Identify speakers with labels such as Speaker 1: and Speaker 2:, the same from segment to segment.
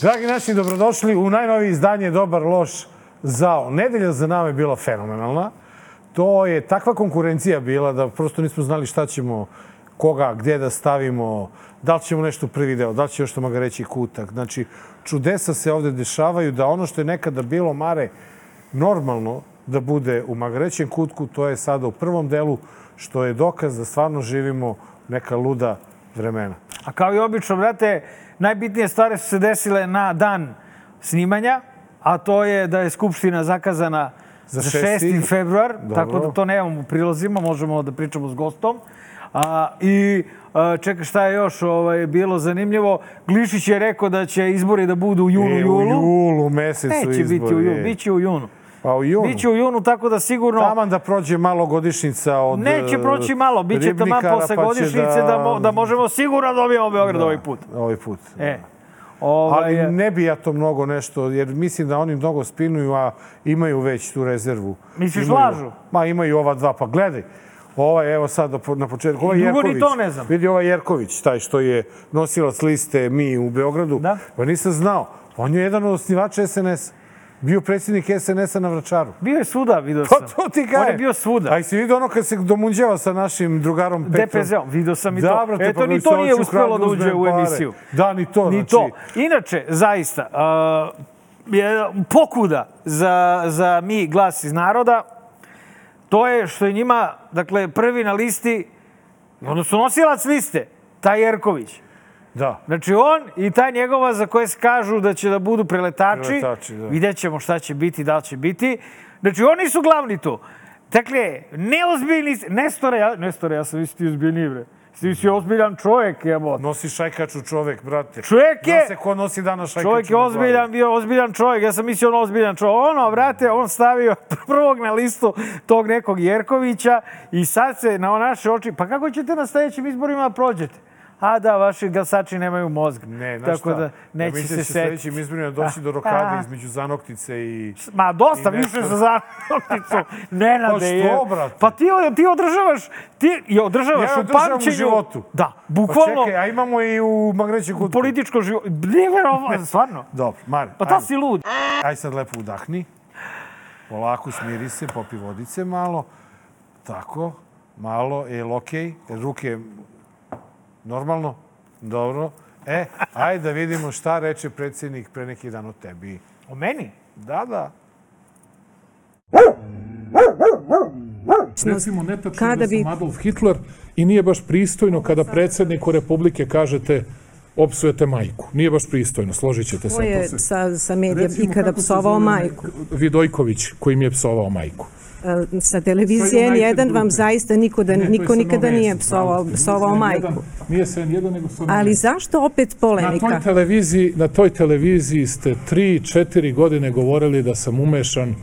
Speaker 1: Dragi naši, dobrodošli u najnovije izdanje Dobar loš zao. Nedelja za nama je bila fenomenalna. To je takva konkurencija bila da prosto nismo znali šta ćemo, koga, gde da stavimo, da li ćemo nešto prvi deo, da li će još tamo ga reći kutak. Znači, čudesa se ovde dešavaju da ono što je nekada bilo, Mare, normalno da bude u magarećem kutku, to je sada u prvom delu, što je dokaz da stvarno živimo neka luda vremena.
Speaker 2: A kao i obično, brate, najbitnije stvari su se desile na dan snimanja, a to je da je Skupština zakazana
Speaker 1: Za
Speaker 2: za,
Speaker 1: šesti.
Speaker 2: 6. februar,
Speaker 1: Dobro.
Speaker 2: tako da to nemamo u prilozima, možemo da pričamo s gostom. A, I a, čekaj, šta je još ovaj, bilo zanimljivo? Glišić je rekao da će izbori da budu u junu,
Speaker 1: E,
Speaker 2: julu.
Speaker 1: U julu mesecu
Speaker 2: Neće
Speaker 1: izbori.
Speaker 2: biti u
Speaker 1: je.
Speaker 2: junu, bit će u junu.
Speaker 1: Pa u junu.
Speaker 2: Biće u junu, tako da sigurno...
Speaker 1: Taman da prođe malo godišnjica od
Speaker 2: ono- Neće
Speaker 1: e,
Speaker 2: proći malo, bit će taman
Speaker 1: ribnikara,
Speaker 2: posle
Speaker 1: pa će
Speaker 2: godišnjice da... mo- da možemo sigurno dobijemo Beograd ovaj put.
Speaker 1: Ovaj put.
Speaker 2: E. Ovaj,
Speaker 1: Ali ne bi ja to mnogo nešto, jer mislim da oni mnogo spinuju, a imaju već tu rezervu.
Speaker 2: Misliš
Speaker 1: Imaju-
Speaker 2: lažu?
Speaker 1: Ma imaju ova dva, pa gledaj. Ovaj, evo sad po- na početku, ovaj
Speaker 2: I drugo ni
Speaker 1: Jerković.
Speaker 2: to ne znam.
Speaker 1: Vidi ovaj Jerković, taj što je nosilac liste Mi u Beogradu.
Speaker 2: Da.
Speaker 1: Pa nisam znao. On je jedan od osnivača SNS. Bio predsjednik SNS-a na Vračaru.
Speaker 2: Bio je svuda, vidio
Speaker 1: Pa
Speaker 2: sam.
Speaker 1: to ti kajem.
Speaker 2: On je bio svuda.
Speaker 1: A si vidio ono kad se domunđava sa našim drugarom Petrom?
Speaker 2: DPZ-om, vidio sam i to.
Speaker 1: Da, brate,
Speaker 2: Eto,
Speaker 1: pa
Speaker 2: ni
Speaker 1: mi
Speaker 2: to
Speaker 1: se
Speaker 2: nije
Speaker 1: hoću
Speaker 2: uspelo da
Speaker 1: ukradno
Speaker 2: uđe u
Speaker 1: uzmem pare.
Speaker 2: emisiju.
Speaker 1: Da, ni to.
Speaker 2: Ni
Speaker 1: znači,
Speaker 2: to. Inače, zaista, uh, je pokuda za, za mi glas iz naroda, to je što je njima, dakle, prvi na listi, odnosno nosilac liste, taj Jerković.
Speaker 1: Da.
Speaker 2: Znači on i ta njegova za koje se kažu da će da budu preletači,
Speaker 1: Preletači, da.
Speaker 2: vidjet ćemo šta će biti, da li će biti. Znači oni su glavni tu. Dakle, neozbiljni, s- Nestore, ja, Nestore, ja sam vi ti ozbiljni, bre. Ti si ozbiljan čovjek, jebot.
Speaker 1: Nosi šajkaču čovek, brate.
Speaker 2: Čovjek je-
Speaker 1: Zna se ko nosi danas šajkaču.
Speaker 2: Čovjek
Speaker 1: na
Speaker 2: je
Speaker 1: glavi.
Speaker 2: ozbiljan, bio ozbiljan čovjek, ja sam mislio on ozbiljan čovjek. Ono, vrate, on stavio prvog na listu tog nekog Jerkovića i sad se na naše oči, pa kako ćete na sledećim izborima da prođete? A da, vaši glasači nemaju mozg.
Speaker 1: Ne, znaš
Speaker 2: tako
Speaker 1: šta?
Speaker 2: da neće
Speaker 1: ja mislim
Speaker 2: se
Speaker 1: da će
Speaker 2: setiti. Pa,
Speaker 1: sledećim izborima doći do rokade
Speaker 2: Aha.
Speaker 1: između zanoktice i... Pa
Speaker 2: Ma dosta
Speaker 1: I nešto.
Speaker 2: više za zanokticu. Nenade
Speaker 1: Pa što,
Speaker 2: je.
Speaker 1: brate?
Speaker 2: Pa ti, ti održavaš, ti i održavaš
Speaker 1: Ja
Speaker 2: u
Speaker 1: održavam u
Speaker 2: pamćenju.
Speaker 1: životu.
Speaker 2: Da,
Speaker 1: Pa
Speaker 2: bukvalno
Speaker 1: čekaj, a imamo i u Magreću kutku.
Speaker 2: političko život. Neverovatno, stvarno.
Speaker 1: Dobro, Mare,
Speaker 2: Pa ta
Speaker 1: ajmo.
Speaker 2: si lud.
Speaker 1: Aj sad lepo udahni. Polako smiri se, popi vodice malo. Tako, malo, jel okej? Jel ruke normalno? Dobro. E, ajde da vidimo šta reče predsjednik pre neki dan o tebi.
Speaker 2: O meni?
Speaker 1: Da, da.
Speaker 3: Recimo, netačno
Speaker 4: Kada
Speaker 3: kada da
Speaker 4: bi-
Speaker 3: sam Adolf Hitler i nije baš pristojno kada predsedniku Republike kažete opsujete majku. Nije baš pristojno, složit ćete se.
Speaker 4: Ko je
Speaker 3: posle.
Speaker 4: sa, sa medijem
Speaker 3: Recimo,
Speaker 4: ikada
Speaker 3: kako se
Speaker 4: psovao
Speaker 3: zove onaj
Speaker 4: majku?
Speaker 3: Vidojković koji mi je psovao majku.
Speaker 4: E, Sa televizije
Speaker 3: United
Speaker 4: N1 vam
Speaker 3: grupe.
Speaker 4: zaista niko, da,
Speaker 3: Ne, to je
Speaker 4: niko
Speaker 3: sa
Speaker 4: nikada
Speaker 3: Nove
Speaker 4: nije
Speaker 3: S,
Speaker 4: psovao,
Speaker 3: pravo ste.
Speaker 4: psovao
Speaker 3: Nije sa N1,
Speaker 4: majku.
Speaker 3: Nije se N1, nego sa Nove
Speaker 4: Ali
Speaker 3: S.
Speaker 4: zašto opet
Speaker 3: Na toj
Speaker 4: polemika?
Speaker 3: televiziji, na toj televiziji ste tri, četiri godine govorili da sam umešan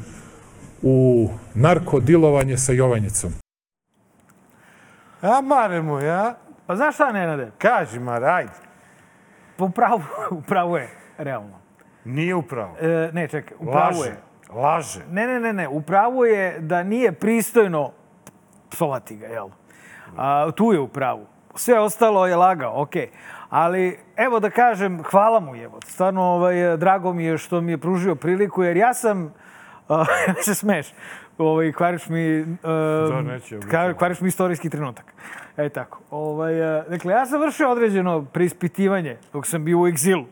Speaker 3: u narkodilovanje sa Jovanjicom.
Speaker 1: A, Mare moj, a?
Speaker 2: Pa znaš šta, Nenade?
Speaker 1: Kaži, Mare, ajde.
Speaker 2: Pa upravo, upravo je, realno.
Speaker 1: Nije upravo.
Speaker 2: E, ne, čekaj, upravo
Speaker 1: Laže.
Speaker 2: je.
Speaker 1: Laže.
Speaker 2: Ne, ne, ne, ne, upravo je da nije pristojno psovati ga, jel? A, tu je upravo. Sve ostalo je lagao, okej. Ali, evo da kažem, hvala mu, evo. Stvarno, ovaj, drago mi je što mi je pružio priliku, jer ja sam... a, se smeš. Ovaj, kvariš mi...
Speaker 1: Da,
Speaker 2: da,
Speaker 1: neće, obično.
Speaker 2: ka, kvariš mi istorijski trenutak. E tako. Ovaj, e, dakle, ja sam vršio određeno preispitivanje dok sam bio u egzilu.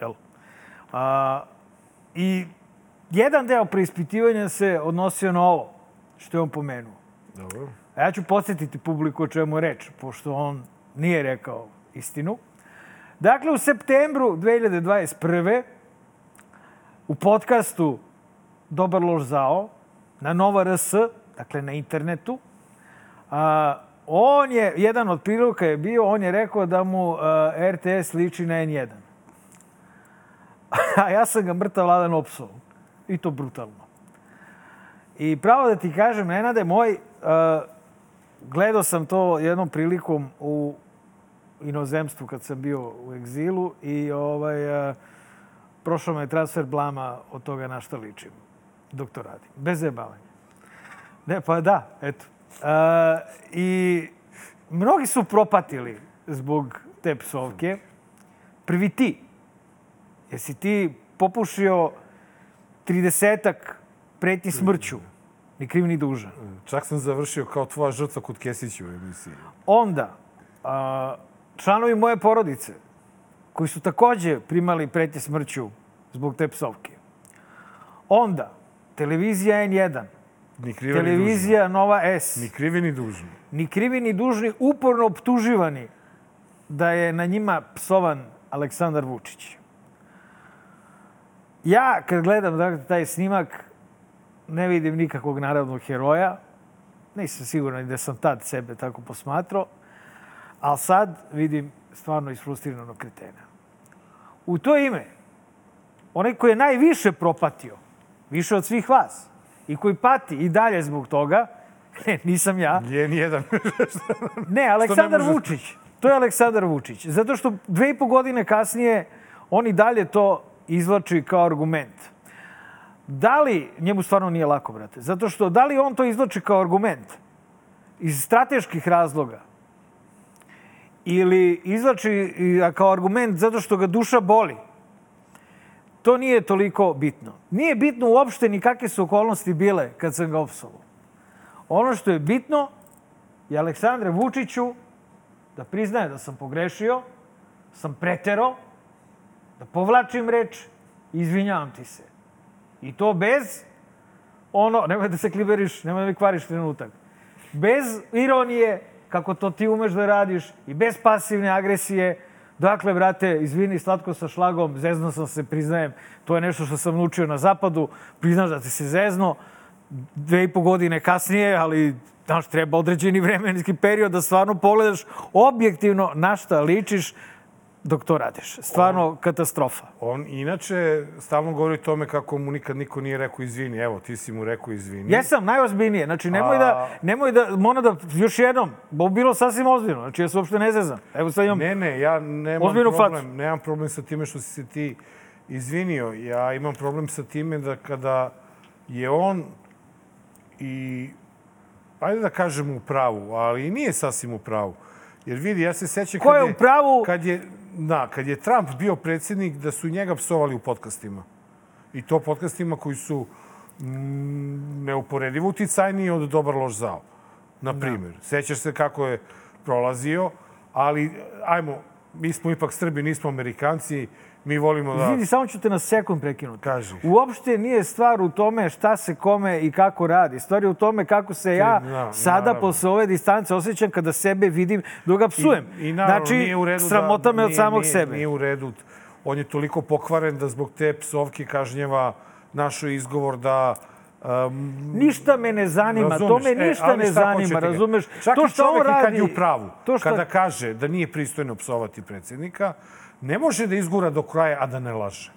Speaker 2: Jel? A, I jedan deo preispitivanja se odnosio na ovo, što je on pomenuo.
Speaker 1: Dobro.
Speaker 2: A ja ću podsjetiti publiku o čemu je reč, pošto on nije rekao istinu. Dakle, u septembru 2021. u podcastu Dobar lož zao na Nova RS, dakle na internetu, a, on je, jedan od priloka je bio, on je rekao da mu a, RTS liči na N1. A ja sam ga mrtav ladan opsovao. I to brutalno. I pravo da ti kažem, Nenade moj, e, gledao sam to jednom prilikom u inozemstvu kad sam bio u egzilu i ovaj, e, prošao me je transfer blama od toga na šta ličim dok to radim. Bez zajebavanja. Ne, pa da, eto. E, I mnogi su propatili zbog te psovke. Prvi ti, Jesi ti popušio 30 pretnji smrću? Ni kriv, ni dužan.
Speaker 1: Čak sam završio kao tvoja žrtva kod Kesića u emisiji.
Speaker 2: Onda, a, članovi moje porodice, koji su takođe primali pretnje smrću zbog te psovke. Onda, televizija N1,
Speaker 1: Ni krivi ni dužni.
Speaker 2: televizija Nova S,
Speaker 1: Ni krivi ni dužni.
Speaker 2: ni krivi ni dužni, uporno optuživani da je na njima psovan Aleksandar Vučić. Ja, kad gledam dakle, taj snimak, ne vidim nikakvog narodnog heroja. Nisam siguran i da sam tad sebe tako posmatrao. Ali sad vidim stvarno isfrustriranog kretena. U to ime, onaj koji je najviše propatio, više od svih vas, i koji pati i dalje zbog toga, ne, nisam ja,
Speaker 1: Je nijedan.
Speaker 2: ne, Aleksandar
Speaker 1: može-
Speaker 2: Vučić. To je Aleksandar Vučić. Zato što dve i po godine kasnije on i dalje to izvlači kao argument. Da li, njemu stvarno nije lako, brate, zato što da li on to izvlači kao argument iz strateških razloga ili izvlači i- kao argument zato što ga duša boli, to nije toliko bitno. Nije bitno uopšte ni kakve su okolnosti bile kad sam ga opsovao. Ono što je bitno i Aleksandre Vučiću da priznaje da sam pogrešio, sam pretero, da povlačim reč i izvinjavam ti se. I to bez ono, nemoj da se kliberiš, nemoj da mi kvariš trenutak. Bez ironije, kako to ti umeš da radiš, i bez pasivne agresije. Dakle, brate, izvini, slatko sa šlagom, zezno sam se, priznajem. To je nešto što sam naučio na zapadu, priznaš da ti se zezno. Dve i po godine kasnije, ali znaš, treba određeni vremenski period da stvarno pogledaš objektivno na šta ličiš dok to radiš. Stvarno katastrofa.
Speaker 1: On inače stalno govori o tome kako mu nikad niko nije rekao izvini. Evo, ti si mu rekao izvini.
Speaker 2: Jesam, najozbiljnije. Znači, nemoj da, nemoj da, moram da, još jednom, bo bilo sasvim ozbiljno. Znači, ja se uopšte ne zezam. Evo sad imam,
Speaker 1: Ne, ne, ja nemam
Speaker 2: Ozbiljnu
Speaker 1: problem,
Speaker 2: facu.
Speaker 1: nemam problem sa time što si se ti izvinio. Ja imam problem sa time da kada je on i, ajde da kažem u pravu, ali i nije sasvim u pravu. Jer vidi, ja se sećam
Speaker 2: Ko
Speaker 1: kad
Speaker 2: je u pravu?
Speaker 1: Kad je, da, kad je Trump bio predsjednik, da su njega psovali u podcastima. I to podcastima koji su mm, neuporedivo uticajniji od Dobar loš zao. Na primjer, sećaš se kako je prolazio, ali ajmo, mi smo ipak Srbi, nismo Amerikanci, mi volimo da...
Speaker 2: Izvini, samo ću te na sekund prekinuti.
Speaker 1: Kaži.
Speaker 2: Uopšte nije stvar u tome šta se kome i kako radi. Stvar je u tome kako se ja
Speaker 1: da,
Speaker 2: sada
Speaker 1: naravno.
Speaker 2: posle ove distance osjećam kada sebe vidim dok ga psujem.
Speaker 1: I, i naravno,
Speaker 2: znači,
Speaker 1: nije u redu
Speaker 2: sramota
Speaker 1: da,
Speaker 2: me od
Speaker 1: nije-
Speaker 2: samog
Speaker 1: nije,
Speaker 2: sebe.
Speaker 1: Nije u redu. On je toliko pokvaren da zbog te psovke kažnjava našo izgovor da... Um,
Speaker 2: Ništa me ne zanima, to
Speaker 1: razumeš?
Speaker 2: me
Speaker 1: E,
Speaker 2: ništa
Speaker 1: ali
Speaker 2: ne
Speaker 1: šta
Speaker 2: zanima,
Speaker 1: hoćete ga?
Speaker 2: razumeš?
Speaker 1: Čak
Speaker 2: to
Speaker 1: i
Speaker 2: što on
Speaker 1: čovek i
Speaker 2: radi,
Speaker 1: kad je u pravu,
Speaker 2: to što,
Speaker 1: kada kaže da nije pristojno psovati predsjednika, ne može da izgura do kraja, a da ne laže.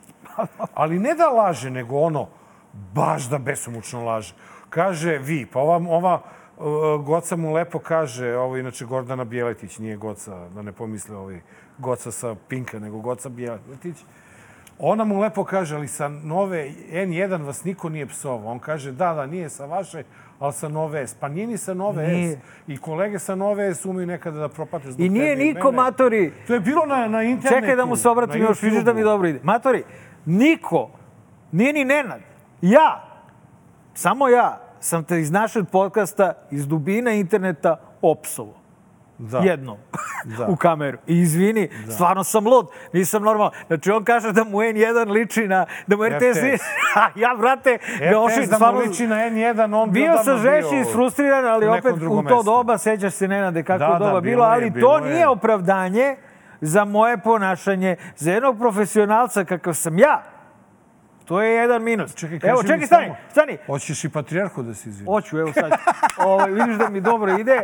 Speaker 1: Ali ne da laže, nego ono, baš da besomučno laže. Kaže vi, pa ova, ova e, Goca mu lepo kaže, ovo je inače Gordana Bjeletić, nije Goca, da ne pomisle ovi Goca sa Pinka, nego Goca Bjeletić. Ona mu lepo kaže, ali sa nove N1 vas niko nije psovao. On kaže, da, da, nije sa vaše, ali sa nove S. Pa nije ni sa nove
Speaker 2: Nije.
Speaker 1: S. I kolege sa nove S umeju nekada da propateš zbog
Speaker 2: I nije
Speaker 1: tebe i
Speaker 2: niko,
Speaker 1: mene.
Speaker 2: matori,
Speaker 1: To je bilo na, na internetu.
Speaker 2: Čekaj da mu se obratim
Speaker 1: na
Speaker 2: još, vidiš da mi
Speaker 1: YouTubeu.
Speaker 2: dobro ide. Matori, niko, nije ni Nenad, ja, samo ja, sam te iz našeg podcasta, iz dubine interneta, opsovo.
Speaker 1: Da.
Speaker 2: Jednom.
Speaker 1: Da.
Speaker 2: u kameru. I izvini, stvarno sam lud, nisam normalan. Znači, on kaže da mu N1 liči na... Da mu RTS...
Speaker 1: RTS.
Speaker 2: A ja, brate, ga ošim
Speaker 1: RTS E, da
Speaker 2: stvarno...
Speaker 1: mu liči na N1, on bi
Speaker 2: Bio
Speaker 1: odavno
Speaker 2: sam žešći
Speaker 1: bio-
Speaker 2: i isfrustriran, ali
Speaker 1: u nekom
Speaker 2: opet u to
Speaker 1: drugom mestu.
Speaker 2: doba sećaš se Nenade kako
Speaker 1: Da,
Speaker 2: je
Speaker 1: da,
Speaker 2: doba bilo,
Speaker 1: bilo je,
Speaker 2: ali
Speaker 1: bilo
Speaker 2: to
Speaker 1: je.
Speaker 2: nije opravdanje za moje ponašanje, za jednog profesionalca kakav sam ja. To je jedan minus.
Speaker 1: Čekaj,
Speaker 2: evo,
Speaker 1: kaži
Speaker 2: čekaj,
Speaker 1: mi
Speaker 2: stani,
Speaker 1: samo-
Speaker 2: stani.
Speaker 1: Hoćeš i patrijarhu da se izvini?
Speaker 2: Oću, evo sad. Ovo, vidiš da mi dobro ide.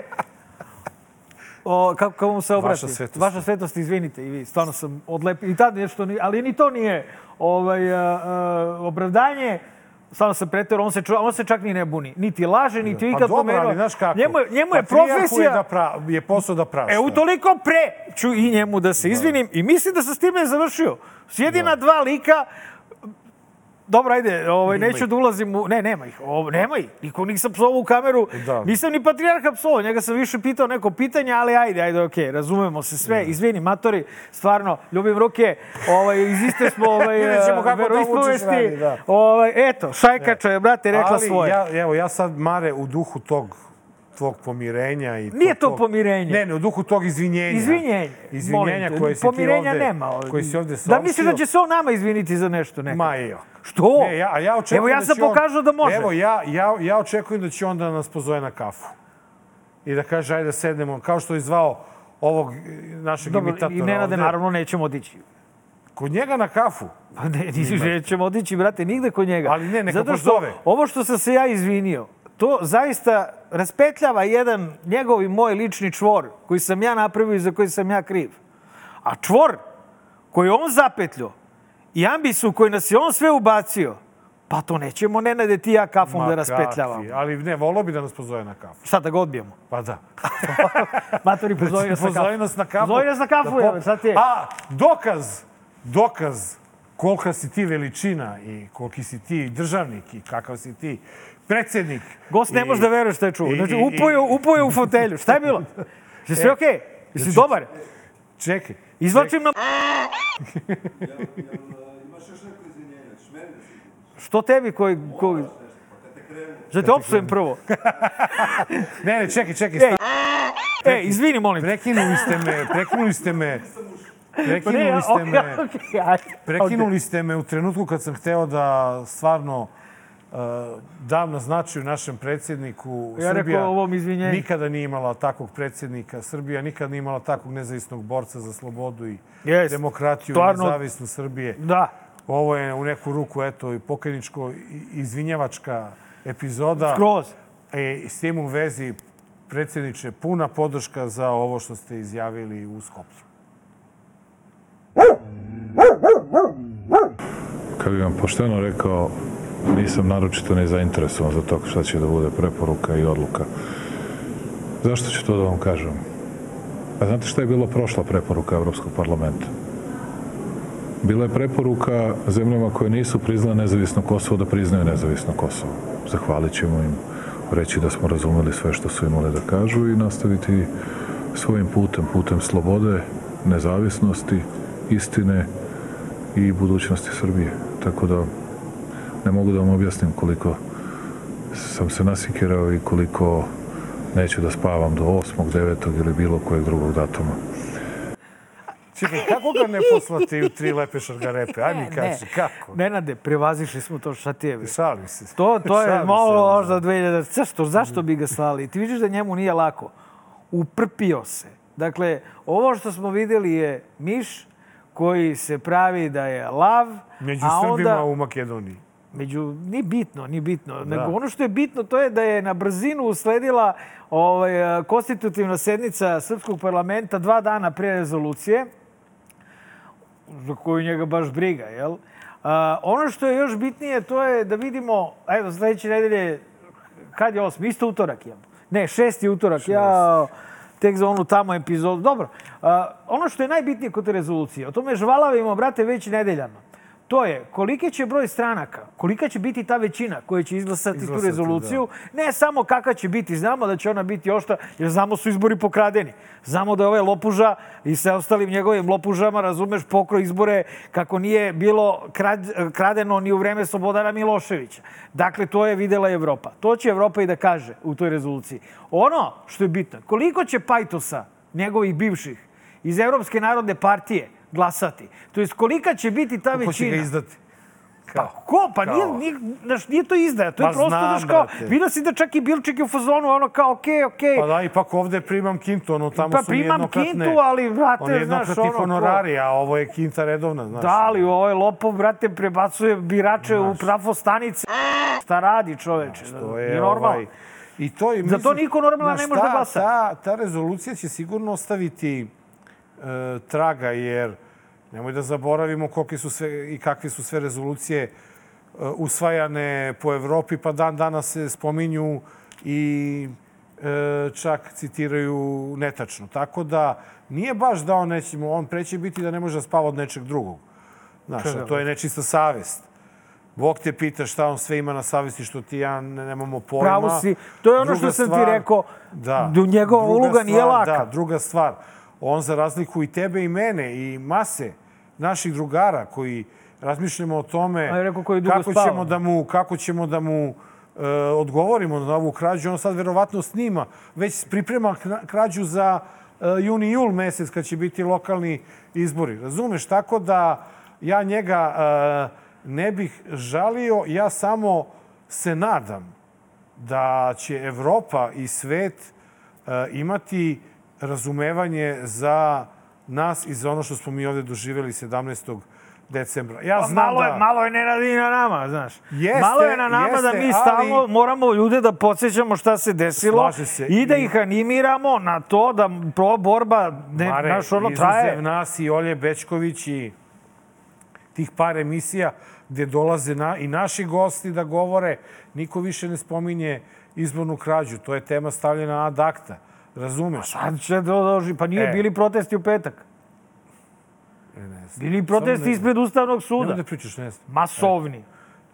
Speaker 2: O, kako, kako mu se obrati?
Speaker 1: svetost.
Speaker 2: Vaša svetost, izvinite, i vi, stvarno sam odlepio. I tad nešto, ni- ali ni to nije ovaj, a, a, opravdanje. Stvarno sam pretero, on se, ču- on se čak ni ne buni. Niti laže, niti
Speaker 1: Pa
Speaker 2: ikad
Speaker 1: dobro,
Speaker 2: pomenuo.
Speaker 1: ali znaš kako?
Speaker 2: Njemu, je- njemu je
Speaker 1: Patrijarhu
Speaker 2: profesija...
Speaker 1: Je, da pra, je posao da prašta.
Speaker 2: E, utoliko pre ću i njemu da se izvinim i mislim da sam s time završio. Sjedi na dva lika, Dobro, ajde, ovaj, neću da ulazim u... Ne, nema ih. Ovo, nema ih. Niko nisam psovao u kameru.
Speaker 1: Da.
Speaker 2: Nisam ni patrijarha psovao. Njega sam više pitao neko pitanje, ali ajde, ajde, okej, razumemo se sve. Izvini, matori, stvarno, ljubim ruke. Ovaj, iz iste smo ovaj,
Speaker 1: Vidjet ćemo kako to Vučić
Speaker 2: veroispovesti.
Speaker 1: radi, da.
Speaker 2: Ovaj, eto, šajkača je, brate, rekla
Speaker 1: Ali
Speaker 2: svoje.
Speaker 1: ja, evo, ja sad, Mare, u duhu tog tvog pomirenja i
Speaker 2: Nije to
Speaker 1: tog-
Speaker 2: pomirenje.
Speaker 1: Ne, ne, u duhu tog izvinjenja.
Speaker 2: Izvinjenje.
Speaker 1: Izvinjenja
Speaker 2: molim te.
Speaker 1: koje si ti
Speaker 2: Pomirenja
Speaker 1: ovde-
Speaker 2: nema. ovaj.
Speaker 1: koje si ovde
Speaker 2: Da misliš da
Speaker 1: saopštio.
Speaker 2: će se on nama izviniti za nešto nekad?
Speaker 1: Ma i ok.
Speaker 2: Što?
Speaker 1: Ne, ja, a ja očekujem
Speaker 2: Evo ja
Speaker 1: da
Speaker 2: sam
Speaker 1: će on-
Speaker 2: pokazao da može.
Speaker 1: Evo, ja, ja, ja očekujem da će on da nas pozove na kafu. I da kaže, ajde da sednemo, kao što je zvao ovog e, našeg
Speaker 2: Dobro,
Speaker 1: imitatora.
Speaker 2: I Nenade,
Speaker 1: ovde.
Speaker 2: naravno, nećemo odići.
Speaker 1: Kod njega na kafu.
Speaker 2: Pa ne, nisi nećemo otići, brate, nigde kod njega.
Speaker 1: Ali ne, neka
Speaker 2: Zato što
Speaker 1: pozove.
Speaker 2: ovo što sam se ja izvinio, to zaista raspetljava jedan njegov i moj lični čvor koji sam ja napravio i za koji sam ja kriv. A čvor koji je on zapetljao i ambisu koji nas je on sve ubacio, pa to nećemo Nenade ti i ja kafom
Speaker 1: Ma
Speaker 2: da raspetljavamo.
Speaker 1: kakvi, Ali ne, volao bi da nas pozove na kafu.
Speaker 2: Šta da ga odbijemo?
Speaker 1: Pa da.
Speaker 2: Matori, pozovi nas na kafu.
Speaker 1: Pozovi nas na kafu.
Speaker 2: Pozovi Znači, nas na kafu,
Speaker 1: pop-
Speaker 2: evo, sad ti je.
Speaker 1: A, dokaz, dokaz kolika si ti veličina i koliki si ti državnik i kakav si ti predsjednik.
Speaker 2: Gost ne
Speaker 1: i-
Speaker 2: može da veruje šta je čuo.
Speaker 1: i-
Speaker 2: Znači,
Speaker 1: i- E, i-
Speaker 2: upoju, upoju u fotelju. Šta je bilo? Je sve okej?
Speaker 1: znači,
Speaker 2: Jesi dobar?
Speaker 1: Čekaj.
Speaker 2: Izvlačim na...
Speaker 5: Imaš još neko izvinjenje, šmeri da si
Speaker 2: Što tebi koji... koji... Znači, te opsujem prvo.
Speaker 1: Ne, ne, čekaj, čekaj.
Speaker 2: Ej, E, izvini, molim. te.
Speaker 1: Prekinuli ste me, prekinuli ste me.
Speaker 2: Pa ne,
Speaker 1: Prekinuli ste me.
Speaker 2: okej, okej, ajde.
Speaker 1: Prekinuli ste me u trenutku kad sam hteo da stvarno uh, dam na značaju našem predsjedniku.
Speaker 2: Ja rekao
Speaker 1: Srbija
Speaker 2: ovom izvinjenju.
Speaker 1: nikada nije imala takvog predsjednika. Srbija nikada nije imala takvog nezavisnog borca za slobodu i
Speaker 2: Jest.
Speaker 1: demokratiju
Speaker 2: Stvarno-
Speaker 1: i nezavisnost Srbije.
Speaker 2: Da.
Speaker 1: Ovo je u neku ruku, eto, i pokajničko i- izvinjavačka epizoda.
Speaker 2: Skroz.
Speaker 1: E, s tim u vezi, predsjedniče, puna podrška za ovo što ste izjavili u Skoplju.
Speaker 3: Kad bi vam pošteno rekao, nisam naročito ne zainteresovan za to šta će da bude preporuka i odluka. Zašto ću to da vam kažem? Pa znate šta je bila prošla preporuka Evropskog parlamenta? Bila je preporuka zemljama koje nisu priznale nezavisno Kosovo da priznaju nezavisno Kosovo. Zahvalit ćemo im, reći da smo razumeli sve što su imali da kažu i nastaviti svojim putem, putem slobode, nezavisnosti, istine i budućnosti Srbije. Tako da ne mogu da vam objasnim koliko sam se nasikirao i koliko neću da spavam do 8., 9. ili bilo kojeg drugog datuma.
Speaker 1: Čekaj, kako ga ne poslati u tri lepe šargarepe? Aj mi kaži, kako?
Speaker 2: Nenade, prevazišli smo to šta ti je. bre.
Speaker 1: Šalim se.
Speaker 2: To, to je
Speaker 1: Šalim
Speaker 2: malo
Speaker 1: se. ono. Mhm.
Speaker 2: možda 2000... Zašto, zašto bi ga slali? Ti vidiš da njemu nije lako. Uprpio se. Dakle, ovo što smo vidjeli je miš koji se pravi da je lav,
Speaker 1: Među
Speaker 2: a onda...
Speaker 1: Srbima u Makedoniji.
Speaker 2: Među, ni bitno, ni bitno. Nego ono što je bitno to je da je na brzinu usledila ovaj, eh, konstitutivna sednica Srpskog parlamenta dva dana pre rezolucije, za koju njega baš briga, jel? A, ono što je još bitnije to je da vidimo, evo, sledeće nedelje, kad je osmi? Isto utorak je. Ne, šesti utorak. Ja, tek za onu tamo epizodu. Dobro, a, ono što je najbitnije kod te rezolucije, o tome žvalavimo, brate, već nedeljama. To je koliki će broj stranaka, kolika će biti ta većina koja će izglasati, tu
Speaker 1: Izglasati,
Speaker 2: rezoluciju, ne samo kakva će biti, znamo da će ona biti ošta, jer znamo su izbori pokradeni. Znamo da je ovaj lopuža i sa ostalim njegovim lopužama, razumeš, pokro izbore kako nije bilo krad- kradeno ni u vreme Slobodana Miloševića. Dakle, to je videla Evropa. To će Evropa i da kaže u toj rezoluciji. Ono što je bitno, koliko će pajtosa njegovih bivših iz Evropske narodne partije glasati, to jest kolika će biti ta
Speaker 1: Ko će
Speaker 2: većina.
Speaker 1: ga izdati?
Speaker 2: Pa ko? Pa nije,
Speaker 1: Kao.
Speaker 2: nije, znaš, nije to izdaja. To je
Speaker 1: Ma
Speaker 2: prosto,
Speaker 1: znam,
Speaker 2: znaš, kao,
Speaker 1: brate.
Speaker 2: vidio si da čak i Bilčik je u fazonu, ono kao, okej, okej.
Speaker 1: Pa da, ipak ovde primam kintu, ono tamo
Speaker 2: Pa
Speaker 1: su
Speaker 2: primam
Speaker 1: jednokratne-
Speaker 2: kintu, ali, brate,
Speaker 1: ono
Speaker 2: znaš,
Speaker 1: jednokratni
Speaker 2: ono, ko-
Speaker 1: honorari, a ovo je kinta redovna, znaš.
Speaker 2: Da, ali ovaj lopov, brate, prebacuje birače u prafo stanice. Šta radi čoveče?
Speaker 1: To
Speaker 2: Nije
Speaker 1: je
Speaker 2: normalno.
Speaker 1: Ovaj, I to je,
Speaker 2: Za to
Speaker 1: mislim,
Speaker 2: niko normalan
Speaker 1: znaš,
Speaker 2: ne može da
Speaker 1: ta-
Speaker 2: glasa.
Speaker 1: Ta, ta rezolucija će sigurno ostaviti e, traga, jer nemoj da zaboravimo kolike su sve i kakve su sve rezolucije e, usvajane po Evropi, pa dan danas se spominju i e, čak citiraju netačno. Tako da nije baš da on nećemo, on preće biti da ne može da spava od nečeg drugog. Znaš, a to je nečista savest. Bog te pita šta on sve ima na savjesti što ti i ja ne- nemamo pojma.
Speaker 2: Pravo si. To je ono što sam ti rekao, da njegova
Speaker 1: Druga
Speaker 2: uloga nije
Speaker 1: stvar,
Speaker 2: laka.
Speaker 1: Da, druga stvar, on za razliku i tebe i mene i mase naših drugara koji razmišljamo o tome
Speaker 2: A je rekao koji dugo
Speaker 1: kako
Speaker 2: spava.
Speaker 1: ćemo da mu, kako ćemo da mu e, odgovorimo na ovu krađu. On sad verovatno snima, već priprema kna- krađu za e, juni i jul mesec kad će biti lokalni izbori. Razumeš? Tako da ja njega e, ne bih žalio, ja samo se nadam da će Evropa i svet e, imati razumevanje za nas i za ono što smo mi ovde doživjeli 17. decembra. Ja
Speaker 2: Pa
Speaker 1: znam
Speaker 2: malo,
Speaker 1: da...
Speaker 2: je, malo je neradi i na nama, znaš.
Speaker 1: Jeste,
Speaker 2: malo je na nama da
Speaker 1: jeste,
Speaker 2: mi stalno
Speaker 1: ali-
Speaker 2: moramo ljude da podsjećamo šta se desilo
Speaker 1: Slažem se.
Speaker 2: i da
Speaker 1: I-
Speaker 2: ih animiramo na to da pro borba ne,
Speaker 1: Mare,
Speaker 2: znaš, ono
Speaker 1: izuzev
Speaker 2: traje.
Speaker 1: nas i Olje Bečković i tih par emisija gdje dolaze na, i naši gosti da govore, niko više ne spominje izbornu krađu. To je tema stavljena ad acta. Razumeš?
Speaker 2: Sad će da dođi, pa nije
Speaker 1: E.
Speaker 2: bili protesti u petak.
Speaker 1: Ne, ne znam.
Speaker 2: Bili
Speaker 1: Samo
Speaker 2: protesti
Speaker 1: ne-
Speaker 2: ispred Ustavnog
Speaker 1: Nemoj
Speaker 2: suda.
Speaker 1: da pričaš, ne znam.
Speaker 2: Masovni.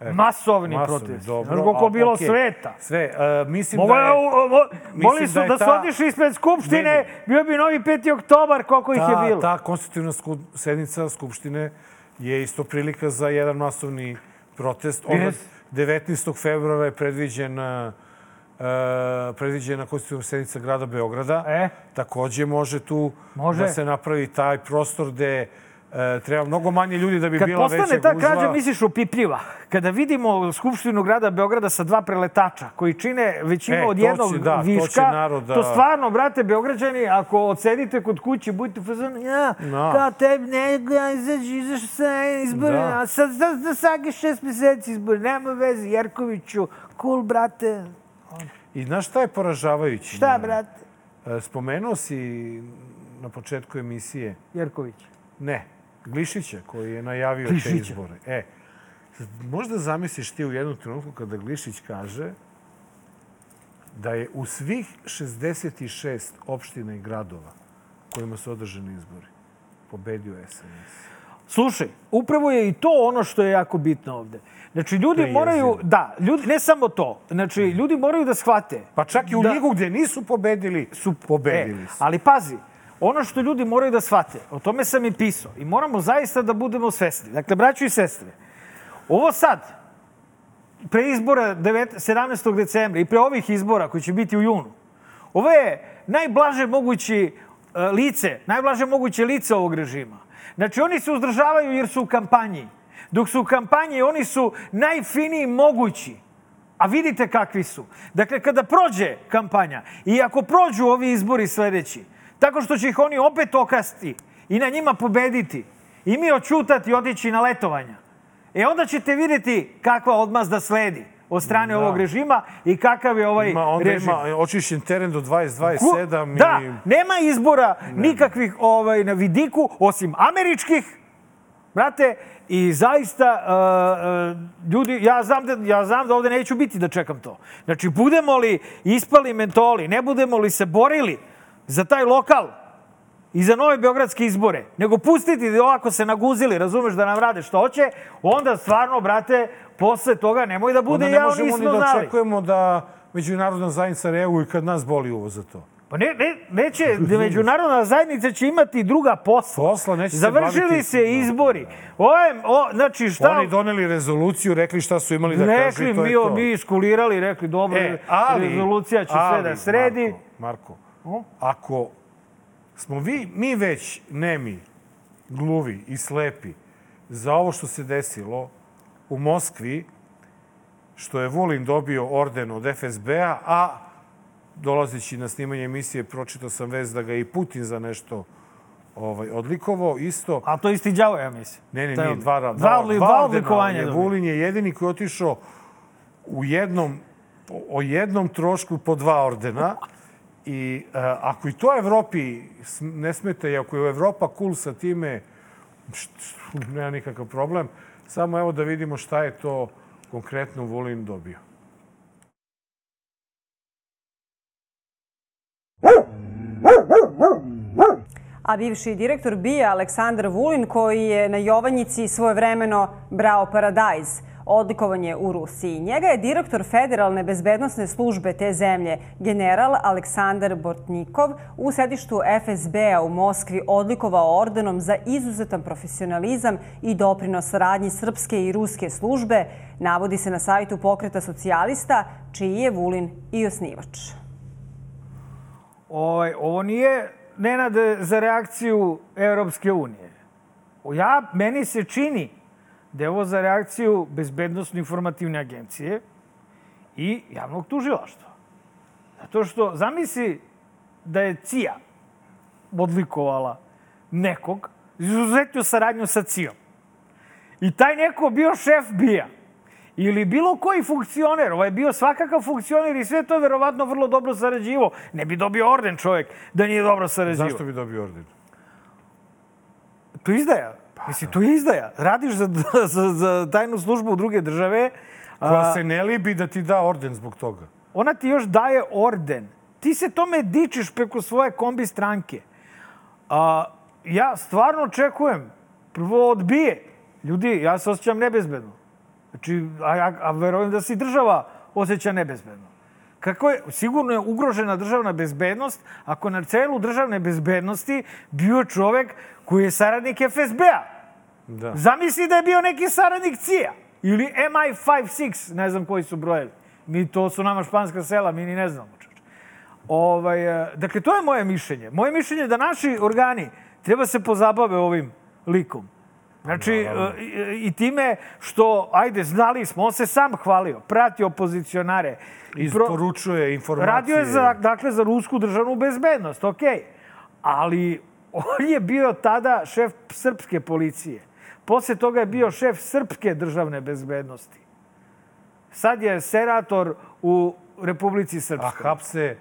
Speaker 2: Masovni,
Speaker 1: Masovni,
Speaker 2: protesti.
Speaker 1: dobro,
Speaker 2: Znaš koliko
Speaker 1: a,
Speaker 2: bilo
Speaker 1: okej.
Speaker 2: sveta.
Speaker 1: Sve, uh, mislim
Speaker 2: Ovo
Speaker 1: da
Speaker 2: je,
Speaker 1: je...
Speaker 2: o- ovo-
Speaker 1: da
Speaker 2: Mogli su
Speaker 1: je
Speaker 2: da, su
Speaker 1: ta-
Speaker 2: otišli ispred Skupštine,
Speaker 1: Ne, ne.
Speaker 2: bio bi novi 5. oktobar, koliko ih je bilo.
Speaker 1: Ta, ta konstitutivna sku- sednica Skupštine je isto prilika za jedan masovni protest. Onda
Speaker 2: Yes.
Speaker 1: 19. februara je predviđen e, predviđena konstitutivna sednica grada Beograda.
Speaker 2: E.
Speaker 1: Takođe može tu
Speaker 2: Može.
Speaker 1: da se napravi taj prostor gde e, treba mnogo manje ljudi da bi
Speaker 2: Kad
Speaker 1: bila veća
Speaker 2: postane ta
Speaker 1: gužva.
Speaker 2: krađa, misliš opipljiva. Kada vidimo Skupštinu grada Beograda sa dva preletača koji čine većinu
Speaker 1: E,
Speaker 2: od
Speaker 1: to će,
Speaker 2: jednog
Speaker 1: da, to će
Speaker 2: viška,
Speaker 1: narod da-
Speaker 2: to stvarno, brate, Beograđani, ako odsedite kod kuće, budite fazon, ja,
Speaker 1: Da.
Speaker 2: kao tebi, ne, ja, izađi, izađi sa izbore,
Speaker 1: Da.
Speaker 2: a sad, sad, sad, sad je šest meseci izbore, nema veze, Jerkoviću, cool, brate,
Speaker 1: I znaš šta je poražavajuće?
Speaker 2: šta,
Speaker 1: Mare?
Speaker 2: brate?
Speaker 1: E, Spomenuo si na početku emisije
Speaker 2: Jerković.
Speaker 1: Ne, Glišića koji je najavio te
Speaker 2: Glišića.
Speaker 1: izbore. E, možda zamisliš ti u jednom trenutku kada Glišić kaže da je u svih 66 opština i gradova kojima su održani izbori pobedio SNS.
Speaker 2: Slušaj, upravo je i to ono što je jako bitno ovde. Znači, ljudi
Speaker 1: je
Speaker 2: moraju,
Speaker 1: jezivo. Mm.
Speaker 2: da, ljudi, ne samo to, znači, ljudi moraju da shvate.
Speaker 1: Pa čak i u
Speaker 2: Da.
Speaker 1: ligu gdje nisu pobedili, E, su pobedili. su.
Speaker 2: E, ali pazi, ono što ljudi moraju da shvate, o tome sam i pisao, i moramo zaista da budemo svesni. Dakle, braćo i sestre, ovo sad, pre izbora devet- 17. decembra i pre ovih izbora koji će biti u junu, ovo je najblaže mogući e, lice, najblaže moguće lice ovog režima. Znači, oni se uzdržavaju jer su u kampanji. Dok su u kampanji, oni su najfiniji mogući. A vidite kakvi su. Dakle, kada prođe kampanja i ako prođu ovi izbori sledeći, tako što će ih oni opet okasti i na njima pobediti i mi očutati i otići na letovanja, E onda ćete vidjeti kakva odmazda sledi od strane ovog režima i kakav je ovaj
Speaker 1: Ima, onda
Speaker 2: režim.
Speaker 1: ima očišćen teren do
Speaker 2: Ku-
Speaker 1: 2027
Speaker 2: Da,
Speaker 1: i...
Speaker 2: nema izbora nikakvih ovaj, na vidiku, osim američkih, brate, i zaista, uh, uh, ljudi, ja znam, da, ja znam da ovde neću biti da čekam to. Znači, budemo li ispali mentoli, ne budemo li se borili za taj lokal i za nove beogradske izbore, nego pustiti da ovako se naguzili, razumeš da nam rade što hoće, onda stvarno, brate, posle toga nemoj da bude
Speaker 1: Onda ne
Speaker 2: ja
Speaker 1: možemo
Speaker 2: nismo
Speaker 1: ni da
Speaker 2: znali.
Speaker 1: očekujemo da međunarodna zajednica reaguje kad nas boli uvo za to.
Speaker 2: Pa ne, ne, neće, međunarodna zajednica će imati druga posla.
Speaker 1: Posla, neće se
Speaker 2: Završili
Speaker 1: baviti-
Speaker 2: se izbori. O, o, znači šta...
Speaker 1: Pa Oni doneli rezoluciju, rekli šta su imali da kažu
Speaker 2: rekli,
Speaker 1: i to
Speaker 2: mi,
Speaker 1: je to.
Speaker 2: mi iskulirali, rekli, dobro,
Speaker 1: E, ali,
Speaker 2: rezolucija će sve
Speaker 1: ali,
Speaker 2: da sredi.
Speaker 1: Marko, Marko ako smo vi, mi već nemi, gluvi i slepi za ovo što se desilo u Moskvi, što je Vulin dobio orden od FSB-a, a dolazeći na snimanje emisije pročitao sam vez da ga je i Putin za nešto ovaj, odlikovao isto.
Speaker 2: A to isti đavo, ja mislim.
Speaker 1: Ne, ne,
Speaker 2: Taj
Speaker 1: nije,
Speaker 2: od-
Speaker 1: dva, ra-
Speaker 2: dva,
Speaker 1: dva,
Speaker 2: odli-
Speaker 1: dva odlikovanja.
Speaker 2: dva odlikovanja.
Speaker 1: Je,
Speaker 2: dobio.
Speaker 1: Vulin je jedini koji je otišao u jednom, o- o jednom trošku po dva ordena. I e, ako i to Evropi sm- ne smete, i ako je Evropa cool sa time, št- št- nema nikakav problem. Samo evo da vidimo šta je to konkretno Vulin dobio.
Speaker 6: A bivši direktor BIA Aleksandar Vulin koji je na Jovanjici svojevremeno brao paradajz. odlikovan je u Rusiji. Njega je direktor Federalne bezbednostne službe te zemlje, general Aleksandar Bortnikov, u sedištu FSB-a u Moskvi odlikovao ordenom za izuzetan profesionalizam i doprinos radnji srpske i ruske službe, navodi se na sajtu pokreta socijalista, čiji je Vulin i osnivač.
Speaker 2: Ovaj, ovo nije nenad za reakciju Europske unije. O, Ja, meni se čini da je ovo za reakciju Bezbednostno-informativne agencije i javnog tužilaštva. Zato što, zamisli da je CIA odlikovala nekog, izuzetio saradnju sa CIA-om. I taj neko bio šef bija. Ili bilo koji funkcioner, ovaj je bio svakakav funkcioner i sve to je verovatno vrlo dobro sarađivo. Ne bi dobio orden čovjek da nije dobro sarađivo.
Speaker 1: Zašto bi dobio orden?
Speaker 2: To je izdaja.
Speaker 1: Pa
Speaker 2: Mislim, to je izdaja. Radiš za, za, za tajnu službu druge države.
Speaker 1: Koja se ne libi da ti da orden zbog toga.
Speaker 2: ona ti još daje orden. Ti se tome dičiš preko svoje kombi stranke. A, ja stvarno očekujem, prvo odbije. Ljudi, ja se osjećam nebezbedno. Znači, a, ja, a verujem da se i država osjeća nebezbedno. Kako je, sigurno je ugrožena državna bezbednost ako na celu državne bezbednosti bio je čovek koji je saradnik FSB-a.
Speaker 1: Da.
Speaker 2: Zamisli da je bio neki saradnik CIA ili MI56, ne znam koji su brojevi. Mi to su nama španska sela, mi ni ne znamo. čoveče. Ovaj, eh, dakle, to je moje mišljenje. Moje mišljenje je da naši organi treba se pozabave ovim likom. Znači, eh, i i time što, ajde, znali smo, on se sam hvalio, prati opozicionare. Pro-
Speaker 1: Isporučuje informacije.
Speaker 2: Radio je za, dakle, za rusku državnu bezbednost, ok. Ali on je bio tada šef srpske policije. Posle toga je bio šef srpske državne bezbednosti. Sad je serator u Republici
Speaker 1: A
Speaker 2: Srpskoj.
Speaker 1: hapse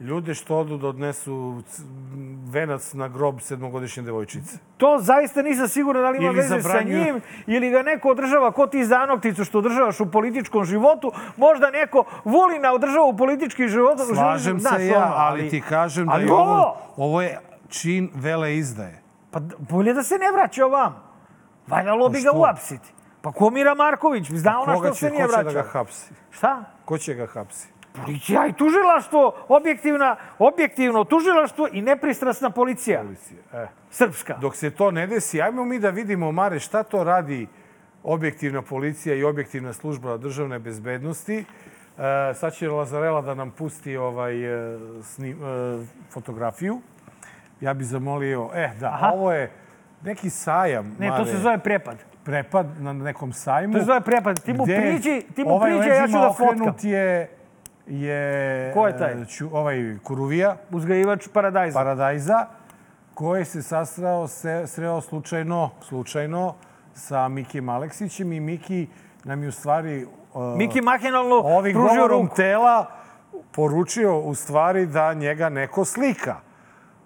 Speaker 1: ljude što odu da odnesu c- m, venac na grob sedmogodišnje devojčice.
Speaker 2: To zaista nisam siguran da li ima
Speaker 1: Ili
Speaker 2: veze sa
Speaker 1: zabranjuju-
Speaker 2: njim ili ga neko održava ko ti zanokticu što održavaš u političkom životu. Možda neko voli na održava u politički život.
Speaker 1: Slažem
Speaker 2: Znaš,
Speaker 1: se ja,
Speaker 2: ono,
Speaker 1: ali ti kažem da
Speaker 2: ali ono-
Speaker 1: je ovo, ovo je čin vele izdaje.
Speaker 2: Pa d- bolje da se ne vraća ovam. Valjalo bi
Speaker 1: Pa
Speaker 2: ga
Speaker 1: što? Pa
Speaker 2: uhapsiti. Pa ko Mira Marković? Zna ona
Speaker 1: Koga
Speaker 2: Ono što
Speaker 1: će,
Speaker 2: se
Speaker 1: ko
Speaker 2: nije
Speaker 1: će da
Speaker 2: vraćao.
Speaker 1: ga hapsi?
Speaker 2: Šta?
Speaker 1: Ko će ga hapsi?
Speaker 2: Policija i tužilaštvo, objektivna, objektivno tužilaštvo i nepristrasna policija.
Speaker 1: Policija. E.
Speaker 2: Srpska.
Speaker 1: Dok se to ne desi, ajmo mi da vidimo, Mare, šta to radi objektivna policija i objektivna služba državne bezbednosti. E, sad će Lazarela da nam pusti ovaj, e, snim, e, fotografiju. Ja bih zamolio... E, da, ovo je neki sajam,
Speaker 2: Ne,
Speaker 1: Mare,
Speaker 2: to se zove prepad.
Speaker 1: prepad na nekom sajmu.
Speaker 2: To se zove prepad. Ti mu
Speaker 1: gde
Speaker 2: priđi, ti mu
Speaker 1: ovaj
Speaker 2: priđi, a ja ću
Speaker 1: leđima
Speaker 2: da fotkam.
Speaker 1: okrenut je, je...
Speaker 2: Ko je taj?
Speaker 1: e, Ću, ovaj Kuruvija
Speaker 2: Uzgajivač paradajza.
Speaker 1: paradajza koji se sastrao, se, sreo slučajno, slučajno sa Mikijem Aleksićem i Miki nam je u stvari uh,
Speaker 2: Miki mahinalno
Speaker 1: ovim
Speaker 2: pružio
Speaker 1: govorom
Speaker 2: ruku.
Speaker 1: tela poručio u stvari da njega neko slika.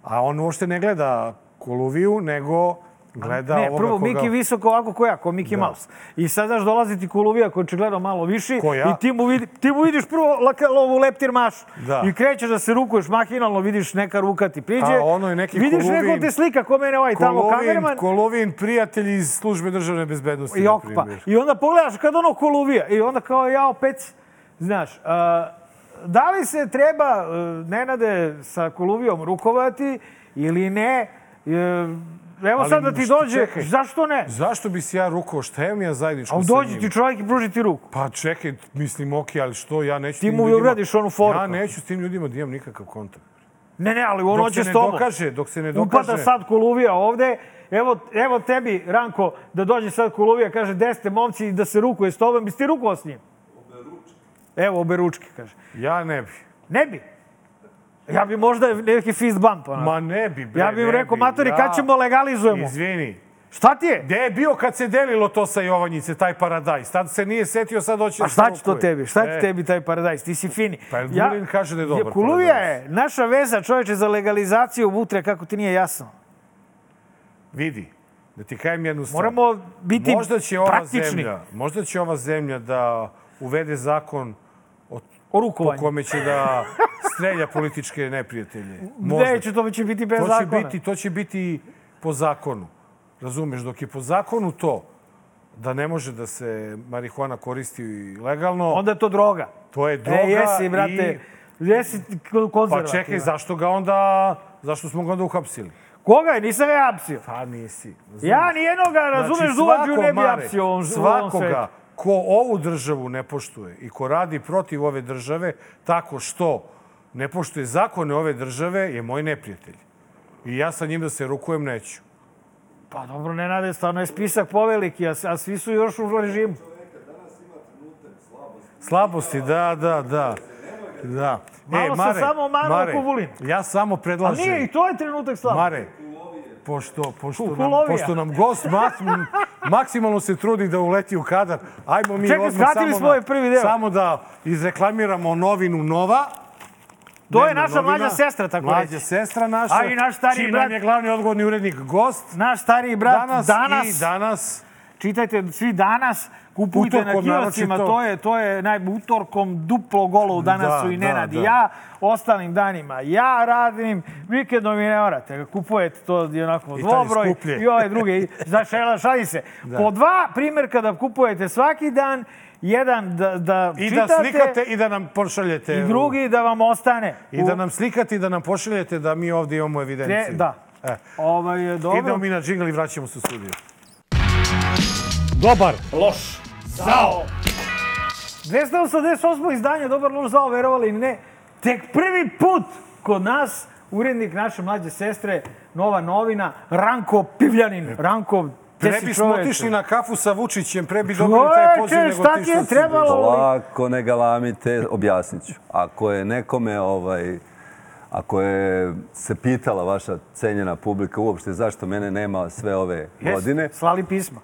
Speaker 1: A on uopšte ne gleda Koluviju, nego gleda
Speaker 2: Ne,
Speaker 1: ovoga
Speaker 2: prvo
Speaker 1: koga...
Speaker 2: Miki visoko ovako ko ja, ko Miki Mouse. I sada dolazi ti Koluvija koji je očigledno malo viši
Speaker 1: Ko ja?
Speaker 2: i ti mu, vidi, ti mu vidiš prvo lakalovu leptir mašu.
Speaker 1: Da.
Speaker 2: I krećeš da se rukuješ mahinalno, vidiš neka ruka ti priđe.
Speaker 1: A ono je neki
Speaker 2: Vidiš neko
Speaker 1: Koluvin-
Speaker 2: te slika ko mene ovaj tamo
Speaker 1: Kolovin,
Speaker 2: kamerman.
Speaker 1: Kolovin prijatelj iz službe državne bezbednosti,
Speaker 2: I
Speaker 1: na
Speaker 2: okpa.
Speaker 1: primjer.
Speaker 2: I onda pogledaš kad ono koluvija. I onda kao ja opet, znaš, a, da li se treba e, Nenade sa koluvijom rukovati ili ne? E, Evo
Speaker 1: Ali
Speaker 2: sad da ti
Speaker 1: što-
Speaker 2: dođe,
Speaker 1: čekaj.
Speaker 2: zašto ne?
Speaker 1: Zašto bi se ja rukovao? Šta imam ja zajedničko
Speaker 2: A
Speaker 1: sa njim?
Speaker 2: dođi ti čovjek i pruži ti ruku.
Speaker 1: Pa čekaj, mislim, okej, ali što, ja neću...
Speaker 2: Ti
Speaker 1: tim
Speaker 2: mu
Speaker 1: ljudima-
Speaker 2: uradiš onu forku.
Speaker 1: Ja neću s tim ljudima da imam nikakav kontakt.
Speaker 2: Ne, ne, ali on
Speaker 1: Dok
Speaker 2: hoće
Speaker 1: se
Speaker 2: s
Speaker 1: ne
Speaker 2: tobom.
Speaker 1: dokaže, dok se ne dokaže...
Speaker 2: Upada sad Koluvija ovde. Evo, evo tebi, Ranko, da dođe sad Koluvija, kaže, gde ste momci, i da se rukuje s tobom. Bi ti rukovao s njim? Evo, oberučke, kaže.
Speaker 1: Ja ne bi.
Speaker 2: Ne bi. Ja bi možda neki fist bump. Onako.
Speaker 1: Ma ne bi, bre,
Speaker 2: ja bih
Speaker 1: ne
Speaker 2: rekao, matori,
Speaker 1: Ja-
Speaker 2: kad ćemo legalizujemo?
Speaker 1: Izvini.
Speaker 2: Šta ti je?
Speaker 1: Gde je bio kad se delilo to sa Jovanjice, taj paradajz? Tad se nije setio, sad hoće...
Speaker 2: A
Speaker 1: da se
Speaker 2: šta će to
Speaker 1: rukuje.
Speaker 2: tebi? Šta
Speaker 1: E,
Speaker 2: će tebi taj paradajz? Ti si fini.
Speaker 1: Pa Vulin kaže da je dobar
Speaker 2: Kuluvija
Speaker 1: paradajz.
Speaker 2: je naša veza čoveče za legalizaciju butre, kako ti nije jasno.
Speaker 1: Vidi, da ti kajem jednu stvar.
Speaker 2: Moramo biti
Speaker 1: možda će ova
Speaker 2: praktični.
Speaker 1: zemlja, možda će ova zemlja da uvede zakon o,
Speaker 2: O
Speaker 1: po
Speaker 2: rukovanju.
Speaker 1: kome će da strelja političke neprijatelje. Možda.
Speaker 2: Neće, to će biti bez
Speaker 1: to će
Speaker 2: zakona.
Speaker 1: biti to će biti po zakonu. Razumeš, dok je po zakonu to da ne može da se marihuana koristi i legalno,
Speaker 2: Onda je to droga.
Speaker 1: to je droga
Speaker 2: e, jesi, brate, jesi
Speaker 1: Pa
Speaker 2: konzervativan.
Speaker 1: čekaj, zašto ga onda, zašto smo ga onda uhapsili?
Speaker 2: Koga je? Nisam ga ja apsio.
Speaker 1: Pa nisi.
Speaker 2: Ja nijednoga, razumeš, znači,
Speaker 1: svako,
Speaker 2: ne bi
Speaker 1: Mare,
Speaker 2: apsio u ovom, u ovom svetu.
Speaker 1: Svakoga ko ovu državu ne poštuje i ko radi protiv ove države tako što ne poštuje zakone ove države je moj neprijatelj. I ja sa njim da se rukujem neću.
Speaker 2: Pa dobro, Nenade, stvarno je spisak poveliki, a, a svi su još u režimu.
Speaker 1: Slabosti, da, da, da. Da. E,
Speaker 2: Malo sam samo malo Kubulin.
Speaker 1: Ja samo
Speaker 2: A
Speaker 1: predlažem.
Speaker 2: nije, i to je trenutak slava.
Speaker 1: Mare, pošto, pošto, nam,
Speaker 2: Kulovija.
Speaker 1: pošto nam gost mak- maksimalno se trudi da uleti u kadar, ajmo mi
Speaker 2: Čekaj,
Speaker 1: odmah
Speaker 2: skratili
Speaker 1: samo,
Speaker 2: smo ovaj prvi deo.
Speaker 1: samo da izreklamiramo novinu Nova.
Speaker 2: to je
Speaker 1: Dnevna
Speaker 2: naša
Speaker 1: novina.
Speaker 2: mlađa sestra, tako
Speaker 1: mlađa
Speaker 2: reći.
Speaker 1: sestra naša.
Speaker 2: A i naš stariji
Speaker 1: čiji
Speaker 2: brat.
Speaker 1: nam je glavni odgovorni urednik gost.
Speaker 2: Naš stariji brat
Speaker 1: Danas,
Speaker 2: danas, danas
Speaker 1: i danas.
Speaker 2: čitajte svi danas, kupujte
Speaker 1: Utorkom
Speaker 2: na kioscima,
Speaker 1: naročito.
Speaker 2: to je, to je naj, utorkom duplo golo danas
Speaker 1: Da,
Speaker 2: su i
Speaker 1: da,
Speaker 2: Nenad i
Speaker 1: da.
Speaker 2: ja, ostalim danima ja radim, vikendom vi ne morate, kupujete to i onako
Speaker 1: I taj
Speaker 2: dvobroj
Speaker 1: skuplje.
Speaker 2: i ovaj drugi, znači šali se. Po dva primjerka da kupujete svaki dan, jedan da, da
Speaker 1: I
Speaker 2: čitate
Speaker 1: da slikate i da nam pošaljete.
Speaker 2: i drugi da vam ostane.
Speaker 1: I da nam slikate i da nam pošaljete da mi ovdje imamo
Speaker 2: Tre-
Speaker 1: evidenciju.
Speaker 2: Da.
Speaker 1: E.
Speaker 2: Ovaj, je dobro.
Speaker 1: Idemo mi na džingl i vraćamo se u studiju.
Speaker 2: Dobar. Loš. Zao. 288. izdanje Dobar loš zao, verovali ili ne. Tek prvi put kod nas urednik naše mlađe sestre, nova novina, Ranko Pivljanin. Ranko, te
Speaker 1: Pre
Speaker 2: si
Speaker 1: bismo
Speaker 2: čoveče.
Speaker 1: otišli na kafu sa Vučićem, pre bi dobili taj poziv
Speaker 2: Čoveče,
Speaker 1: nego
Speaker 2: šta
Speaker 1: ti
Speaker 2: ti
Speaker 1: što
Speaker 2: je
Speaker 1: si
Speaker 2: trebalo? Oli?
Speaker 7: Polako, ne galamite, objasnit ću. Ako je nekome, ovaj, ako je se pitala vaša cenjena publika uopšte zašto mene nema sve ove
Speaker 2: Jes,
Speaker 7: godine,
Speaker 2: Slali pisma.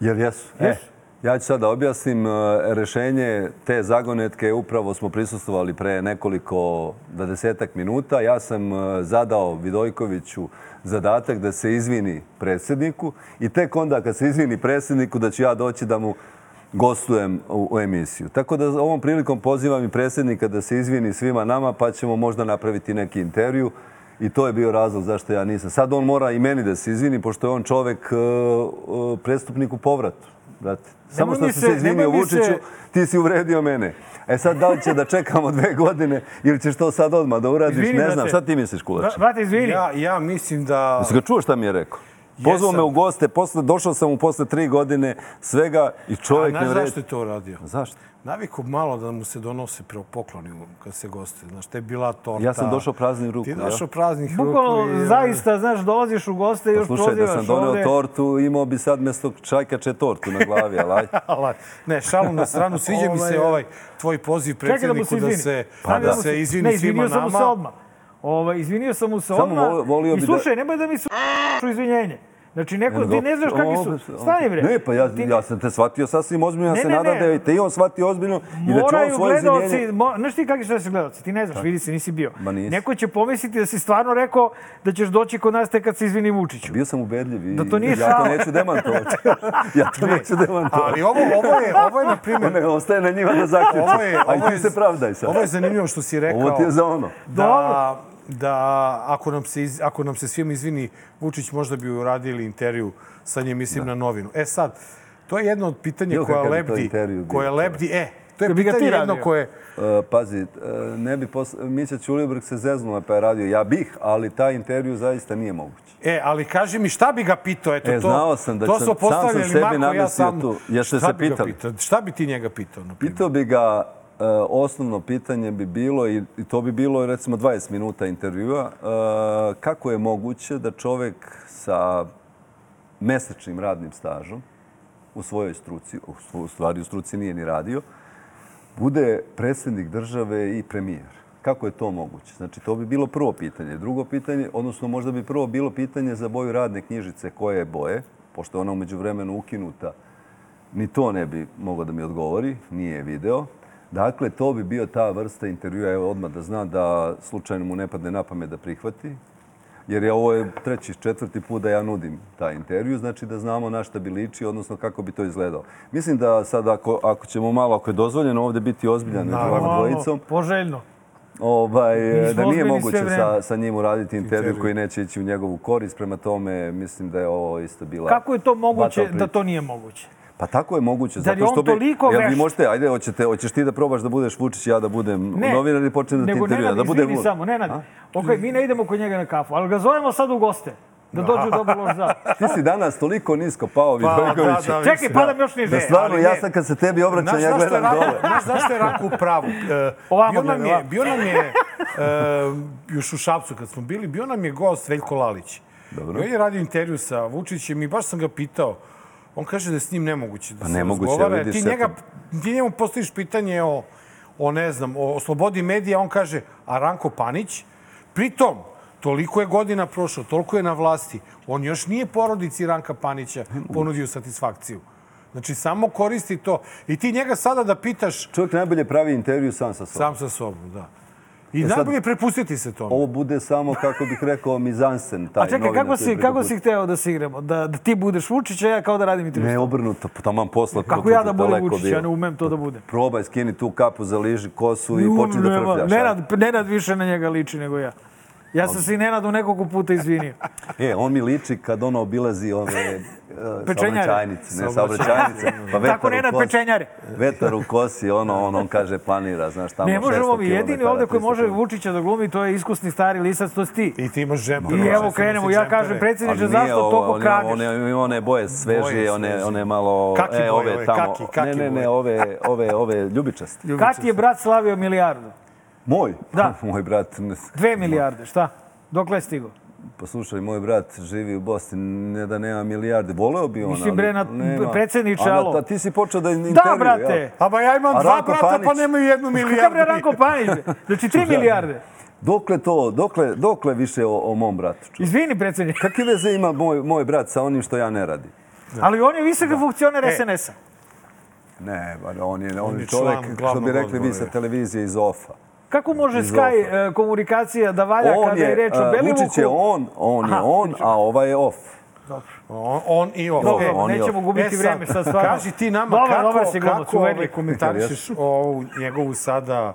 Speaker 7: jer jesu. E, ja ću sad da objasnim e, rešenje te zagonetke. Upravo smo prisustovali pre nekoliko, da desetak minuta. Ja sam e, zadao Vidojkoviću zadatak da se izvini predsjedniku i tek onda kad se izvini predsjedniku da ću ja doći da mu gostujem u, u emisiju. Tako da ovom prilikom pozivam i predsjednika da se izvini svima nama pa ćemo možda napraviti neki intervju. I to je bio razlog zašto ja nisam. Sad on mora i meni da se izvini, pošto je on čovek e, e, prestupnik u povratu. brate. Samo
Speaker 2: Nemoj mi
Speaker 7: što si se
Speaker 2: se-
Speaker 7: izvinio
Speaker 2: nemoj mi se-
Speaker 7: Vučiću, ti si uvredio mene. E sad, da li će da čekamo dve godine ili ćeš to sad odmah da uradiš,
Speaker 2: Izvini,
Speaker 7: ne znam.
Speaker 2: brate.
Speaker 7: Šta ti misliš, Kulač?
Speaker 2: Bra- Brate, izvini.
Speaker 1: Ja, ja mislim da...
Speaker 7: Jesi ga čuo šta mi je rekao? Pozvao me
Speaker 1: Jesam.
Speaker 7: u goste, posle, došao sam mu posle tri godine svega i čovjek
Speaker 1: A
Speaker 7: ne
Speaker 1: znaš
Speaker 7: vredi.
Speaker 1: zašto je to uradio?
Speaker 7: Zašto?
Speaker 1: Naviku malo da mu se donose pro- pokloni u- kad se gosti. Znaš, te je bila torta.
Speaker 7: Ja sam došao praznih ruku,
Speaker 1: Ti je
Speaker 7: ja.
Speaker 1: došao praznih ruku.
Speaker 2: Bukvalno,
Speaker 1: i-
Speaker 2: zaista, znaš, dolaziš u goste i još
Speaker 7: Pa Slušaj, da
Speaker 2: prozivaš
Speaker 7: sam donio
Speaker 2: ovde.
Speaker 7: tortu, imao bi sad mjesto čajkače tortu na glavi, ali ajde.
Speaker 1: Ala, ne, šalu na stranu, sviđa mi se
Speaker 2: Ovaj,
Speaker 1: ovaj tvoj poziv predsjedniku da, se, pa
Speaker 2: Ajde
Speaker 1: da
Speaker 2: mu
Speaker 1: se
Speaker 2: Pa ne,
Speaker 1: izvini svima
Speaker 2: izvinio sam mu se
Speaker 1: nama.
Speaker 2: odmah. Ovo, izvinio sam mu se
Speaker 7: Samo
Speaker 2: odmah.
Speaker 7: volio- volio
Speaker 2: I
Speaker 7: bi da-
Speaker 2: slušaj, nemoj da mi se u izvinjenje. Znači, neko, ti ne znaš kakvi su.
Speaker 7: Ono Opet-
Speaker 2: Stani bre.
Speaker 7: Ne, pa ja,
Speaker 2: Ti-
Speaker 7: ja sam te shvatio sasvim ozbiljno, ja
Speaker 2: Ne,
Speaker 7: se
Speaker 2: ne,
Speaker 7: nadam
Speaker 2: ne.
Speaker 7: da je te i on shvatio ozbiljno i da će on
Speaker 2: Moraju
Speaker 7: svoje
Speaker 2: gledalci,
Speaker 7: izvinjenje...
Speaker 2: mo, znaš ti kakvi su da su gledalci, ti ne znaš, vidi se, nisi bio.
Speaker 7: Ma nisi.
Speaker 2: Neko će pomisliti da si stvarno rekao da ćeš doći kod nas tek kad se izvini Vučiću.
Speaker 7: Bio sam ubedljiv i
Speaker 2: Da to nije
Speaker 7: ja to
Speaker 2: šala.
Speaker 7: neću demantovati. ja to neću demantovati.
Speaker 1: Ali ovo, ovo je, ovo je na primjer...
Speaker 7: Ne, ostaje na njima da zaključim.
Speaker 1: Ovo je,
Speaker 7: Aj
Speaker 1: ovo
Speaker 7: ti
Speaker 1: je,
Speaker 7: se pravdaj sad.
Speaker 1: Ovo je zanimljivo što si rekao.
Speaker 7: Ovo ti je za ono.
Speaker 1: da, da ako, nam se iz, ako nam se svim izvini, Vučić možda bi uradili intervju sa njim, mislim, na novinu. E sad, to je jedno od pitanja
Speaker 7: Jo,
Speaker 1: koja
Speaker 7: kakav bi to
Speaker 1: lebdi,
Speaker 7: intervju bio,
Speaker 1: koje lebdi, e, to je
Speaker 2: Jel bi ga ti
Speaker 1: pitanje jedno
Speaker 2: radio?
Speaker 1: koje...
Speaker 7: E, pazi, e, ne bi pos... Mića Ćulibrg se zeznula pa je radio. Ja bih, ali taj intervju zaista nije moguć.
Speaker 1: E, ali kaži mi šta bi ga pitao, eto
Speaker 7: E,
Speaker 1: to.
Speaker 7: znao sam da
Speaker 1: to
Speaker 7: sam-
Speaker 1: su
Speaker 7: sam sam
Speaker 1: postavljali
Speaker 7: sebi
Speaker 1: Marko, ja
Speaker 7: namestio
Speaker 1: sam,
Speaker 7: tu. Jeste
Speaker 1: šta
Speaker 7: se
Speaker 1: bi ga
Speaker 7: pitali?
Speaker 1: pitao? Šta bi ti njega pitao? na primjer?
Speaker 7: Pitao bi ga, e, osnovno pitanje bi bilo, i i to bi bilo recimo 20 minuta intervjua, e, kako je moguće da čovek sa mesečnim radnim stažom u svojoj struci, u svo- u stvari u struci nije ni radio, bude predsjednik države i premijer. Kako je to moguće? Znači, to bi bilo prvo pitanje. Drugo pitanje, odnosno možda bi prvo bilo pitanje za boju radne knjižice koje je boje, pošto je ona umeđu vremenu ukinuta ni to ne bi mogao da mi odgovori, nije je video. Dakle, to bi bio ta vrsta intervjua, evo odmah da zna da slučajno mu ne padne na pamet da prihvati, jer je ovo je treći, četvrti put da ja nudim taj intervju, znači da znamo na šta bi liči, odnosno kako bi to izgledao. Mislim da sad ako, ako ćemo malo, ako je dozvoljeno ovdje biti ozbiljan među vama
Speaker 2: Ono,
Speaker 7: dvojicom,
Speaker 2: Poželjno.
Speaker 7: Ovaj,
Speaker 2: Mi smo
Speaker 7: da nije
Speaker 2: ozbiljni
Speaker 7: moguće
Speaker 2: sve vreme.
Speaker 7: sa, sa njim uraditi intervju koji neće ići u njegovu korist. Prema tome, mislim da je ovo isto bila...
Speaker 2: Kako je to moguće
Speaker 7: batao
Speaker 2: da
Speaker 7: priča.
Speaker 2: to nije moguće?
Speaker 7: Pa tako je moguće.
Speaker 2: Zar je on toliko
Speaker 7: jel vi
Speaker 2: vešt?
Speaker 7: možete, ajde, hoćete, hoćeš ti da probaš da budeš Vučić, ja da budem novinar i počnem da ti
Speaker 2: nego
Speaker 7: intervjujem. Da
Speaker 2: Nenad,
Speaker 7: budem
Speaker 2: izvini
Speaker 7: glup.
Speaker 2: samo, Nenad. Ok, mi ne idemo kod njega na kafu, ali ga zovemo sad u goste. Da dođu dobro loš za.
Speaker 7: Ti si danas toliko nisko pao,
Speaker 1: Pa,
Speaker 7: Vidojković.
Speaker 1: da, da,
Speaker 2: Čekaj, padam još niže.
Speaker 7: Da stvarno,
Speaker 2: ali
Speaker 7: ja
Speaker 2: ne.
Speaker 7: sad kad se tebi obraćam,
Speaker 1: Znaš
Speaker 7: ja
Speaker 1: zašto je
Speaker 7: gledam
Speaker 1: Rako-
Speaker 7: dole.
Speaker 1: Znaš zašto je Rako u pravu? E,
Speaker 2: Ovamo
Speaker 1: bio nam
Speaker 2: gleda,
Speaker 1: je,
Speaker 2: ovamo.
Speaker 1: bio nam je e, još u Šapcu kad smo bili, bio nam je gost Veljko Lalić. Dobro. I on je radio intervju sa Vučićem i baš sam ga pitao. On kaže da je s njim nemoguće da se
Speaker 7: Pa nemoguće,
Speaker 1: razgovara.
Speaker 7: vidiš,
Speaker 1: Ti,
Speaker 7: eto.
Speaker 1: njega, ti njemu postojiš pitanje o, o, ne znam, o, o slobodi medija, on kaže, a Ranko Panić, pritom, toliko je godina prošlo, toliko je na vlasti, on još nije porodici Ranka Panića ponudio satisfakciju. Znači, samo koristi to. I ti njega sada da pitaš
Speaker 7: Čovjek najbolje pravi intervju sam sa sobom.
Speaker 1: sam sa sobom, da. I
Speaker 7: E sad-
Speaker 1: najbolje je prepustiti se tome.
Speaker 7: Ovo bude samo, kako bih rekao, mizansen. Taj
Speaker 2: A čekaj,
Speaker 7: novinar
Speaker 2: kako
Speaker 7: koji je
Speaker 2: si, kako
Speaker 7: preko
Speaker 2: si hteo da se igramo? Da, da ti budeš Vučić, a ja kao da radim i
Speaker 7: Ne, obrnuto, pa taman posla.
Speaker 2: Kako
Speaker 7: to
Speaker 2: ja
Speaker 7: ti
Speaker 2: da budem
Speaker 7: daleko
Speaker 2: Vučić,
Speaker 7: bilo.
Speaker 2: ja ne umem to da budem.
Speaker 7: Probaj, skini tu kapu, zaliži kosu i
Speaker 2: Ne
Speaker 7: počni da
Speaker 2: umem, nema.
Speaker 7: frfljaš. ajde.
Speaker 2: Nenad, Nenad više na njega liči nego ja. Ja sam se i Nenadu nekoliko puta izvinio.
Speaker 7: E, on mi liči kad ono obilazi ove uh,
Speaker 2: Pečenjare.
Speaker 7: saobraćajnice, ne saobraćajnice. Pa vetar
Speaker 2: Tako
Speaker 7: u
Speaker 2: Nenad
Speaker 7: kosi-
Speaker 2: pečenjare.
Speaker 7: Vetar u kosi, ono, on, on kaže, planira, znaš, tamo
Speaker 2: Ne
Speaker 7: 600
Speaker 2: možemo mi, jedini
Speaker 7: kilometara,
Speaker 2: ovde koji
Speaker 7: 300
Speaker 2: može
Speaker 7: kilometara.
Speaker 2: Vučića da glumi, to je iskusni stari lisac, to si ti.
Speaker 1: I ti imaš žempe.
Speaker 2: I evo krenemo, ja kažem,
Speaker 7: Ali
Speaker 2: predsjedniče,
Speaker 7: nije
Speaker 2: zašto
Speaker 7: ovo,
Speaker 2: toliko
Speaker 7: ali
Speaker 2: kradeš?
Speaker 7: One, one, one boje svežije, one,
Speaker 1: svežije.
Speaker 7: one malo...
Speaker 1: Kaki boje,
Speaker 7: e, ove
Speaker 1: ove,
Speaker 7: tamo.
Speaker 1: kaki, kaki
Speaker 7: ne, ne,
Speaker 1: boje.
Speaker 7: ne, ove, ove, ove ljubičaste.
Speaker 2: Kad ti je brat slavio milijardu?
Speaker 7: Moj?
Speaker 2: Da.
Speaker 7: moj brat... ne-
Speaker 2: Dve milijarde, šta? Dokle je Pa stigo?
Speaker 7: Poslušaj, moj brat živi u Bosni, ne da nema milijarde. Voleo bi on,
Speaker 2: Mislim,
Speaker 7: ali
Speaker 2: bre, na-
Speaker 7: nema.
Speaker 2: predsjedniče,
Speaker 7: A na-
Speaker 2: alo.
Speaker 7: a ti si počeo da intervju,
Speaker 2: Da, brate!
Speaker 7: jel?
Speaker 1: A ba ja imam
Speaker 7: A
Speaker 1: dva
Speaker 7: Ranko
Speaker 1: brata, pa
Speaker 7: Panić?
Speaker 1: nemaju jednu
Speaker 2: Kakav
Speaker 1: milijardu.
Speaker 2: bre Ranko Panić? bre? Znači, tri milijarde.
Speaker 7: Dokle to, dokle, dokle više o, o mom bratu? ču-
Speaker 2: Izvini, predsjedniče.
Speaker 7: Kakve veze ima moj, moj brat sa onim što ja ne radim?
Speaker 2: Ali on je visoki funkcioner
Speaker 7: E.
Speaker 2: SNS-a.
Speaker 7: Ne, ba, on je, on
Speaker 1: je
Speaker 7: je
Speaker 1: član
Speaker 7: čovjek, što bi
Speaker 1: glavnog
Speaker 7: rekli vi
Speaker 1: odbora.
Speaker 7: sa televizije iz OFA.
Speaker 2: Kako može
Speaker 7: Iz
Speaker 2: Sky e, komunikacija da valja kada je reč o
Speaker 7: e,
Speaker 2: Belivuku?
Speaker 7: Vučić je on, on je
Speaker 2: Aha,
Speaker 7: on, a ova je off.
Speaker 1: On, on i ovo.
Speaker 7: Pa- Dobro,
Speaker 2: E,
Speaker 7: on je
Speaker 2: nećemo
Speaker 7: off.
Speaker 2: gubiti vrijeme sad stvarno.
Speaker 1: Kaži ti nama
Speaker 2: Dobar,
Speaker 1: kako,
Speaker 2: dobar si glumac,
Speaker 1: kako ovaj
Speaker 2: uverljiv.
Speaker 1: komentarišeš ovu njegovu sada...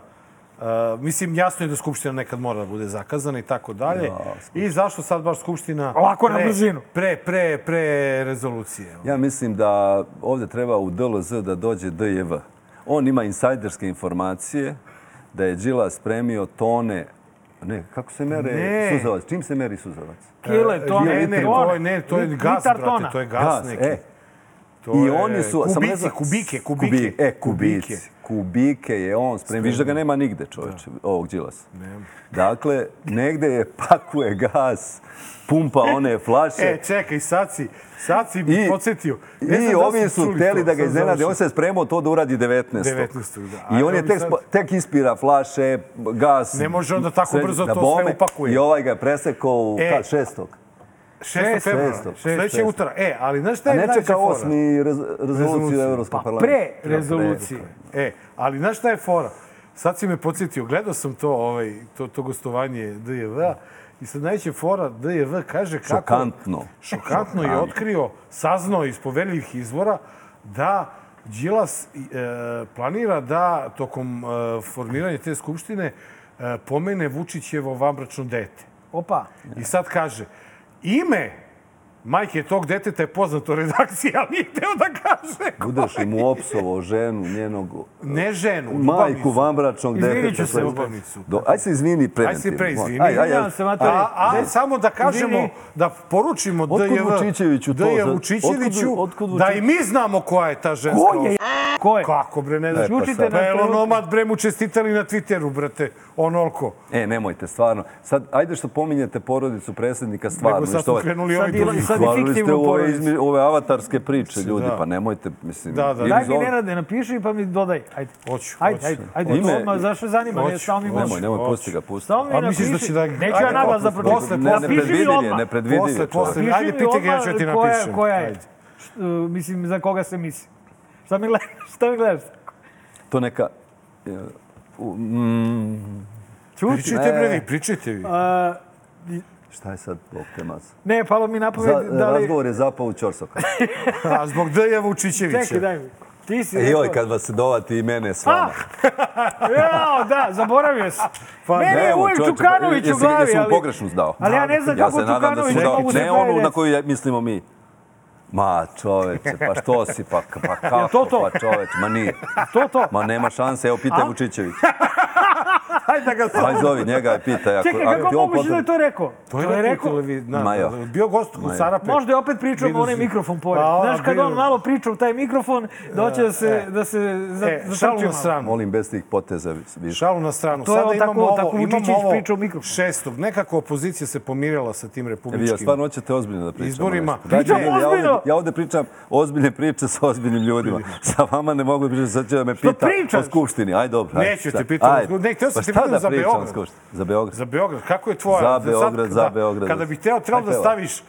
Speaker 1: Uh, mislim, jasno je da Skupština nekad mora da bude zakazana i tako dalje. I zašto sad baš Skupština...
Speaker 2: Ovako na brzinu.
Speaker 1: Pre, pre, pre rezolucije.
Speaker 7: Ja mislim da ovdje treba u DLZ da dođe DJV. On ima insajderske informacije da je Đila spremio tone... Ne, kako se mere
Speaker 1: Ne.
Speaker 7: suzavac? Čim se meri suzavac?
Speaker 2: Kile, to
Speaker 1: ne,
Speaker 2: E, je
Speaker 1: ne, to je, ne, to je gas, brate, to je gas,
Speaker 7: Gas,
Speaker 1: neki.
Speaker 7: e.
Speaker 1: To
Speaker 7: I
Speaker 1: je
Speaker 7: oni su... samo ne
Speaker 1: Kubici,
Speaker 7: znam-
Speaker 1: kubike, kubike.
Speaker 7: Kubi- E, kubici. Kubike je on spremio. Viš da ga nema nigde, čovječe, ovog Đilasa. Dakle, negde je pakuje gas, pumpa one flaše.
Speaker 1: E, čekaj, sad si, sad si mi
Speaker 7: I-
Speaker 1: podsjetio. Ne znam
Speaker 7: I
Speaker 1: da
Speaker 7: ovi
Speaker 1: ste
Speaker 7: su
Speaker 1: čuli
Speaker 7: hteli
Speaker 1: to,
Speaker 7: da ga
Speaker 1: sad
Speaker 7: iznenade.
Speaker 1: završim.
Speaker 7: On se je spremao to da uradi 19.
Speaker 1: 19., da.
Speaker 7: I
Speaker 1: Ali
Speaker 7: on je
Speaker 1: ovi
Speaker 7: tek,
Speaker 1: sad-
Speaker 7: spo- tek ispira flaše, gas.
Speaker 1: Ne može onda tako
Speaker 7: sve
Speaker 1: brzo
Speaker 7: na
Speaker 1: to sve
Speaker 7: bome.
Speaker 1: upakuje.
Speaker 7: I ovaj ga je presekao u
Speaker 1: E.
Speaker 7: kad, šestog.
Speaker 1: 6. februara,
Speaker 7: Šestog,
Speaker 1: sledeće
Speaker 7: šestog.
Speaker 1: utara. E, ali znaš šta
Speaker 7: pa A
Speaker 1: je
Speaker 7: ne
Speaker 1: najveća
Speaker 7: čeka
Speaker 1: fora?
Speaker 7: osmi rez, rezoluciju
Speaker 1: Rezoluciju.
Speaker 7: Evropskog
Speaker 2: Pa
Speaker 7: parlamenta.
Speaker 2: pre rezolucije.
Speaker 1: E, ali znaš šta je fora? Sad si me podsjetio, gledao sam to, ovaj, to, to gostovanje DJV-a i sad najveća fora DJV kaže kako...
Speaker 7: Šokantno.
Speaker 1: Šokantno je otkrio, saznao iz poverljivih izvora da Đilas e, planira da tokom e, formiranja te skupštine e, pomene Vučićevo vambračno dete.
Speaker 2: Opa.
Speaker 1: I sad kaže, ime majke tog deteta je poznato u redakciji, ali nije hteo da kaže. ko
Speaker 7: Budeš
Speaker 1: je.
Speaker 7: im u opsovo ženu, njenog
Speaker 1: Ne ženu,
Speaker 7: majku
Speaker 1: ljubavnicu.
Speaker 7: vambračnog
Speaker 2: Izvinit
Speaker 7: deteta.
Speaker 2: ću se,
Speaker 7: svoje-
Speaker 1: ljubavnicu.
Speaker 7: Do, aj se izvini
Speaker 1: Aj se
Speaker 7: preventivno.
Speaker 1: preizvini.
Speaker 7: Aj, aj, aj.
Speaker 2: Izvinjavam se, Matej.
Speaker 1: A, a
Speaker 2: Ne.
Speaker 1: samo da kažemo,
Speaker 2: Izvini.
Speaker 1: da poručimo
Speaker 7: Otkud
Speaker 1: DJV,
Speaker 7: Vučićeviću to?
Speaker 1: DJV
Speaker 7: Za-
Speaker 1: Vučićeviću,
Speaker 7: otkud- otkud
Speaker 1: da
Speaker 7: Vučić-
Speaker 1: i mi znamo koja je ta ženska
Speaker 2: Ko je?
Speaker 1: osoba.
Speaker 2: Ko je?
Speaker 1: Kako bre, ne znaš.
Speaker 7: E, pa
Speaker 1: Učite
Speaker 7: sad.
Speaker 1: na
Speaker 2: Belon
Speaker 1: trenutku.
Speaker 2: nomad,
Speaker 1: bre mu čestitali na Twitteru, brate, onolko.
Speaker 7: E, nemojte, stvarno. Sad, ajde što pominjete porodicu predsjednika, stvarno.
Speaker 1: Nego sad
Speaker 7: što
Speaker 1: smo
Speaker 7: ovaj-
Speaker 1: krenuli
Speaker 2: Sad
Speaker 1: ovi
Speaker 2: ima-
Speaker 1: drugi.
Speaker 2: sad- i
Speaker 7: Hvalili ste
Speaker 2: fiktivnu
Speaker 7: ove,
Speaker 2: porodicu.
Speaker 7: izme, ove avatarske priče, ljudi,
Speaker 1: da.
Speaker 7: pa nemojte, mislim...
Speaker 1: Da, da.
Speaker 7: ili
Speaker 2: Daj mi
Speaker 7: zove-
Speaker 2: Nenade, napiši pa mi dodaj. Ajde.
Speaker 1: Hoću,
Speaker 2: Ajde,
Speaker 1: hoću.
Speaker 2: ajde. Ajde,
Speaker 7: Ime-
Speaker 2: to odmah, zašto zanima me,
Speaker 1: Hoću,
Speaker 2: samo mi
Speaker 1: hoću.
Speaker 2: može.
Speaker 7: Nemoj, nemoj, pusti ga, pusti.
Speaker 2: Samo mi
Speaker 1: A misliš da
Speaker 2: napiši-
Speaker 1: će da-
Speaker 2: Neću
Speaker 1: Ajde,
Speaker 2: ja na vas da
Speaker 1: posle, posle,
Speaker 2: pročitam.
Speaker 1: posle.
Speaker 2: Napiši mi
Speaker 7: Nepredvidiv je,
Speaker 2: odmah.
Speaker 7: nepredvidiv je
Speaker 1: Posle,
Speaker 7: čovjek.
Speaker 1: posle.
Speaker 2: Napiši
Speaker 1: Ajde,
Speaker 2: mi
Speaker 1: pitaj ga, ja
Speaker 2: odmah
Speaker 1: ću ti
Speaker 2: koja-
Speaker 1: napišem.
Speaker 2: Koja je?
Speaker 1: Ajde.
Speaker 2: Š- e, Mislim, za koga se misli? Šta mi gledaš? Šta mi gledaš?
Speaker 7: To neka... e, u- mm,
Speaker 2: Čuči.
Speaker 1: Pričajte bre
Speaker 7: Ne.
Speaker 1: vi, pričajte vi.
Speaker 2: A,
Speaker 7: Šta je sad ovog tema?
Speaker 2: Ne, palo mi na
Speaker 7: Za,
Speaker 2: pamet da li...
Speaker 7: Razgovor je zapao u Ćorsoka.
Speaker 1: A zbog DJV Vučićevića.
Speaker 2: Čekaj, daj mi. Ti si...
Speaker 7: E, Joj, kad vas se dovati i mene s
Speaker 2: Ah,
Speaker 7: vama.
Speaker 2: Jao, da, zaboravio sam. Pa, Meni je
Speaker 7: Evo,
Speaker 2: uvijek
Speaker 7: čovječe,
Speaker 2: Đukanović u
Speaker 7: jesi-
Speaker 2: glavi,
Speaker 7: Jesi mu
Speaker 2: ali...
Speaker 7: pogrešnu zdao?
Speaker 2: Ali ja ne znam
Speaker 7: Ja
Speaker 2: kako
Speaker 7: se nadam da
Speaker 2: Đukanović
Speaker 7: si dao.
Speaker 2: mogu se
Speaker 7: Ne onu na
Speaker 2: prevedeti.
Speaker 7: koju je- mislimo mi. Ma čoveče, pa što si, pa, pa kako,
Speaker 2: to to?
Speaker 7: pa čoveč, ma nije.
Speaker 2: To, to.
Speaker 7: Ma nema šanse, evo pitaj Vučićević.
Speaker 2: Hajde da ga se...
Speaker 7: Aj zovi njega i pitaj. Ako,
Speaker 2: Čekaj, kako
Speaker 7: ti on
Speaker 2: moguće da je
Speaker 7: potreban.
Speaker 2: to rekao?
Speaker 1: To je rekao.
Speaker 7: Majo.
Speaker 1: Televi... Bio gost u
Speaker 7: Majo.
Speaker 1: Sarape.
Speaker 2: Možda je opet pričao
Speaker 1: Vidu
Speaker 2: u onaj
Speaker 1: si.
Speaker 2: mikrofon pored.
Speaker 1: Pa, ona,
Speaker 2: Znaš, kad
Speaker 1: vidu.
Speaker 2: on malo priča u taj mikrofon, da hoće da se, da se za-
Speaker 1: E,
Speaker 2: zatrči
Speaker 1: šalu na
Speaker 2: malo.
Speaker 1: stranu.
Speaker 7: Molim, bez tih poteza više.
Speaker 1: Šalu na stranu.
Speaker 2: To je on
Speaker 1: Sada imamo
Speaker 2: tako-
Speaker 1: ovo,
Speaker 2: tako Vučićević
Speaker 1: imamo ovo
Speaker 2: priča u mikrofon.
Speaker 1: šestog. Nekako opozicija se pomirila sa tim republičkim.
Speaker 7: Vi ja E, stvarno hoćete ozbiljno da pričamo.
Speaker 1: Izborima.
Speaker 7: nešto? Dajte
Speaker 2: Pričamo
Speaker 7: meni, ja
Speaker 2: ozbiljno!
Speaker 7: ovde- Ja ovde pričam ozbiljne priče sa ozbiljnim ljudima. Sa vama ne mogu da pričam, sad će da me pita
Speaker 2: pričaš?
Speaker 7: o Skupštini. Aj dobro. aj,
Speaker 1: Neću te
Speaker 7: sad.
Speaker 1: pitati o
Speaker 7: Ajde.
Speaker 1: Skupštini. Ne, htio sam
Speaker 7: Pa
Speaker 1: te
Speaker 7: šta
Speaker 1: pitam
Speaker 7: da
Speaker 1: za
Speaker 7: pričam o
Speaker 1: Beograd.
Speaker 7: Skupštini? Za Beograd.
Speaker 1: Za Beograd, kako je tvoja?
Speaker 7: Za
Speaker 1: sad
Speaker 7: Beograd, za
Speaker 1: kada-
Speaker 7: Beograd.
Speaker 1: Kada bi teo, trebalo da
Speaker 7: Ajde,
Speaker 1: staviš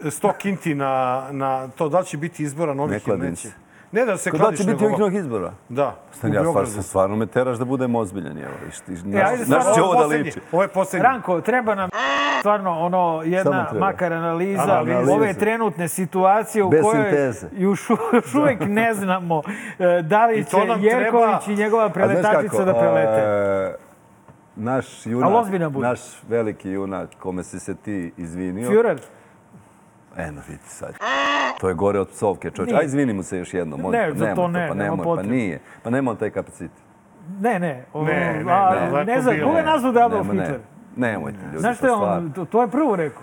Speaker 1: 100 kinti na, na to, da li će biti izbora novih
Speaker 7: Ne
Speaker 1: ili
Speaker 7: kladim
Speaker 1: neće.
Speaker 7: se.
Speaker 1: Ne da se
Speaker 7: Kada Pa da
Speaker 1: kladiš,
Speaker 7: će biti
Speaker 1: nego...
Speaker 7: ovih novih izbora?
Speaker 1: Da, u
Speaker 7: Stan, ja stvarno,
Speaker 1: Beogradu.
Speaker 7: se stvarno me teraš da budem ozbiljan. Evo, viš ti,
Speaker 2: E,
Speaker 7: znaš,
Speaker 2: ajde,
Speaker 7: znaš
Speaker 2: stvarno,
Speaker 7: će ovo da
Speaker 1: posljednji,
Speaker 7: liči.
Speaker 1: Ovo je posljednji.
Speaker 2: Ranko, treba nam stvarno ono jedna
Speaker 7: Samo treba.
Speaker 2: makar analiza,
Speaker 1: Analiza.
Speaker 2: ove trenutne situacije u
Speaker 7: Bez
Speaker 2: kojoj
Speaker 7: sinteze.
Speaker 2: još, još uvek ne znamo e, da li
Speaker 1: I
Speaker 2: će
Speaker 1: to nam treba-
Speaker 2: Jerković i njegova
Speaker 7: A znaš
Speaker 2: preletačica
Speaker 7: kako,
Speaker 2: da prelete.
Speaker 7: e, naš
Speaker 2: Ali
Speaker 7: junak,
Speaker 2: ozbiljan budi.
Speaker 7: naš veliki junak kome si se ti izvinio.
Speaker 2: Führer,
Speaker 7: Eno, vidi E, sad. To je gore od psovke, čovječe.
Speaker 2: Nije.
Speaker 7: Aj, izvini mu se još jednom. on-
Speaker 2: Ne, za
Speaker 7: nemoj
Speaker 2: to ne,
Speaker 7: pa
Speaker 2: nema
Speaker 7: nemoj, pa
Speaker 2: potrebe.
Speaker 7: nije. Pa nema on taj kapacitet.
Speaker 2: ne, ne. o-
Speaker 1: Ne, ne,
Speaker 2: a,
Speaker 1: ne,
Speaker 2: ne,
Speaker 1: ovako
Speaker 2: znam,
Speaker 1: bilo.
Speaker 2: koga je nazvao da je Adolf
Speaker 7: Nema, ne.
Speaker 2: Hitler?
Speaker 7: Nemojte, ljudi,
Speaker 2: Znaš
Speaker 7: pa
Speaker 2: što je
Speaker 7: stvarno.
Speaker 2: on, to, to je prvo rekao.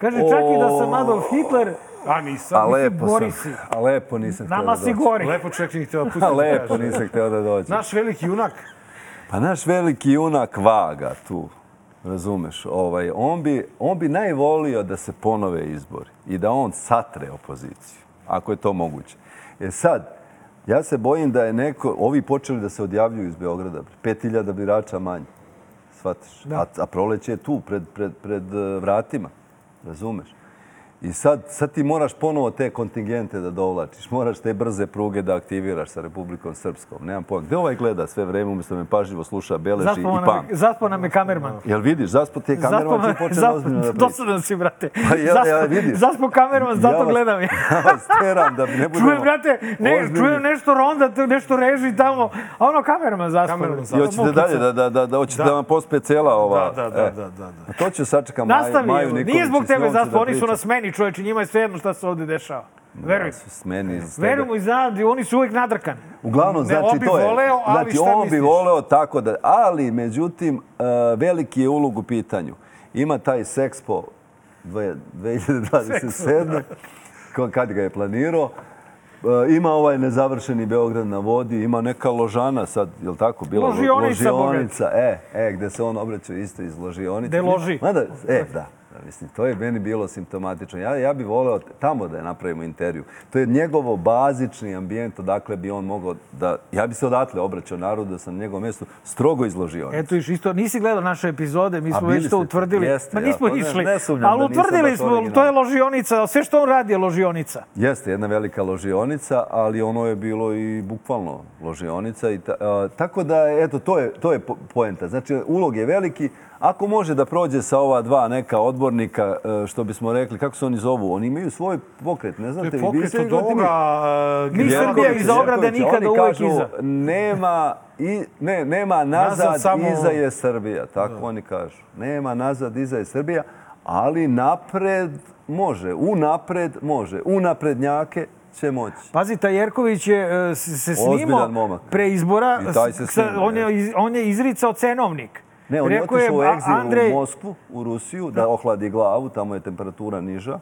Speaker 2: Kaže, čak i da sam Adolf Hitler,
Speaker 1: A nisam.
Speaker 7: A lepo sam,
Speaker 2: gori si.
Speaker 7: a lepo nisam htio da
Speaker 2: nama si
Speaker 7: dođem.
Speaker 2: gori.
Speaker 1: Lepo čovjek nije htio da pusti.
Speaker 7: A
Speaker 1: da
Speaker 7: lepo
Speaker 1: kaže.
Speaker 7: nisam htio da dođem.
Speaker 1: Naš veliki junak,
Speaker 7: Pa naš veliki junak vaga tu, razumeš, ovaj, on, bi, on bi najvolio da se ponove izbori i da on satre opoziciju, ako je to moguće. E sad, ja se bojim da je neko, ovi počeli da se odjavljuju iz Beograda, 5000 birača manje, shvatiš? A, a proleće je tu, pred, pred, pred eh, vratima, razumeš? I sad, sad ti moraš ponovo te kontingente da dovlačiš, moraš te brze pruge da aktiviraš sa Republikom Srpskom. Nemam pojma. Gde ovaj gleda sve vreme, umjesto da me pažljivo sluša, beleži i
Speaker 2: zaspao nam,
Speaker 7: pam.
Speaker 2: zaspao nam je kamerman.
Speaker 7: Jel vidiš, zaspo ti je
Speaker 2: Zaspao
Speaker 7: kamerman
Speaker 2: nam
Speaker 7: će početi ozbiljno da priča.
Speaker 2: dosadan si, brate.
Speaker 7: Pa ja- ja
Speaker 2: Zaspao-
Speaker 7: vidiš.
Speaker 2: Zaspao kamerman, zato
Speaker 7: vas-
Speaker 2: gledam ja.
Speaker 7: Ja vas teram da ne budemo...
Speaker 2: Čujem, brate, ne,
Speaker 7: ozbiljni.
Speaker 2: čujem nešto ronda, tu nešto reži tamo, a ono kamerman zaspao.
Speaker 1: Kamerman
Speaker 7: I
Speaker 1: zaspao.
Speaker 7: hoćete dalje, da, da, da, da, hoćete da, vam pospe cela ova...
Speaker 1: da, da,
Speaker 7: e.
Speaker 1: da, da, da.
Speaker 7: A To ću sačekam Maju,
Speaker 2: Nastavi,
Speaker 7: Maju
Speaker 2: evo,
Speaker 7: Nikolić.
Speaker 2: nije zbog
Speaker 7: i s njom
Speaker 2: tebe
Speaker 7: ću
Speaker 2: zaspao,
Speaker 7: da
Speaker 2: oni su
Speaker 7: pričam.
Speaker 2: na smeni, čovječe, njima je svejedno šta se ovdje dešava. Veruj.
Speaker 7: Ja, s meni, iz tebe.
Speaker 2: Veruj mu i znadi, oni su uvijek nadrkani.
Speaker 7: Uglavnom, znači,
Speaker 1: on bi
Speaker 7: to je,
Speaker 1: voleo, ali
Speaker 7: znači,
Speaker 1: šta
Speaker 7: on bi
Speaker 1: misliš?
Speaker 7: voleo tako da, ali, međutim, e, veliki je ulog u pitanju. Ima taj Sexpo dve- 2027. ko- kad ga je planirao, E, ima ovaj nezavršeni Beograd na vodi, ima neka ložana sad, je li tako? Bila
Speaker 2: Ložionica,
Speaker 7: ložionica e, e, gde se on obraća isto iz ložionice.
Speaker 2: Gde loži.
Speaker 7: Mada, e, da. da, Mislim, to je meni bilo simptomatično. Ja, ja bih voleo tamo da je napravimo intervju. To je njegovo bazični ambijent odakle bi on mogao da... Ja bi se odatle obraćao narodu da sam na njegovom mjestu strogo izložio.
Speaker 2: Eto, iš isto, nisi gledao naše epizode, mi
Speaker 7: Pa A
Speaker 2: smo
Speaker 7: bili
Speaker 2: već to
Speaker 7: ste,
Speaker 2: utvrdili.
Speaker 7: jeste,
Speaker 2: Ma
Speaker 7: ja,
Speaker 2: nismo
Speaker 7: pa ne-
Speaker 2: išli,
Speaker 7: ne sumnjam
Speaker 2: ali
Speaker 7: da nisam
Speaker 2: utvrdili
Speaker 7: baš
Speaker 2: smo, to je
Speaker 7: originalan.
Speaker 2: ložionica, sve što on radi je ložionica.
Speaker 7: Jeste, jedna velika ložionica, ali ono je bilo i bukvalno ložionica. I ta, a, tako da, eto, to je, to je po- poenta. Znači, ulog je veliki. Ako može da prođe sa ova dva neka odbornika, e, što bismo rekli, kako se oni zovu, oni imaju svoj pokret, ne
Speaker 1: to je
Speaker 7: znate? vi
Speaker 1: pokret
Speaker 7: biste
Speaker 1: od
Speaker 7: imali tim-
Speaker 1: ovoga... e,
Speaker 2: Mi
Speaker 1: Gdje-
Speaker 2: Srbija
Speaker 7: Jerković,
Speaker 2: iza ograde
Speaker 7: Jerković,
Speaker 2: nikada,
Speaker 7: oni
Speaker 2: uvek
Speaker 7: kažu,
Speaker 2: iza.
Speaker 7: Nema, i, ne, nema nazad,
Speaker 1: Nazad samo-
Speaker 7: iza je Srbija. Tako oni kažu. Nema nazad, iza je Srbija, ali napred može. U napred može. U naprednjake će moći.
Speaker 2: Pazi, taj Jerković je e, s- se
Speaker 7: Ozbiljan
Speaker 2: snimao
Speaker 7: momak.
Speaker 2: pre izbora.
Speaker 7: I taj se
Speaker 2: s-
Speaker 7: snima,
Speaker 2: sa- on, je, iz- on je izricao cenovnik.
Speaker 7: Ne, on je
Speaker 2: Rekao
Speaker 7: otišao u
Speaker 2: "A-
Speaker 7: egzil
Speaker 2: Andrej,
Speaker 7: u Moskvu, u Rusiju, da ohladi glavu, tamo je temperatura niža.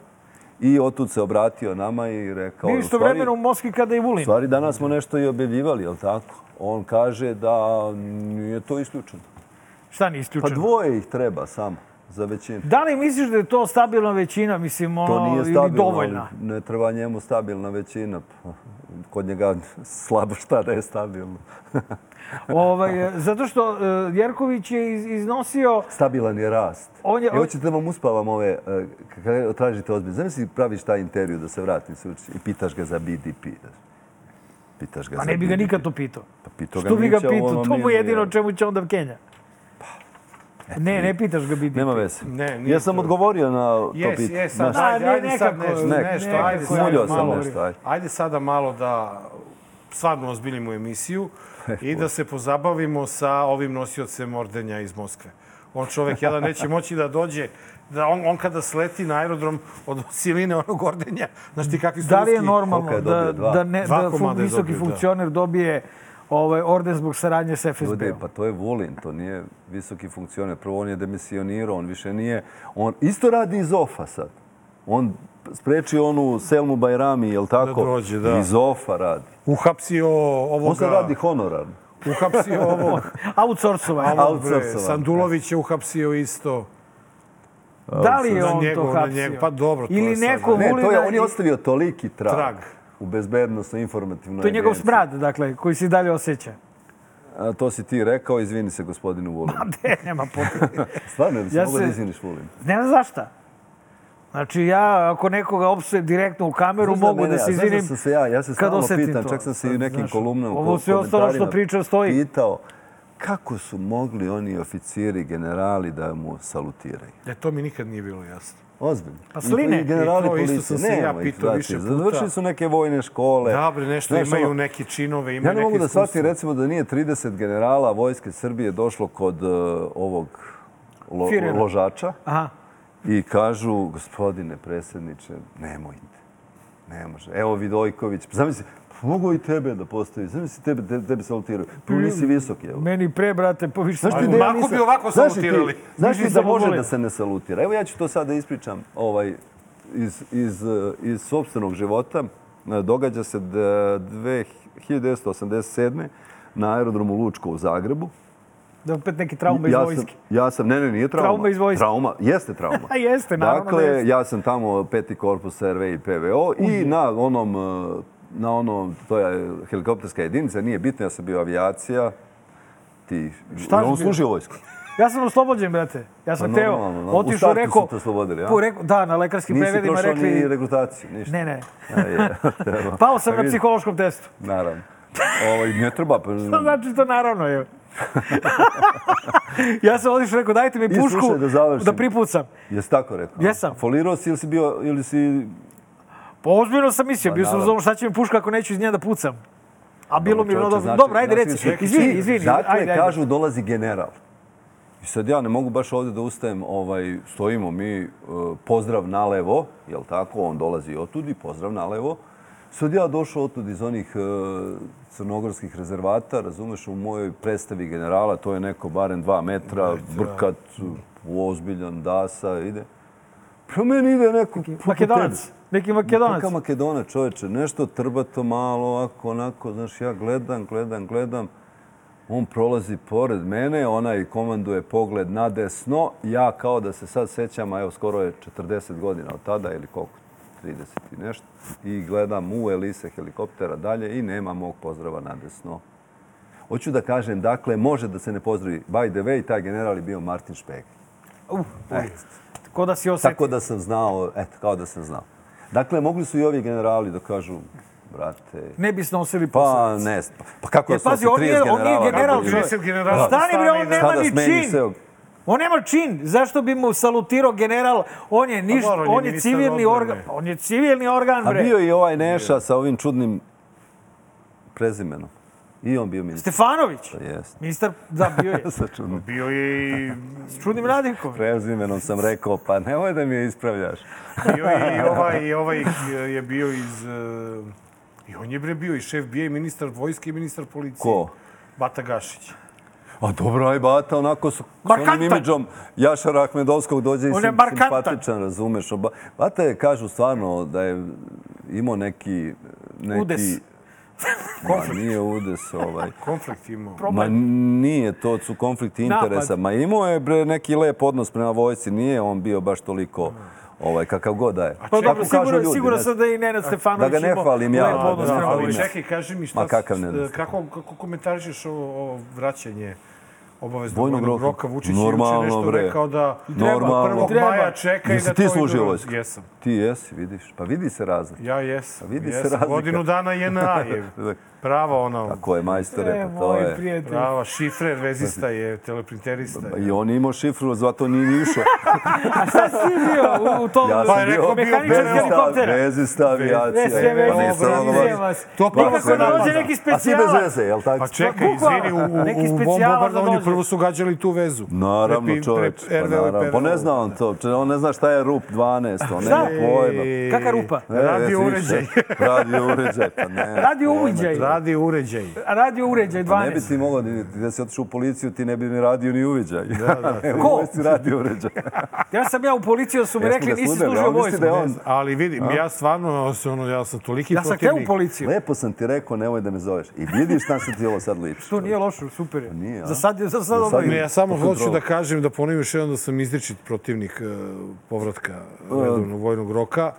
Speaker 7: I otud se obratio nama i rekao...
Speaker 2: bio
Speaker 7: u
Speaker 2: isto
Speaker 7: stvari-
Speaker 2: vremeno u Moskvi kada i
Speaker 7: U
Speaker 2: Vulin.
Speaker 7: stvari, danas smo nešto i objavljivali, jel tako? On kaže da nije to isključeno.
Speaker 2: Šta nije
Speaker 7: Pa
Speaker 2: isključeno?
Speaker 7: dvoje ih treba samo za većinu.
Speaker 2: Da li misliš da je to stabilna većina, mislim,
Speaker 7: To
Speaker 2: ono,
Speaker 7: nije
Speaker 2: ili
Speaker 7: stabilno,
Speaker 2: dovoljna?
Speaker 7: ali ne treba njemu stabilna većina. Pa, Kod njega slabo šta da je stabilno.
Speaker 2: Ovaj, e, zato što e, Jerković je iz- iznosio...
Speaker 7: Stabilan je rast.
Speaker 2: On je-
Speaker 7: I hoćete da vam uspavam ove, e, k- kada tražite ozbiljno. Zamisli praviš taj intervju da se vratim se uči i pitaš ga za BDP. Pitaš ga
Speaker 2: Pa
Speaker 7: za
Speaker 2: ne bi ga
Speaker 7: BDP.
Speaker 2: nikad to pitao.
Speaker 7: Pa pitao ga
Speaker 2: Što bi ga
Speaker 7: Mića, ono ovo
Speaker 2: pitao? To mu
Speaker 7: Milo,
Speaker 2: je jedino o
Speaker 7: jel?
Speaker 2: čemu će onda Kenja. Pa, Ne, ne pitaš ga biti.
Speaker 7: Nema veze.
Speaker 1: Ne, nije
Speaker 7: ja sam
Speaker 1: to.
Speaker 7: odgovorio na to
Speaker 1: Jes,
Speaker 7: pitanje.
Speaker 1: jes,
Speaker 7: Znaš,
Speaker 1: sad, ajde,
Speaker 2: A, ne,
Speaker 1: ajde sad
Speaker 2: nekako,
Speaker 1: nešto,
Speaker 7: nekako,
Speaker 1: nešto,
Speaker 2: nekako,
Speaker 1: ajde
Speaker 7: smuljao
Speaker 1: sad
Speaker 7: sam
Speaker 1: malo.
Speaker 7: nešto, ajde.
Speaker 1: Ajde sada malo da stvarno ozbiljimo emisiju i da se pozabavimo sa ovim nosiocem ordenja iz Moskve. On čovek jedan neće moći da dođe, da on, on kada sleti na aerodrom od siline onog ordenja, znaš ti kakvi su
Speaker 2: Da li je
Speaker 1: ruski-
Speaker 2: normalno
Speaker 7: Koliko je
Speaker 2: da,
Speaker 7: dobio? Dva?
Speaker 2: da, ne,
Speaker 1: Dva
Speaker 2: da fun,
Speaker 1: komada je
Speaker 2: visoki
Speaker 1: dobio, da.
Speaker 2: funkcioner dobije ovaj, orden zbog saradnje s FSB-om?
Speaker 7: Ljudi, pa to je Vulin, to nije visoki funkcioner. Prvo, on je demisionirao, on više nije... On isto radi iz OFA sad. On spreči onu Selmu Bajrami, jel tako?
Speaker 1: dođe, da.
Speaker 7: Iz OFA radi.
Speaker 1: Uhapsio
Speaker 7: On sad
Speaker 1: ovoga...
Speaker 7: radi honorarno.
Speaker 1: Uhapsio ovog...
Speaker 2: Outsourcovanje.
Speaker 1: ovog, bre,
Speaker 7: Outsourcovan.
Speaker 1: Sandulović je uhapsio isto.
Speaker 2: Da li je
Speaker 1: Na
Speaker 2: on
Speaker 1: njegov,
Speaker 2: to
Speaker 1: na
Speaker 2: hapsio?
Speaker 1: njegov. Pa dobro, to
Speaker 2: Ili
Speaker 1: je sad-
Speaker 2: neko
Speaker 7: Ne, to
Speaker 2: Vulina
Speaker 7: je, on
Speaker 2: i-
Speaker 7: je ostavio toliki trag,
Speaker 1: Trag.
Speaker 7: u bezbednostno informativnoj
Speaker 2: To je njegov
Speaker 7: agenciji.
Speaker 2: smrad, dakle, koji se i dalje osjeća.
Speaker 7: A, to si ti rekao, izvini se gospodinu Vulinu.
Speaker 2: Ne, nema potrebe.
Speaker 7: Stvarno, jel bi se
Speaker 2: Ja
Speaker 7: mogao
Speaker 2: se-
Speaker 7: da izviniš Vulinu?
Speaker 2: Ne znam zašta. Znači, ja ako nekoga opsujem direktno u kameru,
Speaker 7: Znaš da
Speaker 2: mogu
Speaker 7: mene-
Speaker 2: da se
Speaker 7: a znaš da
Speaker 2: izvinim
Speaker 7: sam se ja, ja se
Speaker 2: kad
Speaker 7: stalno
Speaker 2: osetim
Speaker 7: pitam,
Speaker 2: to.
Speaker 7: čak sam se i u
Speaker 2: Sad,
Speaker 7: nekim
Speaker 2: znaš,
Speaker 7: kolumnama
Speaker 2: Ovo
Speaker 7: ko-
Speaker 2: sve ostalo što
Speaker 7: komentarima
Speaker 2: pričam stoji.
Speaker 7: Pitao, kako su mogli oni oficiri, generali da mu salutiraju?
Speaker 1: E, to mi nikad nije bilo jasno.
Speaker 7: Ozbiljno.
Speaker 2: Pa sline.
Speaker 7: I i generali
Speaker 1: I to isto
Speaker 7: policije.
Speaker 1: sam se
Speaker 7: Nema
Speaker 1: ja
Speaker 7: ih,
Speaker 1: pitao
Speaker 7: znači,
Speaker 1: više puta.
Speaker 7: Završili su neke vojne škole.
Speaker 1: Da, bre, nešto
Speaker 7: E, Znaš,
Speaker 1: imaju
Speaker 7: ono,
Speaker 1: neke činove, imaju
Speaker 7: Ja ne mogu
Speaker 1: neke
Speaker 7: da shvatim,
Speaker 1: iskustva.
Speaker 7: recimo, da nije 30 generala Vojske Srbije došlo kod eh, ovog lo-
Speaker 2: Firera.
Speaker 7: ložača
Speaker 2: Aha.
Speaker 7: i kažu, gospodine predsjedniče, nemojte. Ne može. Evo Vidojković, zamisli, pa mogu i tebe da postavi, zamisli tebe, te, tebe salutiraju. Pa
Speaker 1: Mm.
Speaker 7: nisi visoki, evo.
Speaker 2: Meni pre, brate, pa više...
Speaker 7: Znaš ti
Speaker 1: Ali
Speaker 7: da ja
Speaker 1: Marko
Speaker 7: nisam-
Speaker 1: bi ovako
Speaker 7: znaš ti-
Speaker 1: salutirali.
Speaker 7: Znaš
Speaker 2: Niži
Speaker 7: ti da
Speaker 2: samo
Speaker 7: može
Speaker 2: vole.
Speaker 7: da se ne salutira? Evo ja ću to sada ispričam ovaj, iz, iz, eh, iz sobstvenog života. Eh, Događa se da 1987. na aerodromu Lučko u Zagrebu.
Speaker 2: Da opet neki trauma iz
Speaker 7: ja
Speaker 2: vojske.
Speaker 7: Sam, ja sam, ne, ne, nije trauma.
Speaker 2: Trauma iz vojske.
Speaker 7: Trauma, jeste trauma.
Speaker 2: A jeste, naravno
Speaker 7: Dakle,
Speaker 2: da jeste.
Speaker 7: ja sam tamo peti korpus RV i PVO i na onom, eh, na onom, to je helikopterska jedinica, nije bitno, ja sam bio avijacija. Ti,
Speaker 2: Šta si
Speaker 7: on
Speaker 2: bio?
Speaker 7: služio vojsku.
Speaker 2: Ja sam oslobođen, brate. Ja sam
Speaker 7: Pa
Speaker 2: teo,
Speaker 7: normalno, normalno. U
Speaker 2: otišao,
Speaker 7: startu
Speaker 2: rekao...
Speaker 7: su te oslobodili, a?
Speaker 2: po- rekao- Da, na lekarskim
Speaker 7: Nisi
Speaker 2: pregledima
Speaker 7: prošao ni
Speaker 2: rekli...
Speaker 7: rekrutaciju, ništa.
Speaker 2: Ne, ne.
Speaker 7: A je, evo.
Speaker 2: Pao sam
Speaker 7: Pa
Speaker 2: na
Speaker 7: vidi, Mm.
Speaker 2: psihološkom testu.
Speaker 7: Naravno. Ovo, ne treba, pa...
Speaker 2: To znači to naravno je. ja sam odišao i rekao dajte mi
Speaker 7: I
Speaker 2: pušku
Speaker 7: slušaj, da završim.
Speaker 2: pripucam.
Speaker 7: Jesi tako rekao?
Speaker 2: Jesam.
Speaker 7: Folirao si ili si bio, ili si...
Speaker 2: Pa ozbiljno sam mislio, bio sam u
Speaker 7: naravno.
Speaker 2: zonu šta će mi puška ako neću iz nje da pucam. A bilo mi je ono
Speaker 7: Čovječe,
Speaker 2: dobro.
Speaker 7: znači-
Speaker 2: dobro, ajde
Speaker 7: znači,
Speaker 2: reci.
Speaker 7: čekaj,
Speaker 2: Izvini,
Speaker 7: ti-
Speaker 2: izvini.
Speaker 7: Dakle,
Speaker 2: ajde, ajde.
Speaker 7: kažu, dolazi general. I sad ja ne mogu baš ovdje da ustajem, ovaj, stojimo mi, eh, pozdrav nalevo, jel tako, on dolazi otud i pozdrav nalevo. Sad ja došao otud iz onih eh, crnogorskih rezervata, razumeš, u mojoj predstavi generala, to je neko barem dva metra, brkat, ozbiljan, dasa, ide. Pro meni ide neko... poput
Speaker 2: Makedonac.
Speaker 7: tebe.
Speaker 2: Neki makedonac.
Speaker 7: Kakav Makedonac, čoveče, nešto trbato malo, ovako, onako, znaš, ja gledam, gledam, gledam. On prolazi pored mene, onaj komanduje pogled na desno. Ja kao da se sad sećam, a evo skoro je 40 godina od tada ili koliko, 30 i nešto. I gledam u Elise helikoptera dalje i nema mog pozdrava na desno. Hoću da kažem, dakle, može da se ne pozdravi. By the way, taj general je bio Martin Špeg.
Speaker 2: Uf, uf. Ko da si
Speaker 7: Tako
Speaker 2: osetio.
Speaker 7: da sam znao, eto, kao da sam znao. Dakle, mogli su i ovi generali da kažu, brate,
Speaker 2: Ne bi snosili
Speaker 7: pa
Speaker 2: posledice.
Speaker 7: ne, pa- pa kako
Speaker 2: Jer
Speaker 7: je
Speaker 2: E, pazi, on nije, on nije general.
Speaker 1: je?
Speaker 2: čovjek.
Speaker 1: 30 generala
Speaker 2: Stani bre,
Speaker 1: stane
Speaker 2: on
Speaker 1: i da-
Speaker 2: nema
Speaker 7: Sada
Speaker 2: ni
Speaker 7: smeni
Speaker 2: čin.
Speaker 7: se, evo.
Speaker 2: On nema čin. Zašto bi mu salutirao general? On je niš,
Speaker 1: dobro, on je
Speaker 2: on
Speaker 1: Pa
Speaker 2: je
Speaker 1: ministar
Speaker 2: civilni
Speaker 1: odbrane.
Speaker 2: organ. On je civilni organ,
Speaker 7: A
Speaker 2: bre.
Speaker 7: bio je i ovaj Neša sa ovim čudnim prezimenom. I on bio ministar.
Speaker 2: Stefanović.
Speaker 7: Jeste.
Speaker 2: Ministar, da, bio je.
Speaker 7: Sa čudnim
Speaker 1: Bio je i,
Speaker 2: S čudnim radnikom.
Speaker 7: prezimenom sam rekao, pa nemoj da mi je ispravljaš.
Speaker 1: bio je i ovaj, i ovaj je bio iz... e, I on je bre bio i šef bija i ministar vojske i ministar policije.
Speaker 7: Ko?
Speaker 1: Bata Gašić.
Speaker 7: A Pa dobro, aj Bata, onako s, s
Speaker 2: Markantan.
Speaker 7: onim imidžom Jašara Ahmedovskog dođe i
Speaker 2: On je
Speaker 7: sim,
Speaker 2: markantan.
Speaker 7: simpatičan, razumeš. Oba, Bata je, kažu, stvarno da je imao neki... neki
Speaker 2: Udes.
Speaker 7: Ma, nije udes ovaj.
Speaker 1: Konflikt imao.
Speaker 7: Ma nije, to su konflikti
Speaker 2: Napad.
Speaker 7: interesa. Ma imao je bre, neki lep odnos prema vojci, nije on bio baš toliko ovaj, kakav god da je.
Speaker 2: Pa
Speaker 7: Kako
Speaker 2: dobro,
Speaker 7: kažu
Speaker 2: siguran,
Speaker 7: ljudi,
Speaker 2: siguran
Speaker 7: ne
Speaker 2: sam da je i Nenad Stefanović
Speaker 7: Da ga ne
Speaker 2: imao
Speaker 7: hvalim ja,
Speaker 2: lep
Speaker 7: Pa da,
Speaker 2: odnos
Speaker 7: da,
Speaker 2: prema
Speaker 7: hvalim
Speaker 2: vojsci.
Speaker 1: ali čekaj, kaži mi šta...
Speaker 7: Ma kakav ne znam.
Speaker 1: Kako, kako komentarišeš ovo, ovo vraćanje obaveznog
Speaker 7: Vojnog
Speaker 1: vojnog
Speaker 7: roka.
Speaker 1: roka? Vučić je
Speaker 7: Normalno,
Speaker 1: juče nešto
Speaker 7: bre.
Speaker 1: rekao da
Speaker 7: Normalno.
Speaker 1: treba 1.
Speaker 2: Treba.
Speaker 1: maja čeka i
Speaker 7: Jesi
Speaker 1: da
Speaker 7: ti
Speaker 1: to
Speaker 7: služio
Speaker 1: idu-
Speaker 7: vojsku?
Speaker 1: Jesam.
Speaker 7: Ti jesi, vidiš. Pa vidi se razlika.
Speaker 1: Ja jesam.
Speaker 7: A vidi se
Speaker 1: jesam.
Speaker 7: razlika.
Speaker 1: Godinu dana je na je. Prava ono,
Speaker 7: Tako je, majstore,
Speaker 2: E,
Speaker 7: pa to
Speaker 2: moj
Speaker 7: je...
Speaker 2: prijatelj.
Speaker 1: prava šifre, vezista je, teleprinterista je.
Speaker 7: I on je imao šifru, zato nije išao.
Speaker 2: A šta si ti bio u, u tom?
Speaker 7: Ja
Speaker 1: Pa je
Speaker 7: sam bio
Speaker 1: rekao, bio
Speaker 2: mehaničar
Speaker 1: bez
Speaker 2: helikoptera.
Speaker 7: bezista avijacija.
Speaker 2: Ne, sve
Speaker 1: veze,
Speaker 7: Pa
Speaker 2: veze,
Speaker 7: nisam
Speaker 1: dobro,
Speaker 7: ono
Speaker 1: sve
Speaker 2: sve
Speaker 7: baš-
Speaker 2: vas.
Speaker 1: To
Speaker 7: Pa,
Speaker 1: kako
Speaker 7: sve
Speaker 2: Nikako
Speaker 1: napada.
Speaker 2: dođe
Speaker 7: napada.
Speaker 2: neki
Speaker 7: A svi bez
Speaker 2: specijalac.
Speaker 7: veze, jel tako?
Speaker 1: Pa čekaj,
Speaker 2: bukvalno,
Speaker 1: izvini, u,
Speaker 2: neki
Speaker 1: u, u
Speaker 2: specijalac
Speaker 1: bom
Speaker 2: da
Speaker 1: bombardovanju
Speaker 2: dođe.
Speaker 1: prvo su gađali tu vezu.
Speaker 7: Naravno, čovječ.
Speaker 1: čovječ.
Speaker 7: Pa, naravno. pa ne zna on to. če- On ne zna šta je RUP 12, on nema
Speaker 2: Šta?
Speaker 7: pojma.
Speaker 2: Kaka rupa?
Speaker 7: Ne,
Speaker 1: Radio
Speaker 7: više.
Speaker 1: uređaj.
Speaker 7: Radio uređaj, pa ne.
Speaker 2: Radio
Speaker 7: pojma.
Speaker 2: uviđaj.
Speaker 1: Radi uređaj.
Speaker 2: Radio uređaj
Speaker 7: Pa Ne bi
Speaker 2: 12.
Speaker 7: ti mogao, ni- ti da si otišao u policiju, ti ne bi ni radio ni uviđaj. Da, da.
Speaker 2: Ko?
Speaker 7: Ko? radio uređaj.
Speaker 2: Ja sam ja u policiju, jer su mi
Speaker 7: Jesmo
Speaker 2: rekli
Speaker 7: ga
Speaker 2: nisi
Speaker 7: sludeli,
Speaker 2: služio
Speaker 7: on misli da je
Speaker 2: vojsku.
Speaker 7: on-
Speaker 1: Ali vidim, ja stvarno, se ono, ja sam toliki
Speaker 2: Ja sam te u
Speaker 1: protivnik.
Speaker 2: policiju.
Speaker 7: Lepo sam ti rekao, nemoj da me zoveš. I vidiš na što ti ovo sad liči.
Speaker 2: To nije loše, super je.
Speaker 7: Nije, a?
Speaker 2: Za sad je, za sad
Speaker 7: Za sad
Speaker 2: dobro
Speaker 1: Ne,
Speaker 2: ide.
Speaker 1: ja samo
Speaker 7: Kako
Speaker 1: hoću
Speaker 7: drugo?
Speaker 1: da kažem, da ponovim još jednom da sam izričit protivnik e, povratka redovnog vojnog roka.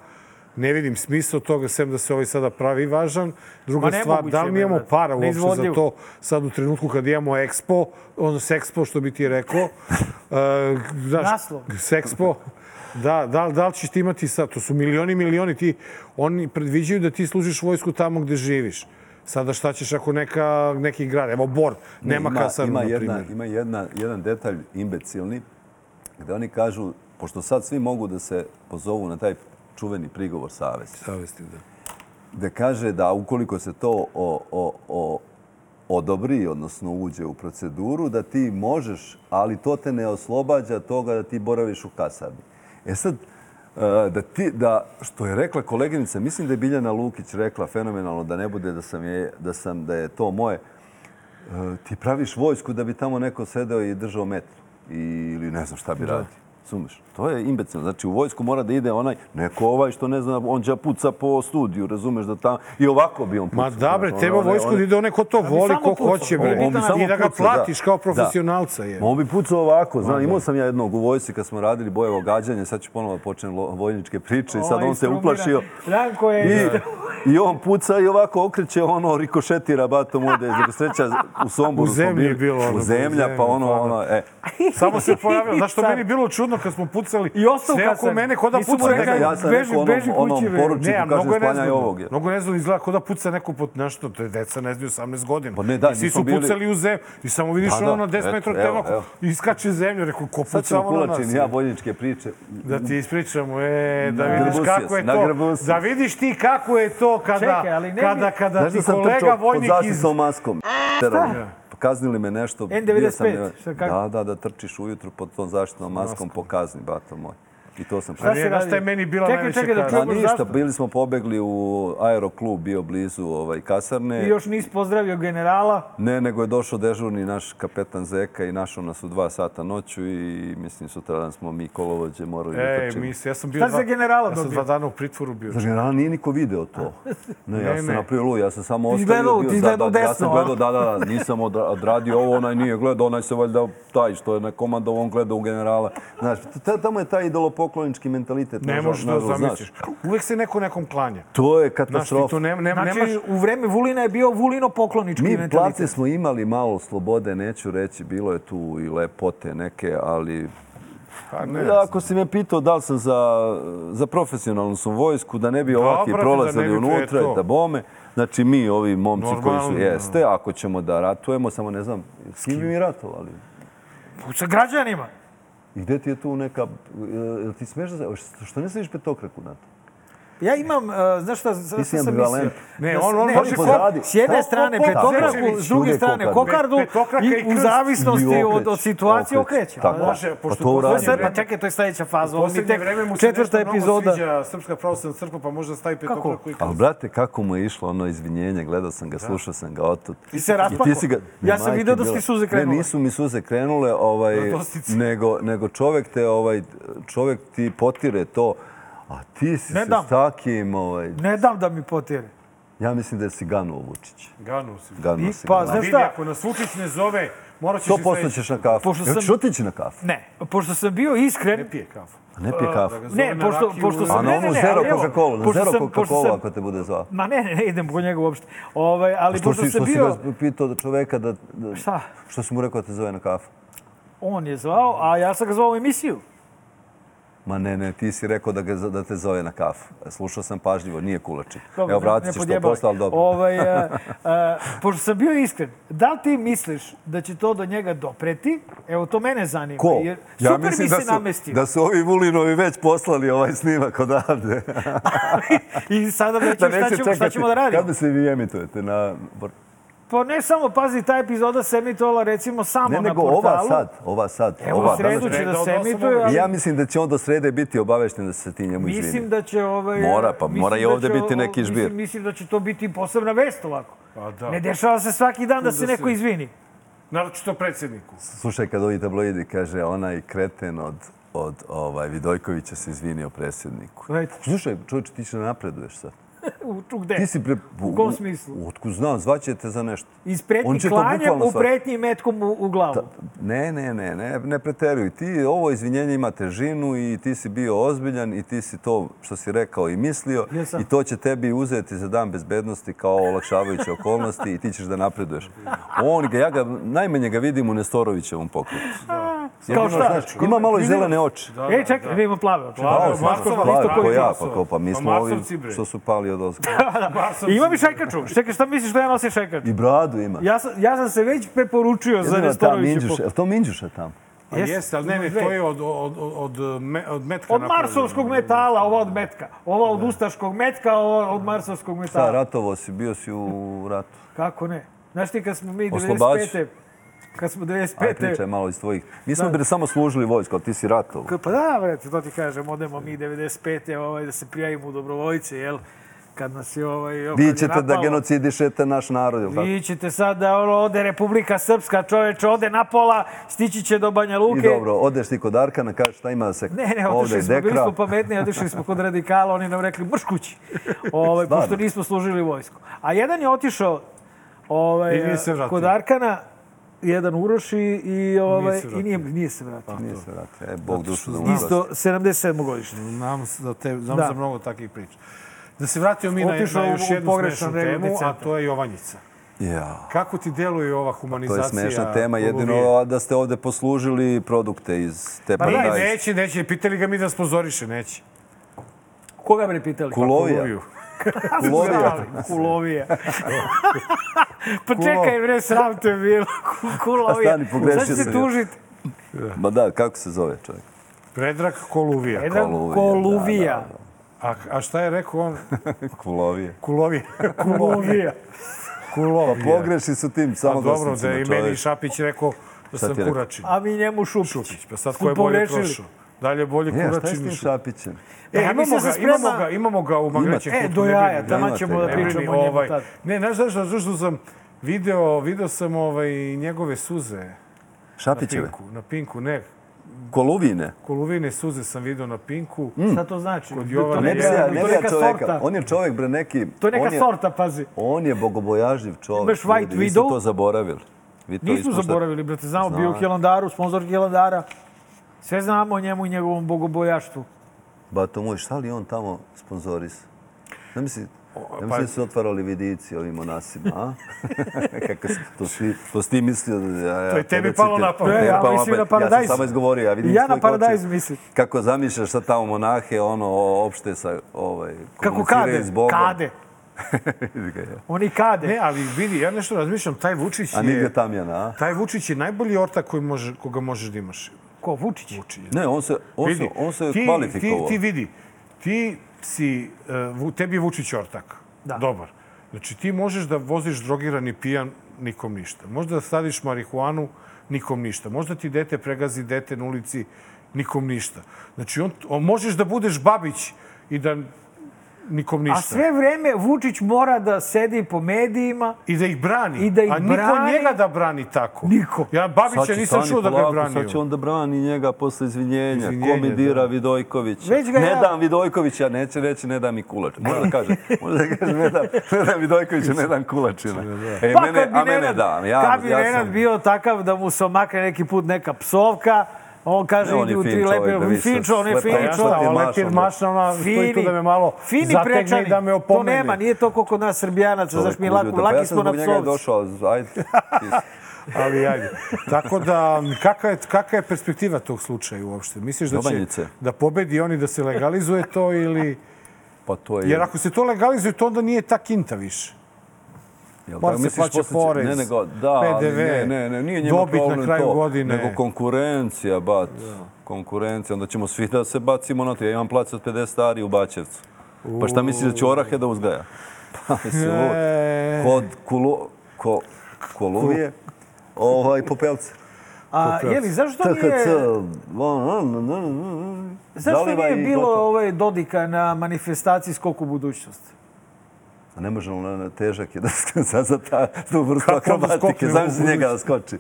Speaker 1: Ne vidim smisla toga, sem da se ovaj sada pravi važan. Druga
Speaker 2: Ma
Speaker 1: stvar,
Speaker 2: nemoguće
Speaker 1: da
Speaker 2: je,
Speaker 1: li mi
Speaker 2: bre,
Speaker 1: imamo
Speaker 2: brate.
Speaker 1: para uopšte za
Speaker 2: Neizvodljivo.
Speaker 1: to sad u trenutku kad imamo Expo, ono Sexpo što bi ti rekao. E, znaš,
Speaker 2: Naslov.
Speaker 1: Sexpo. Da, da, li- da li ćeš ti imati sad? To su milioni, milioni. Ti, oni predviđaju da ti služiš vojsku tamo gde živiš. Sada šta ćeš ako neka, neki grad, evo Bor, nema
Speaker 7: ima,
Speaker 1: kasarnu,
Speaker 7: ima,
Speaker 1: na primjer.
Speaker 7: jedna, ima jedna, jedan detalj imbecilni gde oni kažu, pošto sad svi mogu da se pozovu na taj čuveni prigovor savesti,
Speaker 1: savesti, da.
Speaker 7: gde kaže da ukoliko se to o, o, o, odobri, odnosno uđe u proceduru, da ti možeš, ali to te ne oslobađa toga da ti boraviš u kasarni. E sad, e, da ti, da, što je rekla koleginica, mislim da je Biljana Lukić rekla fenomenalno da ne bude da sam je, da, sam, da je to moje, E, ti praviš vojsku da bi tamo neko sedeo i držao metlu I, ili ne znam šta bi radio. Sumeš? To je imbecilno. Znači, u vojsku mora da ide onaj, neko ovaj što ne zna, on će puca po studiju, razumeš da tamo... I ovako bi on pucao.
Speaker 1: Ma da bre,
Speaker 7: Znaš,
Speaker 1: treba
Speaker 7: one-
Speaker 1: vojsku
Speaker 7: ono, one-
Speaker 1: da ide onaj ko to voli,
Speaker 2: samo
Speaker 1: ko
Speaker 2: pucao.
Speaker 1: hoće
Speaker 2: On
Speaker 1: bre.
Speaker 2: bi samo
Speaker 1: I da ga
Speaker 7: pucao,
Speaker 1: platiš
Speaker 7: da.
Speaker 1: kao
Speaker 7: Da.
Speaker 1: profesionalca je.
Speaker 7: Ma on bi pucao ovako, znam, imao sam ja jednog u vojsci kad smo radili bojevo gađanje, sad ću ponovo počnem lo- vojničke priče i sad
Speaker 2: Ovaj
Speaker 7: on se
Speaker 2: istrumiran.
Speaker 7: uplašio.
Speaker 2: Ranko je...
Speaker 7: I, I on puca i ovako okreće, ono rikošetira batom onda iz sreća u Somboru.
Speaker 1: U
Speaker 7: smo
Speaker 1: zemlji je
Speaker 7: bili.
Speaker 1: bilo ono,
Speaker 7: U zemlja,
Speaker 1: u
Speaker 7: pa ono,
Speaker 1: zemlji,
Speaker 7: ono, e.
Speaker 1: Samo se pojavio, znaš što
Speaker 2: Sad.
Speaker 1: meni bilo čudno kad smo pucali.
Speaker 2: I ostao u
Speaker 1: sve oko
Speaker 2: kasarni.
Speaker 1: mene ko da
Speaker 2: Nisu mu
Speaker 1: puca
Speaker 2: rekli,
Speaker 1: neka...
Speaker 7: Neka, ja sam
Speaker 2: beži-
Speaker 7: rekao onom,
Speaker 2: beži kući,
Speaker 7: onom
Speaker 2: bre.
Speaker 7: poručiku,
Speaker 1: Ne, a
Speaker 7: kažem,
Speaker 1: mnogo je
Speaker 7: sklanjaj
Speaker 1: nezgodno.
Speaker 7: ovog. je.
Speaker 1: Mnogo je nezgodno izgleda ko da puca neko pot nešto, te deca ne znaju 18 godina.
Speaker 7: Pa ne, da,
Speaker 1: I svi
Speaker 7: mi
Speaker 1: su
Speaker 7: smo bili- Pa
Speaker 1: pucali u zemlju i samo vidiš
Speaker 7: Da, da,
Speaker 1: ono na 10
Speaker 7: eto,
Speaker 1: metara
Speaker 7: evo,
Speaker 1: temako
Speaker 7: evo.
Speaker 1: iskače zemlju, rekao ko puca
Speaker 7: Sad ćemo
Speaker 1: ono na nas.
Speaker 7: kulačim ja vojničke priče.
Speaker 1: Da ti ispričamo, e, da
Speaker 7: Na
Speaker 1: vidiš
Speaker 7: grbu si
Speaker 1: kako
Speaker 7: jes,
Speaker 1: je
Speaker 7: na
Speaker 1: to.
Speaker 7: grbu si.
Speaker 1: Da vidiš ti kako je to kada,
Speaker 2: Čekaj, ali ne bi-
Speaker 1: kada, kada
Speaker 7: Znaš
Speaker 1: ti
Speaker 7: da sam
Speaker 1: Znači, kolega
Speaker 7: trčao pod
Speaker 1: vojnik iz
Speaker 7: zaštitom maskom? Terom. Pa Kaznili me nešto.
Speaker 2: N95,
Speaker 7: bio sam-
Speaker 2: šta, kako?
Speaker 7: Da, da, da trčiš ujutru pod tom zaštitnom maskom po kazni, bato moj. I to sam
Speaker 2: Šta
Speaker 1: si
Speaker 2: se
Speaker 1: Znaš
Speaker 2: radi?
Speaker 1: šta je meni bila
Speaker 2: čekaj,
Speaker 1: najveća
Speaker 2: čekaj, da
Speaker 1: kazna?
Speaker 7: Pa
Speaker 2: čujemo
Speaker 7: ništa,
Speaker 2: zašto.
Speaker 7: bili smo pobegli u aeroklub, bio blizu ovaj, kasarne.
Speaker 2: I još nisi pozdravio generala.
Speaker 7: Ne, nego je došao dežurni naš kapetan Zeka i našao nas u dva sata noću i mislim sutra dan smo mi kolovođe morali da
Speaker 1: E,
Speaker 7: trčimo.
Speaker 1: mislim, ja sam bio...
Speaker 2: Šta si
Speaker 1: dva-
Speaker 2: za generala
Speaker 1: Ja sam dva
Speaker 2: dobio?
Speaker 1: dana u pritvoru bio.
Speaker 7: Znači, generalno nije niko video to. Ne, ja
Speaker 1: Ne,
Speaker 7: sam
Speaker 1: ne.
Speaker 7: napravio luj, ja sam samo
Speaker 2: Ti
Speaker 7: ostavio.
Speaker 2: gledao,
Speaker 7: bio
Speaker 2: ti
Speaker 7: za-
Speaker 2: gledao
Speaker 7: da, Ja sam
Speaker 2: desno, a?
Speaker 7: gledao, da, da, da, nisam odra- odradio ovo, onaj nije gledao, onaj se valjda taj što je na komando, on gleda u generala. Znaš, t- tamo je taj idolopoklonički mentalitet.
Speaker 1: Ne
Speaker 7: nažal-
Speaker 1: možeš da
Speaker 7: nažalost, znaš.
Speaker 1: zamisliš. Uvek se neko nekom klanja.
Speaker 7: To je
Speaker 1: Znaš, ti
Speaker 7: katastrofa.
Speaker 1: tu ne, ne,
Speaker 2: Znači,
Speaker 1: nemaš...
Speaker 2: u vreme Vulina je bio Vulino poklonički
Speaker 7: Mi
Speaker 2: mentalitet.
Speaker 7: place smo imali malo slobode, neću reći, bilo je tu i lepote neke, ali...
Speaker 1: Pa ne,
Speaker 7: Ja, ako si me pitao da li sam za, za profesionalnu sam vojsku, da ne bi
Speaker 1: brate,
Speaker 7: ovakvi
Speaker 1: da
Speaker 7: prolazili
Speaker 1: ne bi,
Speaker 7: unutra,
Speaker 1: e, to.
Speaker 7: da bome, znači mi ovi momci koji
Speaker 1: Normalno.
Speaker 7: su jeste, ako ćemo da ratujemo, samo ne znam, s kim bi mi ratovali?
Speaker 2: Sa građanima.
Speaker 7: I gde ti je tu neka... Jel ti smeš da... Što, što ne sediš petokraku na to?
Speaker 2: Ja imam, uh, znaš šta, šta
Speaker 7: si
Speaker 2: sam mislio?
Speaker 7: ambivalent.
Speaker 1: Ne,
Speaker 2: Da se-
Speaker 1: on- on može
Speaker 2: ko-
Speaker 7: pozadi.
Speaker 2: S jedne
Speaker 1: Ko-
Speaker 2: strane
Speaker 1: ko- ko-
Speaker 2: petokraku,
Speaker 1: Kokardžević.
Speaker 2: s druge
Speaker 7: Uvijek
Speaker 2: strane
Speaker 7: kokardu.
Speaker 2: kokardu
Speaker 1: Pe- petokraka
Speaker 2: i
Speaker 1: i
Speaker 2: u
Speaker 1: krst.
Speaker 2: zavisnosti
Speaker 7: I
Speaker 2: od,
Speaker 7: okreće,
Speaker 2: od situacije
Speaker 7: okreće.
Speaker 2: okreće.
Speaker 7: Tako.
Speaker 2: Da.
Speaker 1: Može, pošto
Speaker 7: to
Speaker 1: u
Speaker 2: To je
Speaker 1: poslednje
Speaker 2: sad, pa
Speaker 1: vreme-
Speaker 2: čekaj, to je sledeća
Speaker 1: u
Speaker 2: faza. Ovo mi
Speaker 1: poslednje
Speaker 2: tek
Speaker 1: vreme mu se
Speaker 2: četvrta
Speaker 1: nešto mnogo
Speaker 2: epizoda.
Speaker 1: sviđa Srpska pravoslavna crkva, pa može da stavi petokraku i
Speaker 7: Ali,
Speaker 1: krst.
Speaker 7: brate, kako mu je išlo ono izvinjenje, gledao sam ga, slušao sam ga otud.
Speaker 2: I se
Speaker 7: I
Speaker 2: raspakao.
Speaker 7: ti si ga,
Speaker 2: Ja sam
Speaker 7: Majke
Speaker 2: vidio da su
Speaker 7: bila.
Speaker 2: ti suze krenule.
Speaker 7: Ne, nisu mi suze krenule, ovaj,
Speaker 1: Radostice.
Speaker 7: nego, nego čovek, te, ovaj, čovek ti potire to, a ti si
Speaker 2: Ne
Speaker 7: se
Speaker 2: dam.
Speaker 7: s takim, ovaj,
Speaker 2: Ne dam da mi potjere.
Speaker 7: ja mislim da si ganuo Vučić.
Speaker 1: Ganu si.
Speaker 7: Ganuo
Speaker 2: I-
Speaker 7: si
Speaker 2: pa,
Speaker 7: ga.
Speaker 2: znaš-
Speaker 1: Vidi,
Speaker 2: šta?
Speaker 1: ako nas Vučić ne zove, morat ćeš
Speaker 7: To
Speaker 1: i
Speaker 7: posto
Speaker 1: sledeći.
Speaker 7: ćeš na kafu.
Speaker 2: Pošto
Speaker 7: Pošto
Speaker 2: sam-
Speaker 7: sam... otići na kafu?
Speaker 2: Ne, pošto sam bio iskren,
Speaker 1: Ne pije kafu.
Speaker 7: A ne pije kafu.
Speaker 1: ga
Speaker 2: Pa, ne,
Speaker 1: zove na
Speaker 2: pošto,
Speaker 1: rakiju.
Speaker 2: pošto
Speaker 7: A
Speaker 2: sam... ne,
Speaker 7: na
Speaker 2: ne,
Speaker 7: onu
Speaker 2: ne,
Speaker 7: zero
Speaker 2: ali evo,
Speaker 7: Coca-Cola, na
Speaker 2: pošto
Speaker 7: zero
Speaker 2: sam- pošto sam-
Speaker 7: Coca-Cola ako te bude zvao.
Speaker 2: Ma ne, ne, ne idem po njega uopšte. Ovaj, ali
Speaker 7: Što
Speaker 2: pošto
Speaker 7: si,
Speaker 2: sam
Speaker 7: što si
Speaker 2: bio...
Speaker 7: ga pitao da čoveka da, da...
Speaker 2: Šta?
Speaker 7: Što si mu rekao da te zove na kafu?
Speaker 2: On je zvao, a ja sam ga zvao u emisiju.
Speaker 7: Ma ne, ne, ti si rekao da, ga, da te zove na kafu. Slušao sam pažljivo, nije kulači.
Speaker 2: Dobro,
Speaker 7: Evo,
Speaker 2: ne-
Speaker 7: vratit
Speaker 2: ne
Speaker 7: ćeš to
Speaker 2: podjebali.
Speaker 7: posle, ali dobro.
Speaker 2: Ovaj, e, e, pošto sam bio iskren, da li ti misliš da će to do njega dopreti? Evo, to mene zanima.
Speaker 7: Ko?
Speaker 2: Jer super mi se
Speaker 7: da su,
Speaker 2: namestio.
Speaker 7: da su ovi Vulinovi već poslali ovaj snimak odavde.
Speaker 2: I sada već šta,
Speaker 7: neće
Speaker 2: ćemo, šta
Speaker 7: čekati.
Speaker 2: ćemo da radimo.
Speaker 7: Kad bi se vi emitujete na...
Speaker 2: Pa ne samo, pazi, ta epizoda se emitovala recimo samo
Speaker 7: Ne,
Speaker 2: na
Speaker 7: nego
Speaker 2: portalu.
Speaker 7: ova sad, ova sad.
Speaker 2: Evo,
Speaker 7: ova,
Speaker 2: u sredu
Speaker 7: današnja.
Speaker 2: će da
Speaker 1: Od
Speaker 2: se
Speaker 1: osam
Speaker 2: emituje, ali
Speaker 7: Ja mislim da će on do srede biti obavešten da se ti njemu izvini.
Speaker 2: mislim da će... Ovaj,
Speaker 7: Mora, pa
Speaker 2: mislim
Speaker 7: mora i
Speaker 2: da
Speaker 7: ovde
Speaker 2: će
Speaker 7: biti
Speaker 2: ovo-
Speaker 7: neki žbir.
Speaker 2: Mislim, mislim da će to biti posebna vest ovako.
Speaker 1: Pa da.
Speaker 2: Ne dešava se svaki dan da se
Speaker 1: da
Speaker 2: neko
Speaker 1: se-
Speaker 2: izvini.
Speaker 1: Naročito predsjedniku.
Speaker 7: Slušaj, kad ovi tabloidi kaže onaj kreten od, od ovaj, Vidojkovića se izvinio predsjedniku.
Speaker 2: Right.
Speaker 7: Slušaj, čovječe, ti će napreduješ sad.
Speaker 2: U, u gde?
Speaker 7: E, Ti si pre...
Speaker 2: U kom smislu?
Speaker 7: U, otkud znam, zvaće te za nešto.
Speaker 2: Iz
Speaker 7: On
Speaker 2: pretnji
Speaker 7: će to
Speaker 2: klanjem
Speaker 7: bukvalno
Speaker 2: u
Speaker 7: shvatiti.
Speaker 2: pretnji metkom u, u glavu.
Speaker 7: Ne, ne, ne, ne, ne preteruj. Ti, ovo izvinjenje ima težinu i ti si bio ozbiljan i ti si to što si rekao i mislio
Speaker 2: Jesam.
Speaker 7: i to će tebi uzeti za dan bezbednosti kao olakšavajuće okolnosti i ti ćeš da napreduješ. On ga, ja ga, najmanje ga vidim u Nestorovićevom pokretu.
Speaker 2: Kao šta?
Speaker 7: ima malo i zelene oči.
Speaker 1: Da,
Speaker 2: Ej, E, čekaj, da. ima plave oči.
Speaker 1: Plave,
Speaker 7: Pao
Speaker 1: Marsova,
Speaker 7: sam,
Speaker 1: Marsova,
Speaker 7: pao,
Speaker 1: isto
Speaker 7: ko
Speaker 1: koji
Speaker 7: ja,
Speaker 1: Marsova.
Speaker 7: pa ko, pa mi
Speaker 1: Pa
Speaker 7: smo ovi
Speaker 1: Marsovci, bre.
Speaker 7: što su pali od ozgo.
Speaker 2: I imam i šajkaču. Čekaj, šta misliš da ja nosim šajkaču?
Speaker 7: I bradu ima.
Speaker 2: Ja sam, ja sam se već preporučio za
Speaker 7: Jedino ta
Speaker 2: Nestoroviću.
Speaker 7: Minđuša, je li to Minđuša tamo?
Speaker 1: A
Speaker 2: Jeste,
Speaker 1: jeste, Pa ali ne, ne, to je od, od, od, od, me- od metka
Speaker 2: Od
Speaker 1: napravljeno.
Speaker 2: marsovskog metala, ova od metka. Ova od ustaškog metka, ova od marsovskog
Speaker 7: Šta,
Speaker 2: metala.
Speaker 7: ratovo si, bio si u ratu.
Speaker 2: Kako ne? Znaš ti kad smo mi
Speaker 7: Oslobađaš.
Speaker 2: 95. Kad smo
Speaker 7: Aj, pričaj
Speaker 2: 95.
Speaker 7: malo iz tvojih. Mi smo bili samo služili vojsko, ali ti si ratovo.
Speaker 2: K- Pa da, brate, to ti kažem, odemo mi 95. Ovaj, da se prijavimo u dobrovoljce, jel? Kad nas je ovaj... kad je
Speaker 7: Vi ćete da
Speaker 2: napalo.
Speaker 7: genocidišete naš narod, jel tako?
Speaker 2: Vi ćete sad da ono, ode Republika Srpska, čoveč, ode na pola, stići će do Banja
Speaker 7: I
Speaker 2: Luke.
Speaker 7: dobro, odeš ti kod Arkana, kažeš šta ima da se
Speaker 2: Ne, ne,
Speaker 7: ovde
Speaker 2: otišli smo, bili
Speaker 7: dekra.
Speaker 2: smo pa- pametniji, otišli smo kod radikala, oni nam rekli mrš kući, ovaj, pošto
Speaker 7: Stvarno?
Speaker 2: nismo služili vojsku. A jedan je otišao ovaj,
Speaker 1: I nije se vratio.
Speaker 2: kod Arkana, jedan Uroš i, i, ovaj,
Speaker 1: se
Speaker 2: i nije, nije se vratio.
Speaker 7: Nije se vratio. E, Bog dušu da
Speaker 2: Isto
Speaker 7: uprosti.
Speaker 2: 77. godište.
Speaker 1: Znam s- za, te, znam
Speaker 2: Da.
Speaker 1: za mnogo takvih priča. Da se vratimo mi na,
Speaker 2: Otišao
Speaker 1: na još
Speaker 2: u
Speaker 1: jednu
Speaker 2: pogrešan
Speaker 1: smešnu
Speaker 2: regionalni
Speaker 1: temu, a
Speaker 2: centar.
Speaker 1: to je Jovanjica.
Speaker 7: Ja.
Speaker 1: Kako ti deluje ova
Speaker 7: To je
Speaker 1: humanizacija?
Speaker 7: smešna tema,
Speaker 1: Golubije?
Speaker 7: jedino da ste ovde poslužili produkte iz te
Speaker 1: Pa ne,
Speaker 7: paradajze.
Speaker 1: neće, neće. Pitali ga mi da spozoriše, neće.
Speaker 2: Koga bi ne pitali?
Speaker 7: Kulovija.
Speaker 1: Golubiju.
Speaker 7: Kulovija.
Speaker 2: Kulovija. Kulovija. pa čekaj, bre, sram te bilo. Kulovija.
Speaker 7: Stani, pogrešio
Speaker 2: Sad će se
Speaker 7: sam ja.
Speaker 2: tužit.
Speaker 7: Ma da, kako se zove čovjek?
Speaker 1: Predrag Koluvija.
Speaker 2: Jedan
Speaker 7: Koluvija,
Speaker 2: Koluvija.
Speaker 7: da,
Speaker 1: A, a šta je rekao on?
Speaker 7: Kulovija.
Speaker 1: Kulovija.
Speaker 2: Kulovija.
Speaker 1: Kulovija.
Speaker 7: Pogreši su tim
Speaker 1: Pa dobro, da
Speaker 7: samoglasnicima
Speaker 1: je i meni
Speaker 7: čovjek.
Speaker 1: Šapić rekao da sam
Speaker 7: ti je rekao?
Speaker 1: kuračin.
Speaker 2: A mi njemu Šupić. Šupić.
Speaker 1: Pa sad
Speaker 2: Smo
Speaker 1: ko je bolje
Speaker 2: pogrešili.
Speaker 1: prošao? Dalje bolje
Speaker 7: Ne, E, šta je
Speaker 1: kuračin
Speaker 7: s tim
Speaker 1: i Šupić.
Speaker 7: Šapićem?
Speaker 1: E,
Speaker 2: E, a
Speaker 1: imamo,
Speaker 2: mislim
Speaker 1: ga,
Speaker 2: se
Speaker 1: imamo,
Speaker 2: sprema...
Speaker 1: ga, imamo ga u Magrećem
Speaker 2: E, do jaja, tamo
Speaker 7: Nemate
Speaker 2: ćemo da
Speaker 7: ga. Ne
Speaker 2: pričamo o njemu
Speaker 1: ovaj,
Speaker 2: tad.
Speaker 1: Ne, znaš zašto? Zato što sam video, video sam ovaj, njegove suze na
Speaker 7: Šapićeve?
Speaker 1: Pinku. Na Pinku, ne.
Speaker 7: Koluvine?
Speaker 1: Kolovine suze sam video na Pinku.
Speaker 2: Šta to znači?
Speaker 1: Kod
Speaker 2: to,
Speaker 1: Jovana
Speaker 7: Pa Ne bi se ja,
Speaker 1: Jovana,
Speaker 7: ne
Speaker 2: to
Speaker 7: bi
Speaker 2: je
Speaker 7: ja
Speaker 2: neka
Speaker 7: čovjeka.
Speaker 2: sorta.
Speaker 7: On je čovjek, bre, neki...
Speaker 2: To je neka
Speaker 7: on
Speaker 2: sorta, pazi.
Speaker 7: On je bogobojažljiv čovjek.
Speaker 2: Imaš White
Speaker 7: ljudi, Vi ste
Speaker 2: Widow?
Speaker 7: to zaboravili. Vi to
Speaker 2: Nisu
Speaker 7: ispuštate.
Speaker 2: zaboravili, brate, znamo, bio u
Speaker 7: Znam.
Speaker 2: Kjelandaru, sponzor Kjelandara. Sve znamo o njemu i njegovom bogobojaštvu.
Speaker 7: Bato moj, šta li on tamo sponzoris? Ne misli, ne
Speaker 1: pa-
Speaker 7: misli da su otvarali vidici ovim monasima, a? Kako si, to, si, to si ti mislio da... Ja,
Speaker 1: To je
Speaker 7: ja
Speaker 1: tebi
Speaker 7: tebe
Speaker 1: palo
Speaker 7: citiram.
Speaker 1: na pamet.
Speaker 7: Tebi
Speaker 2: Ja
Speaker 7: palo
Speaker 2: mislim na
Speaker 7: pamet. Ja
Speaker 2: Paradajz.
Speaker 7: sam samo izgovorio, ja vidim
Speaker 2: Ja
Speaker 7: iz
Speaker 2: na
Speaker 7: tvojih
Speaker 2: Paradajz
Speaker 7: očiju
Speaker 2: mislim.
Speaker 7: Kako zamišljaš šta tamo monahe, ono, opšte sa, ovaj,
Speaker 2: Kako
Speaker 7: komuniciraju
Speaker 2: kade?
Speaker 7: s Bogom.
Speaker 2: Kade.
Speaker 7: Vidi ga, ja.
Speaker 2: Oni kade.
Speaker 1: Ne, ali vidi, ja nešto razmišljam, taj Vučić
Speaker 7: A nigde
Speaker 1: je...
Speaker 7: tamjana, a?
Speaker 1: Taj Vučić je najbolji ortak koji može, koga možeš da imaš.
Speaker 2: Ko, Vučić?
Speaker 7: Ne, on se, on se,
Speaker 1: Vidi,
Speaker 7: on se
Speaker 1: ti,
Speaker 7: kvalifikovao.
Speaker 1: Ti, ti vidi, ti si, e, Vu- tebi je Vučić ortak.
Speaker 2: Da.
Speaker 1: Dobar. Znači ti možeš da voziš drogirani pijan, nikom ništa. Možda da staviš marihuanu, nikom ništa. Možda ti dete pregazi dete na ulici, nikom ništa. Znači on, on možeš da budeš babić i da nikom ništa.
Speaker 2: A sve vreme Vučić mora da sedi po medijima.
Speaker 1: I da ih brani.
Speaker 2: I da ih
Speaker 1: A niko
Speaker 2: brani.
Speaker 1: njega da brani tako.
Speaker 2: Niko.
Speaker 1: Ja
Speaker 7: Sad
Speaker 1: Babića
Speaker 7: će
Speaker 1: nisam
Speaker 7: stani
Speaker 1: čuo da ga je
Speaker 7: polako,
Speaker 1: branio.
Speaker 7: Sad će on da brani njega posle izvinjenja.
Speaker 1: Izvinjenje,
Speaker 7: Ko mi dira
Speaker 1: da.
Speaker 7: Vidojkovića?
Speaker 2: Već ga
Speaker 7: ne
Speaker 2: ja-
Speaker 7: dam Vidojkovića, neće reći ne dam i kulač. Možda da kaže, možda da kaže ne dam, ne dam Vidojkovića, ne dam kulačina. E,
Speaker 2: Pa
Speaker 7: mene,
Speaker 2: kad bi
Speaker 7: a mene
Speaker 2: Nenad-
Speaker 7: dam. Ja,
Speaker 2: kad bi
Speaker 7: ja
Speaker 2: Nenad
Speaker 7: sam,
Speaker 2: bio takav da mu se omakne neki put neka psovka, on kaže
Speaker 7: Ne, on
Speaker 2: idi
Speaker 7: je
Speaker 2: u
Speaker 7: fin
Speaker 2: tri
Speaker 7: čovjek,
Speaker 2: lepe,
Speaker 7: da vi ste
Speaker 2: Finčo, on je
Speaker 7: slepa
Speaker 1: Pa ja
Speaker 2: Finčo.
Speaker 7: Što
Speaker 1: šta,
Speaker 7: ti je
Speaker 1: ona
Speaker 7: mašao,
Speaker 1: tir
Speaker 7: bre?
Speaker 1: mašna,
Speaker 2: ono,
Speaker 1: ona stoji tu da me malo
Speaker 2: fini
Speaker 1: zategne
Speaker 2: prečani.
Speaker 1: i da me opomene.
Speaker 2: To nema, nije to koliko nas Srbijanaca,
Speaker 7: čovjek
Speaker 2: znaš mi lako,
Speaker 7: uljudno. Pa
Speaker 2: laki
Speaker 7: ja sam
Speaker 2: smo na
Speaker 7: zbog njega i
Speaker 2: psovcu.
Speaker 7: došao, ajde. ti si-
Speaker 1: ali ajde. Tako da, kakva je, kakva je perspektiva tog slučaja uopšte? Misliš da će
Speaker 7: Dobanjice.
Speaker 1: da pobedi oni da se legalizuje to ili...
Speaker 7: Pa to je...
Speaker 1: Jer ako se to legalizuje, to onda nije ta kinta više.
Speaker 7: Jel
Speaker 1: Mora
Speaker 7: tako
Speaker 1: se
Speaker 7: misliš
Speaker 1: plaća
Speaker 7: posle će-
Speaker 1: porez,
Speaker 7: ne, nego, da, ali
Speaker 1: PDV,
Speaker 7: ne, ne, ne, nije njima
Speaker 1: dobit na
Speaker 7: problem
Speaker 1: kraju
Speaker 7: to,
Speaker 1: godine.
Speaker 7: nego konkurencija, bat. Konkurencija, onda ćemo svi da se bacimo na to. Ja imam plac od 50 stari u Bačevcu. Pa šta misliš da će orahe da uzgaja? Pa mislim, ovo,
Speaker 1: E.
Speaker 7: kod kulu, ko, koluvije, ovaj, popelce.
Speaker 2: A, je li, zašto
Speaker 7: THC,
Speaker 2: nije,
Speaker 7: on, on, on, on, on.
Speaker 2: zašto
Speaker 7: Zaliva
Speaker 2: nije
Speaker 7: i
Speaker 2: bilo
Speaker 7: gotovo.
Speaker 2: ovaj Dodika na manifestaciji Skok u budućnost?
Speaker 7: A Pa ne može, on, on, težak je da se za, za ta tu vrstu
Speaker 1: Kako onda
Speaker 7: akrobatike.
Speaker 1: skokne
Speaker 7: Znam
Speaker 1: u
Speaker 7: njega da skoči.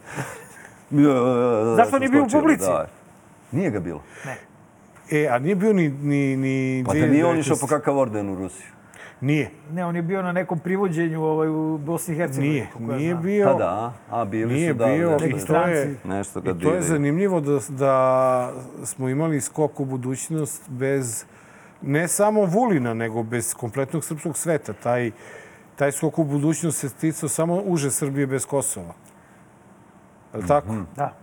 Speaker 7: Ja,
Speaker 2: Zašto nije bio u
Speaker 7: e, skočio,
Speaker 2: publici?
Speaker 7: da. Nije ga bilo.
Speaker 1: E, a nije bio ni... ni, ni
Speaker 7: Pa da nije on išao
Speaker 1: 2019.
Speaker 7: po kakav orden u Rusiju.
Speaker 1: Nije,
Speaker 2: Ne, on je bio na nekom privođenju ovaj, u Bosni i Hercegovini.
Speaker 1: nije.
Speaker 2: koliko ja
Speaker 1: Nije
Speaker 2: znam.
Speaker 1: bio...
Speaker 7: Pa da, a bili
Speaker 1: Nije
Speaker 7: su da.
Speaker 1: bio
Speaker 7: nešto
Speaker 1: i
Speaker 7: je-
Speaker 1: to je,
Speaker 2: stranci.
Speaker 7: Nešto ga
Speaker 1: i to je
Speaker 7: diraju.
Speaker 1: zanimljivo da, da smo imali skok u budućnost bez ne samo Vulina, nego bez kompletnog srpskog sveta. Taj, taj skok u budućnost se sticao samo uže Srbije bez Kosova. Je li
Speaker 7: Mhm.
Speaker 1: tako?
Speaker 2: Da.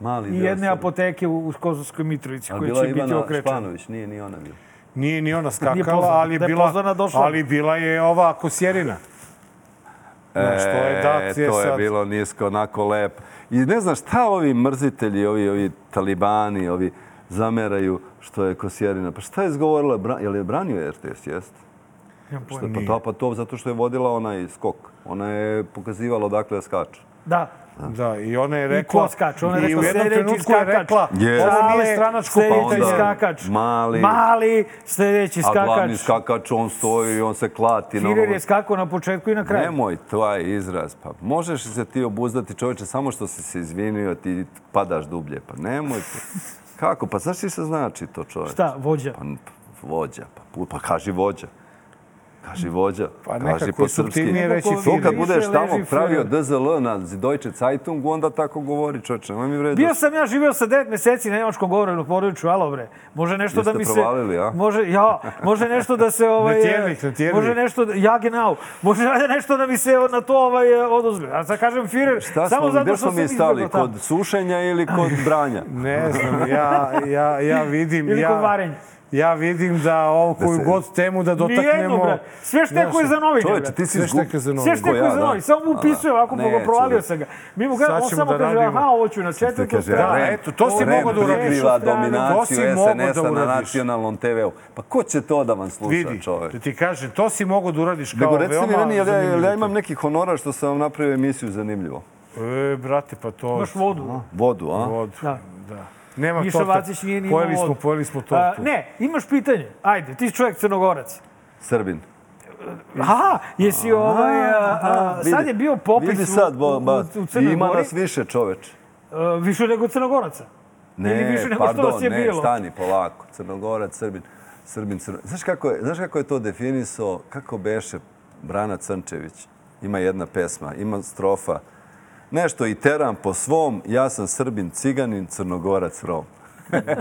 Speaker 7: Mali
Speaker 2: I
Speaker 7: deo
Speaker 2: jedne
Speaker 7: Srbije.
Speaker 2: apoteke u u Kosovskoj Mitrovici
Speaker 7: Ali
Speaker 2: koje
Speaker 7: bila
Speaker 2: će
Speaker 7: je
Speaker 2: biti
Speaker 7: Ivana
Speaker 2: okrečene.
Speaker 7: Španović, nije ni ona bila.
Speaker 1: Nije ni ona
Speaker 2: Nije
Speaker 1: skakala,
Speaker 2: pozvana.
Speaker 1: ali je
Speaker 2: Da je pozvana,
Speaker 1: bila,
Speaker 2: došla.
Speaker 1: ali bila je ova Kosjerina. Znaš, to je dat je
Speaker 7: E, to je
Speaker 1: sad.
Speaker 7: bilo nisko, onako lepo. I ne znam šta ovi mrzitelji, ovi, ovi talibani, ovi zameraju što je Kosjerina. Pa šta je izgovorila? Bra- Je li je branio RTS? Jeste.
Speaker 2: Nemam
Speaker 7: Što
Speaker 2: pojma.
Speaker 7: je, pa, to, pa to zato što je vodila onaj skok. Ona je pokazivala odakle da skače.
Speaker 2: Da.
Speaker 1: Da, i ona je rekla...
Speaker 2: ko skače? Ona je
Speaker 1: i
Speaker 2: rekla,
Speaker 1: u jednom
Speaker 2: "Sljedeći
Speaker 1: trenutku je
Speaker 2: skakač."
Speaker 1: rekla,
Speaker 7: Yes.
Speaker 1: ovo
Speaker 2: Sale,
Speaker 1: nije stranačko
Speaker 2: sljedeći
Speaker 1: pitanje.
Speaker 7: pa onda-
Speaker 2: skakač.
Speaker 7: Mali.
Speaker 2: Mali, sljedeći skakač.
Speaker 7: A glavni skakač, on stoji, on se klati. na
Speaker 2: Firer
Speaker 7: onom-
Speaker 2: je skakao na početku i na kraju.
Speaker 7: Nemoj taj izraz, pa možeš se ti obuzdati čovječe samo što si se izvinio, ti padaš dublje, pa nemoj. Pa. Kako? Pa znaš ti se znači to čovječe?
Speaker 2: Šta, vođa?
Speaker 7: Pa, n- vođa, pa, pu- pa kaži vođa. Kaži vođa,
Speaker 1: Pa
Speaker 7: kaži
Speaker 1: nekako
Speaker 7: po
Speaker 1: je subtilnije
Speaker 7: srpski.
Speaker 1: reći
Speaker 2: Kako
Speaker 7: To
Speaker 1: Firer.
Speaker 7: kad
Speaker 2: više
Speaker 7: budeš tamo
Speaker 2: leži
Speaker 7: pravio
Speaker 2: Führer.
Speaker 7: DZL na Deutsche Zeitung, onda tako govori čovječe, nemoj mi vreći.
Speaker 2: Bio sam ja živio sa 9 mjeseci na nemačkom govorenom području, alo bre. Može nešto
Speaker 7: Jeste
Speaker 2: da mi se
Speaker 7: provalili, a?
Speaker 2: Može, ja, može nešto da se ovaj
Speaker 1: Natjernik, natjernik.
Speaker 2: Može nešto da, ja genau. Može da nešto da mi se na to ovaj oduzme. A sad kažem Führer,
Speaker 7: Šta
Speaker 2: samo
Speaker 7: smo,
Speaker 2: zato
Speaker 7: gdje
Speaker 2: što
Speaker 7: smo mi
Speaker 2: sam izbjegao
Speaker 7: stali?
Speaker 2: tamo.
Speaker 7: Kod sušenja ili kod branja?
Speaker 1: Ne znam, ja, ja, ja vidim...
Speaker 2: Ili kod
Speaker 1: ja,
Speaker 2: varenja.
Speaker 1: ja vidim da ovu koju
Speaker 7: se-
Speaker 1: god temu da
Speaker 2: Nijedno,
Speaker 1: dotaknemo...
Speaker 2: bre. Sve štekuje
Speaker 1: Znaš,
Speaker 2: za novine,
Speaker 7: Čovječe,
Speaker 2: bre.
Speaker 7: ti si
Speaker 1: Sve
Speaker 7: izgub-
Speaker 1: šteka za
Speaker 2: Sve
Speaker 1: novine.
Speaker 2: što je
Speaker 7: Ko ja,
Speaker 2: koji
Speaker 7: da.
Speaker 2: za novi, samo mu upisuje
Speaker 7: A,
Speaker 2: ovako,
Speaker 7: ne,
Speaker 2: pa ga provalio
Speaker 7: čudo.
Speaker 2: sam ga. Mi mu gledamo,
Speaker 1: Sad
Speaker 2: on
Speaker 1: ćemo
Speaker 2: samo
Speaker 1: da
Speaker 2: kaže,
Speaker 1: radimo.
Speaker 2: aha, ovo ću na
Speaker 7: Što
Speaker 2: četvrtu
Speaker 7: kaže,
Speaker 1: Da,
Speaker 2: stranu.
Speaker 7: REM,
Speaker 1: eto, to si
Speaker 7: REM
Speaker 1: mogao da uradiš.
Speaker 7: prikriva
Speaker 2: To si
Speaker 7: dominaciju
Speaker 1: mogao da
Speaker 7: SNS-a na
Speaker 1: uradiš.
Speaker 7: nacionalnom TV-u. Pa ko će to da vam sluša,
Speaker 1: Vidi,
Speaker 7: čovek?
Speaker 1: da ti kažem, to si mogo da uradiš kao
Speaker 7: Nego recite mi
Speaker 1: veoma
Speaker 7: meni, jel ja, jel ja
Speaker 1: zanimljivo.
Speaker 7: imam neki honorar što sam vam napravio emisiju zanimljivo?
Speaker 1: E, brate, pa to...
Speaker 2: Imaš vodu.
Speaker 7: Vodu, a?
Speaker 1: Vodu.
Speaker 2: Da.
Speaker 1: Da. Nema
Speaker 2: Miša
Speaker 1: torta.
Speaker 2: Vacić nije ni imao
Speaker 1: Pojeli smo,
Speaker 2: vodu.
Speaker 1: pojeli smo
Speaker 2: A,
Speaker 1: tortu.
Speaker 2: ne, imaš pitanje. Ajde, ti si čovjek crnogorac.
Speaker 7: Srbin.
Speaker 2: Aha, jesi ovaj... A, a,
Speaker 7: Vidi,
Speaker 2: sad je bio popis
Speaker 7: Vidi
Speaker 2: u-
Speaker 7: sad,
Speaker 2: u,
Speaker 7: bo, ba,
Speaker 2: u, u
Speaker 7: i
Speaker 2: Crnoj
Speaker 7: ima
Speaker 2: Gori.
Speaker 7: nas više, čoveč.
Speaker 2: A, više nego crnogoraca. Ili
Speaker 7: Ne,
Speaker 2: više nego što
Speaker 7: pardon,
Speaker 2: vas je
Speaker 7: ne,
Speaker 2: bilo.
Speaker 7: stani polako. Crnogorac, Srbin, Srbin, Crno... Znaš kako je, znaš kako je to definisao, kako beše Brana Crnčević? Ima jedna pesma, ima strofa. Nešto i teram po svom, ja sam Srbin, Ciganin, Crnogorac, Rom.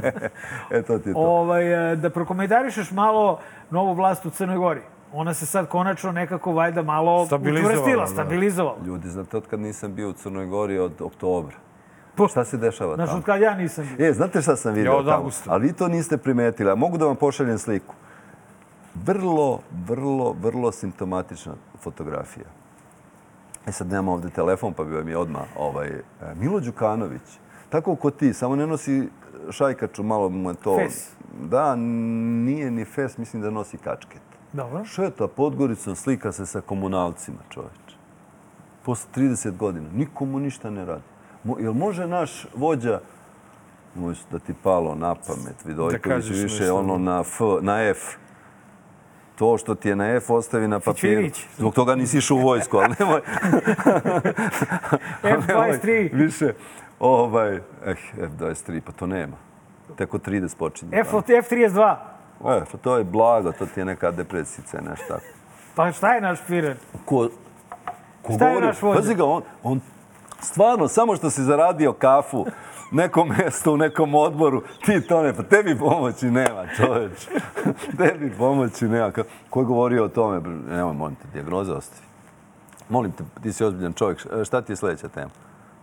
Speaker 7: e, to ti je to.
Speaker 2: Ovaj, e, da prokomentarišeš malo novu vlast u Crnoj Gori. Ona se sad konačno nekako valjda malo
Speaker 1: Stabilizovala,
Speaker 2: učvrstila,
Speaker 1: da.
Speaker 2: stabilizovala.
Speaker 7: Ljudi, znate od kad nisam bio u Crnoj Gori od oktobra?
Speaker 2: Po-
Speaker 7: Šta se dešava
Speaker 2: Znaš,
Speaker 7: tamo?
Speaker 2: od kad ja nisam bio.
Speaker 7: E, znate šta sam vidio
Speaker 1: Ja od
Speaker 7: tamo?
Speaker 1: avgusta.
Speaker 7: Ali vi to niste primetili, a mogu da vam pošaljem sliku. Vrlo, vrlo, vrlo simptomatična fotografija. E sad nemam ovde telefon, pa bi vam je odmah ovaj, e, Milo Đukanović. Tako ko ti, samo ne nosi šajkaču, malo mu je to...
Speaker 2: Fes.
Speaker 7: Da, nije ni fes, mislim da nosi kačket.
Speaker 2: Dobro.
Speaker 7: Šeta Podgoricom, slika se sa komunalcima, čoveče. Posle 30 godina. Nikomu ništa ne radi. Mo, jel može naš vođa, možda da ti palo na pamet, Vidojković,
Speaker 1: kažeš
Speaker 7: više
Speaker 1: nešto.
Speaker 7: ono na, F, na F. To što ti je na F ostavi na papiru.
Speaker 2: Fićirić.
Speaker 7: Zbog toga nisi išao u vojsku, ali nemoj.
Speaker 2: F23.
Speaker 7: nemoj Više, ovaj, eh, F23, pa to nema. Teko 30 počinje.
Speaker 2: F, F32.
Speaker 7: E, pa to je blago, to ti je neka depresica, nešto tako.
Speaker 2: Pa šta je naš Führer?
Speaker 7: ko, ko
Speaker 2: Šta je
Speaker 7: govori,
Speaker 2: naš vođa?
Speaker 7: pazi ga, on, on stvarno, samo što si zaradio kafu, neko mesto u nekom odboru, ti to ne, pa tebi pomoći nema, čoveč. tebi pomoći nema. Ka- Ko je govorio o tome? br- Nemoj, molim te, dijagnoza ostavi. Molim te, ti si ozbiljan čovjek, š- šta ti je sljedeća tema?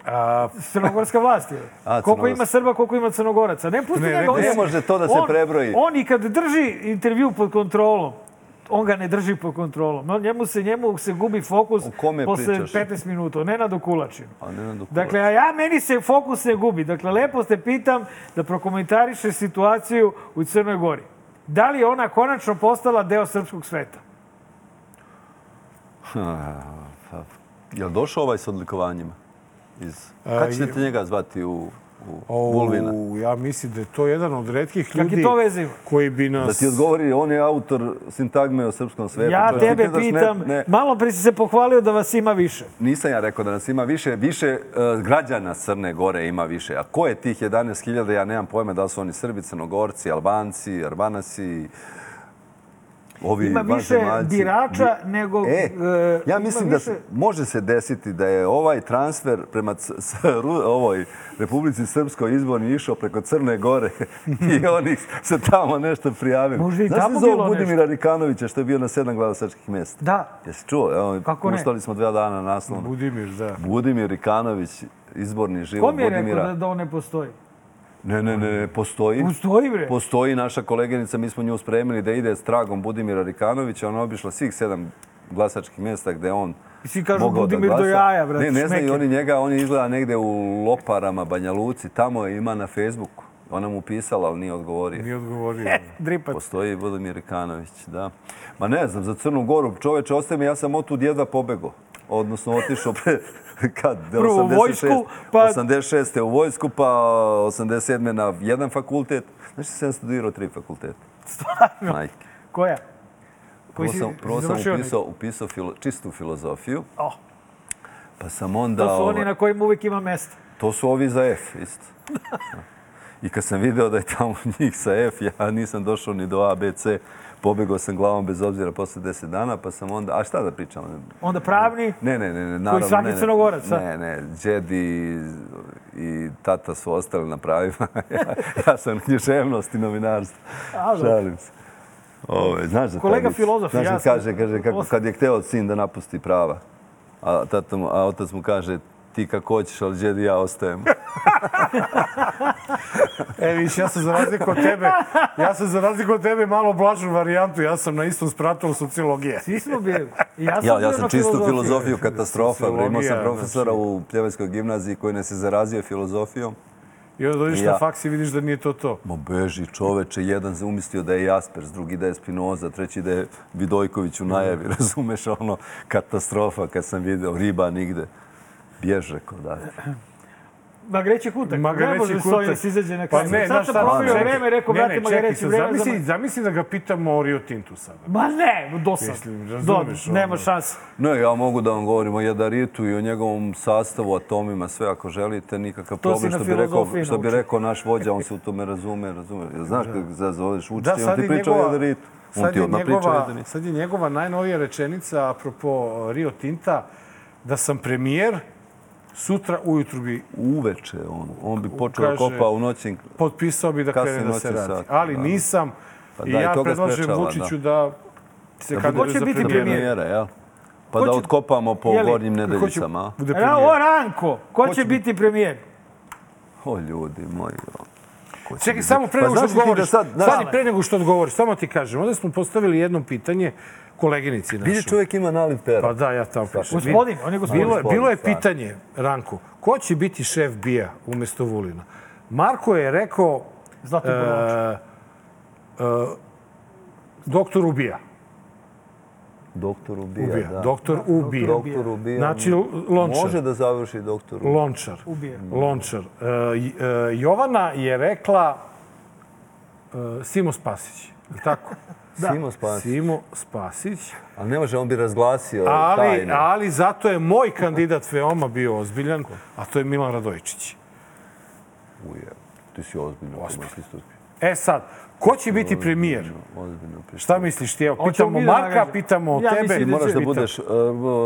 Speaker 1: A,
Speaker 2: Crnogorska vlast je. koliko
Speaker 7: A, crnogorska.
Speaker 2: ima Srba, koliko ima Crnogoraca. Ne, pusti
Speaker 1: Ne,
Speaker 2: njega.
Speaker 1: ne,
Speaker 2: on
Speaker 1: ne
Speaker 2: je-
Speaker 7: može to da se
Speaker 2: on-
Speaker 7: prebroji.
Speaker 2: On i kad drži intervju pod kontrolom, on ga ne drži pod kontrolom. On, njemu, se, njemu se gubi fokus
Speaker 7: O kome
Speaker 2: posle
Speaker 7: pričaš?
Speaker 2: 15 minuta. Ne na dokulačinu.
Speaker 7: A Nenadu Kulač.
Speaker 2: Dakle, a ja, meni se fokus ne gubi. Dakle, lepo ste pitam da prokomentariše situaciju u Crnoj Gori. Da li je ona konačno postala deo srpskog sveta?
Speaker 7: Pa, je li došao ovaj s odlikovanjima? Iz... Kad ćete te njega zvati u, u
Speaker 1: o,
Speaker 7: Vulvina?
Speaker 1: ja mislim da je to jedan od redkih
Speaker 2: Kakve
Speaker 1: ljudi
Speaker 2: to veze ima?
Speaker 1: koji bi
Speaker 7: Da
Speaker 1: nas...
Speaker 7: ti odgovori, on je autor sintagme o srpskom svetu.
Speaker 2: Ja
Speaker 7: Čak ti
Speaker 2: tebe
Speaker 7: gledaš, ne-
Speaker 2: pitam,
Speaker 7: ne-
Speaker 2: malo pre si se pohvalio da vas ima više.
Speaker 7: Nisam ja rekao da nas ima više, više e, građana Crne Gore ima više. A ko je tih 11.000, ja nemam pojma da li su oni Srbi, Crnogorci, Albanci, Arbanasi, ovi
Speaker 2: Ima više
Speaker 7: vanzemaljci.
Speaker 2: birača nego...
Speaker 7: E,
Speaker 2: e,
Speaker 7: ja
Speaker 2: ima
Speaker 7: mislim da
Speaker 2: više-
Speaker 7: može se desiti da je ovaj transfer prema c- s- Ru- ovoj Republici Srpskoj izborni išao preko Crne Gore i oni se tamo nešto prijavili.
Speaker 2: Možda i
Speaker 7: Znaš
Speaker 2: tamo
Speaker 7: li za ovog
Speaker 2: bilo
Speaker 7: Budimira Rikanovića što je bio na sedam glasačkih mjesta?
Speaker 2: Da,
Speaker 7: Jesi čuo? Evo,
Speaker 2: Kako ne?
Speaker 7: Ustali smo dva dana naslovno.
Speaker 1: Budimir, da.
Speaker 7: Budimir Rikanović, izborni život
Speaker 2: ko mi je rekao
Speaker 7: Budimira.
Speaker 2: da, da on ne postoji?
Speaker 7: Ne, ne, ne, postoji.
Speaker 2: Postoji, bre.
Speaker 7: Postoji naša koleginica, mi smo nju spremili da ide s tragom Budimira Rikanovića. Ona je obišla svih sedam glasačkih mjesta gde je on
Speaker 2: I svi kažu
Speaker 7: mogao
Speaker 2: Budimir
Speaker 7: da
Speaker 2: do
Speaker 7: glasa.
Speaker 2: jaja, brate,
Speaker 7: Ne, ne znaju
Speaker 2: šmeker.
Speaker 7: oni njega, on je izgleda negde u Loparama, Banja Luci, tamo je ima na Facebooku. Ona mu pisala, ali nije odgovorio.
Speaker 1: Nije odgovorio.
Speaker 2: Dripac.
Speaker 7: Postoji Budimir Rikanović, da. Ma ne znam, za Crnu Goru, čoveče, ostaje mi, ja sam otud jedva pobego. Odnosno, otišao pre, kad,
Speaker 2: Prvo u
Speaker 7: 86,
Speaker 2: vojsku, pa-
Speaker 7: 86. u vojsku, pa 87. na jedan fakultet. Znaš, sam studirao tri fakulteta. Stvarno? Majke.
Speaker 2: Koja? Koji
Speaker 7: Prvo
Speaker 2: si
Speaker 7: sam, prvo sam
Speaker 2: završio neki?
Speaker 7: upisao, upisao filo, čistu filozofiju,
Speaker 2: O,
Speaker 7: pa sam onda...
Speaker 2: to su oni
Speaker 7: ovaj,
Speaker 2: na kojim uvijek ima mesta.
Speaker 7: To su ovi za F, isto. I kad sam video da je tamo njih sa F, ja nisam došao ni do A, B, C. Pobegao sam glavom bez obzira posle 10 dana, pa sam onda... A šta da pričam?
Speaker 2: Onda pravni,
Speaker 7: Ne, ne, ne, ne naravno.
Speaker 2: svaki
Speaker 7: ne, ne.
Speaker 2: Crnogorac, a?
Speaker 7: Ne, ne, Đedi i tata su ostali na pravima. ja, ja sam književnost i novinarstvo.
Speaker 2: A, dobro.
Speaker 7: Šalim se. Ove, znaš za taj
Speaker 2: Kolega
Speaker 7: vic?
Speaker 2: filozof,
Speaker 7: znaš,
Speaker 2: ja
Speaker 7: kad
Speaker 2: sam-
Speaker 7: kaže, kaže kako, kad je hteo sin da napusti prava, a, tata mu, a otac mu kaže ti kako hoćeš, ali Đedi i ja ostajem.
Speaker 1: E, viš, ja sam za razliku od tebe, ja sam za razliku od tebe malo blažu varijantu. Ja sam na istom spratu sociologije.
Speaker 2: svi smo bili. I ja sam,
Speaker 7: ja,
Speaker 2: bio
Speaker 7: ja
Speaker 2: na
Speaker 7: sam čistu
Speaker 2: filozofiji.
Speaker 7: filozofiju katastrofa. bre. Imao sam
Speaker 1: Sociologija,
Speaker 7: profesora
Speaker 1: znači.
Speaker 7: u Pljevenskoj gimnaziji koji nas je zarazio filozofijom.
Speaker 1: I onda dođeš
Speaker 7: Ja.
Speaker 1: na faks i vidiš da nije to to.
Speaker 7: Ma beži čoveče, jedan se umislio da je Jaspers, drugi da je Spinoza, treći da je Vidojković u najavi, razumeš ono, katastrofa kad sam video, riba nigde. Bjež, rekao da.
Speaker 2: Magareći kutak.
Speaker 1: Magareći
Speaker 2: ne može
Speaker 1: kutak.
Speaker 2: Stojnić izađe na
Speaker 1: Pa
Speaker 2: kraju.
Speaker 1: ne,
Speaker 2: Sad
Speaker 1: znaš
Speaker 2: sam
Speaker 1: šta,
Speaker 2: probio
Speaker 1: čekaj.
Speaker 2: vreme, rekao,
Speaker 1: Ne, ne,
Speaker 2: brate,
Speaker 1: čekaj
Speaker 2: Magareći
Speaker 1: sad,
Speaker 2: vreme za...
Speaker 1: Zamisli, zamisli da ga pitamo o Rio Tintu sada.
Speaker 2: Ma ne, dosadno.
Speaker 1: Mislim, razumeš,
Speaker 2: Do- nema
Speaker 1: ono.
Speaker 2: šanse.
Speaker 7: Ne, ja mogu da vam govorim o jadaritu i o njegovom sastavu, atomima, sve ako želite, nikakav
Speaker 2: To si
Speaker 7: problem.
Speaker 2: na
Speaker 7: Što bi, rekao,
Speaker 2: filozofiji
Speaker 7: što bi
Speaker 2: naučio.
Speaker 7: rekao naš vođa, on se u tome razume, razume. Znaš kako se zoveš
Speaker 1: Da,
Speaker 7: učitelj, on
Speaker 1: sad
Speaker 7: ti
Speaker 1: je
Speaker 7: priča o
Speaker 1: njegova,
Speaker 7: jadaritu. On
Speaker 1: sad
Speaker 7: ti
Speaker 1: je
Speaker 7: odmah priča o
Speaker 1: njegova,
Speaker 7: jadaritu.
Speaker 1: sad je njegova najnovija rečenica apropo e, Rio Tinta, da sam premijer, sutra ujutru bi
Speaker 7: Uveče on, on bi počeo da
Speaker 1: Kaže-
Speaker 7: kopa u noćni
Speaker 1: potpisao bi da
Speaker 7: Kasnije
Speaker 1: krene da
Speaker 7: noćni
Speaker 1: se radi.
Speaker 7: sat,
Speaker 1: Ali
Speaker 7: da.
Speaker 1: nisam
Speaker 7: Pa
Speaker 1: i
Speaker 7: da, i
Speaker 1: ja
Speaker 7: to ga
Speaker 1: predlažem
Speaker 7: sprečava,
Speaker 1: Vučiću da se
Speaker 7: Da
Speaker 1: kandiduje
Speaker 2: hoće
Speaker 1: za
Speaker 2: biti
Speaker 1: premijera.
Speaker 2: premijer.
Speaker 7: premijera, jel? Pa
Speaker 2: Ko
Speaker 7: da
Speaker 2: će-
Speaker 7: otkopamo po
Speaker 2: je li-
Speaker 7: gornjim
Speaker 1: Ko će
Speaker 7: nedeljicama. a?
Speaker 1: bude
Speaker 2: Evo, o
Speaker 1: premijer?
Speaker 2: Ranko, ko će biti premijer?
Speaker 7: O ljudi moji. o. Ko će
Speaker 1: Čekaj,
Speaker 7: biti-
Speaker 1: samo pre nego što
Speaker 7: Pa znaš li ti
Speaker 1: odgovoriš,
Speaker 7: Da sad, znaš,
Speaker 1: stani, pre nego što odgovoriš, samo ti kažem, onda smo postavili jedno pitanje koleginici
Speaker 7: vidi
Speaker 1: našoj.
Speaker 7: čovjek ima naliv pera.
Speaker 1: Znači- Pa da, ja tamo pišem.
Speaker 2: Gospodin, on je gospodin.
Speaker 1: Bilo je, bilo je
Speaker 7: Gospodin,
Speaker 1: pitanje, Ranku, ko će biti šef BIA umjesto Vulina? Marko je rekao
Speaker 2: Zlatan
Speaker 1: E,
Speaker 2: Kovač.
Speaker 1: doktor ubija.
Speaker 7: Doktor ubija,
Speaker 1: ubija.
Speaker 7: da.
Speaker 1: Doktor ubija.
Speaker 7: Doktor ubija.
Speaker 1: Znači, Lončar.
Speaker 7: Može da završi doktor ubija.
Speaker 1: Lončar.
Speaker 2: Ubija.
Speaker 1: Lončar. E, J- e, Jovana je rekla e, Simo Spasić. Je li Tako?
Speaker 7: Simo Spasić.
Speaker 1: Simo Spasić.
Speaker 7: Ali ne može, on bi razglasio
Speaker 1: Ali,
Speaker 7: tajne.
Speaker 1: ali zato je moj kandidat veoma bio ozbiljan, a to je Milan Radojičić.
Speaker 7: Uje, Ti si ozbiljno komarski stupio.
Speaker 1: E sad, ko će biti premijer?
Speaker 7: Ozbiljno priča.
Speaker 1: Šta misliš ti? Evo,
Speaker 2: Hoćemo
Speaker 1: pitamo
Speaker 2: mi da
Speaker 1: Marka,
Speaker 2: nagađamo.
Speaker 1: pitamo
Speaker 2: Ja
Speaker 1: tebe.
Speaker 2: mislim da
Speaker 7: Moraš
Speaker 2: će
Speaker 7: da
Speaker 1: Pitam-
Speaker 7: budeš e,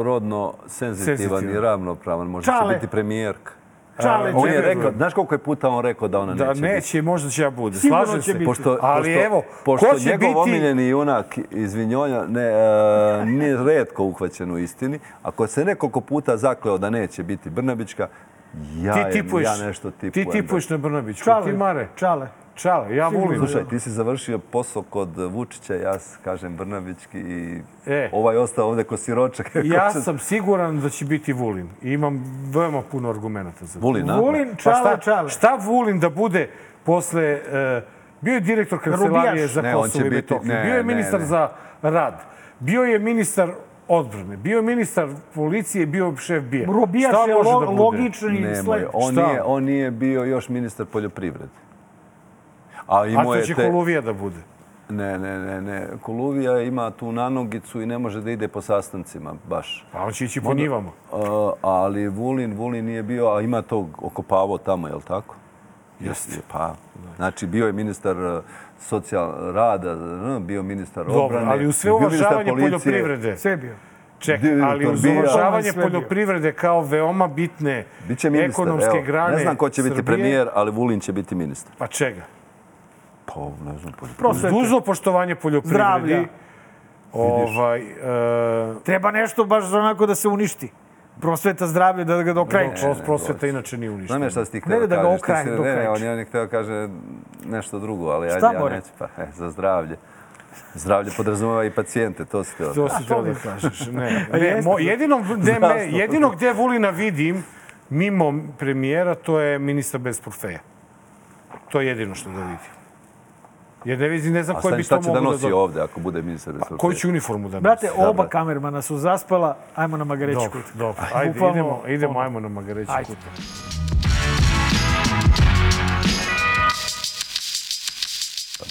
Speaker 7: rodno senzitivan i
Speaker 1: Senzitivan.
Speaker 7: ravnopravan. Možeš
Speaker 2: Čale.
Speaker 7: biti premijerka.
Speaker 2: Čale,
Speaker 7: On je
Speaker 1: Čekaj,
Speaker 7: rekao, znaš koliko je puta on rekao da ona
Speaker 1: Da
Speaker 7: neće biti? Ono
Speaker 1: neće, možda će ja bude.
Speaker 2: Sigurno
Speaker 1: Slažem
Speaker 2: će
Speaker 1: se.
Speaker 2: biti.
Speaker 7: Pošto,
Speaker 1: ali
Speaker 7: pošto,
Speaker 1: evo,
Speaker 7: pošto
Speaker 1: ko će
Speaker 7: njegov
Speaker 1: biti...
Speaker 7: omiljeni junak iz Vinjonja ne, e, nije redko uhvaćen u istini, ako se nekoliko puta zakleo da neće biti Brnabićka, Ja,
Speaker 1: ti tipuješ,
Speaker 7: ja nešto tipujem.
Speaker 1: Ti tipuješ na Brnabićku.
Speaker 2: Čale.
Speaker 1: Ti Mare.
Speaker 2: Čale.
Speaker 1: Čale, ja volim.
Speaker 7: Slušaj, ti si završio posao kod Vučića, ja s- kažem Brnabićki i
Speaker 1: E.
Speaker 7: ovaj ostao ovde ko siročak.
Speaker 1: Ja
Speaker 7: Ko će-
Speaker 1: sam siguran da će biti Vulin. I imam veoma puno argumenta za to.
Speaker 7: Vulin, a?
Speaker 2: Vulin,
Speaker 1: Pa
Speaker 2: čale,
Speaker 1: šta,
Speaker 2: čale.
Speaker 1: šta Vulin da bude posle... e, bio je direktor kancelarije
Speaker 2: Rubijaš.
Speaker 1: za
Speaker 7: Ne, on
Speaker 1: Kosovo
Speaker 7: će
Speaker 1: i
Speaker 7: biti-
Speaker 1: Metohiju.
Speaker 7: ne,
Speaker 1: Bio je
Speaker 7: ne,
Speaker 1: ministar
Speaker 7: ne.
Speaker 1: za rad. Bio je ministar odbrane. Bio je ministar policije, bio je šef bija.
Speaker 2: Robijaš
Speaker 1: Šta
Speaker 2: je
Speaker 1: može
Speaker 2: lo,
Speaker 1: da bude?
Speaker 2: logični
Speaker 7: Nemoj,
Speaker 2: sled.
Speaker 7: on
Speaker 1: Šta?
Speaker 7: nije, on nije bio još ministar poljoprivrede. A
Speaker 1: A
Speaker 7: imao
Speaker 1: to
Speaker 7: je
Speaker 1: će
Speaker 7: te...
Speaker 1: Koluvija da bude.
Speaker 7: Ne, ne, ne, ne. Koluvija ima tu nanogicu i ne može da ide po sastancima baš.
Speaker 1: A pa on će ići po njivama.
Speaker 7: A, ali Vulin, Vulin nije bio, a ima tog okopavo tamo, je li tako? Jeste. Pa, znači, bio je ministar e, socijal rada, e, bio ministar
Speaker 1: Dobro,
Speaker 7: obrane,
Speaker 1: ali u sve
Speaker 7: bio ministar
Speaker 1: uvažavanje
Speaker 7: policije.
Speaker 1: poljoprivrede.
Speaker 2: Sve je bio.
Speaker 1: Ček,
Speaker 7: Direktor
Speaker 1: ali uz
Speaker 7: BIA.
Speaker 1: uvažavanje
Speaker 2: Sve bio.
Speaker 1: poljoprivrede kao veoma bitne
Speaker 7: Biće ministar,
Speaker 1: ekonomske
Speaker 7: evo.
Speaker 1: grane
Speaker 7: Ne znam ko će biti
Speaker 1: Srbije,
Speaker 7: premijer, ali Vulin će biti ministar.
Speaker 1: Pa čega?
Speaker 7: Pa, ne znam, poljoprivrede.
Speaker 2: Prosvete.
Speaker 1: Duzo poštovanje poljoprivredi.
Speaker 2: Zdravlja.
Speaker 1: Ovaj, e,
Speaker 2: Treba nešto baš za onako da se uništi. Prosveta zdravlje da ga
Speaker 1: pro-
Speaker 2: dokreće.
Speaker 1: pro- prosveta inače nije uništena.
Speaker 7: Znam ja šta si ti
Speaker 2: Ne,
Speaker 7: htio
Speaker 2: da ga
Speaker 7: kažeš. ti
Speaker 2: okrajem
Speaker 7: si-
Speaker 2: dok
Speaker 7: ne, ne, on
Speaker 2: reče.
Speaker 7: je on je htio kaže nešto drugo, ali ajde,
Speaker 2: Šta,
Speaker 7: ja
Speaker 2: Bore?
Speaker 7: neću. Pa, e, za zdravlje. Zdravlje podrazumeva i pacijente, to si htio.
Speaker 1: To si teo da kažeš. Ne, ne,
Speaker 2: jeste.
Speaker 1: mo, jedino, gde
Speaker 7: Zdravstvo.
Speaker 1: me, jedino gde Vulina vidim, mimo premijera, to je ministar bez portfelja. To je jedino što da vidim. Jer ne vidim, ne znam
Speaker 7: A
Speaker 1: koji
Speaker 7: stani,
Speaker 1: bi to
Speaker 7: šta će
Speaker 1: mogu
Speaker 7: da
Speaker 1: da... Pa,
Speaker 7: nosi
Speaker 1: do-
Speaker 7: ovde ako bude ministar bez portfelja?
Speaker 1: Koju će uniformu da nosi?
Speaker 2: Brate, oba
Speaker 7: brate.
Speaker 2: kamermana su zaspala. Ajmo na Magareći
Speaker 1: Dobro,
Speaker 2: kut.
Speaker 1: dobro. Ajde,
Speaker 2: Bukvalno,
Speaker 1: idemo, idemo,
Speaker 2: ono,
Speaker 1: ajmo na Magareći
Speaker 2: Ajde.
Speaker 1: kutu.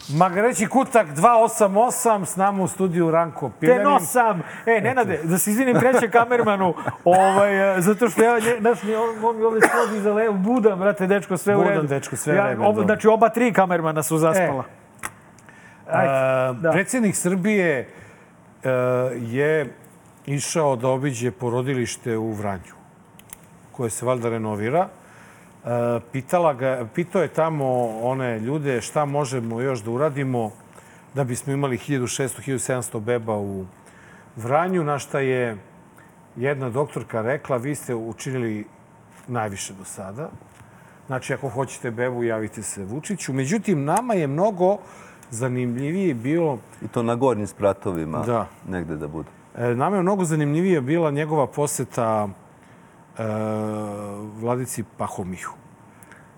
Speaker 1: Magareći kutak 288, s nama u studiju Ranko Piljanin.
Speaker 2: Te nosam! E, Nenade, da se izvinim trećem kamermanu, ovaj, eh, zato što ja, nje- znaš, ni on, on mi ovde slodi za levo, budam, brate, dečko, sve u
Speaker 1: Budan,
Speaker 2: redu.
Speaker 1: dečko, sve
Speaker 2: ja,
Speaker 1: vreme,
Speaker 2: ob-
Speaker 1: dobro.
Speaker 2: Znači, oba tri kamermana su zaspala.
Speaker 1: E,
Speaker 2: da.
Speaker 1: Predsjednik Srbije e, je išao da obiđe porodilište u Vranju, koje se valjda renovira. E, pitala ga, pitao je tamo one ljude šta možemo još da uradimo da bismo imali 1600-1700 beba u Vranju, na šta je jedna doktorka rekla, vi ste učinili najviše do sada. Znači, ako hoćete bebu, javite se Vučiću. Međutim, nama je mnogo zanimljivije bilo,
Speaker 7: I to na gornjim spratovima
Speaker 1: Da.
Speaker 7: negde da bude.
Speaker 1: e, nama je mnogo zanimljivije bila njegova poseta e, vladici Pahomihu.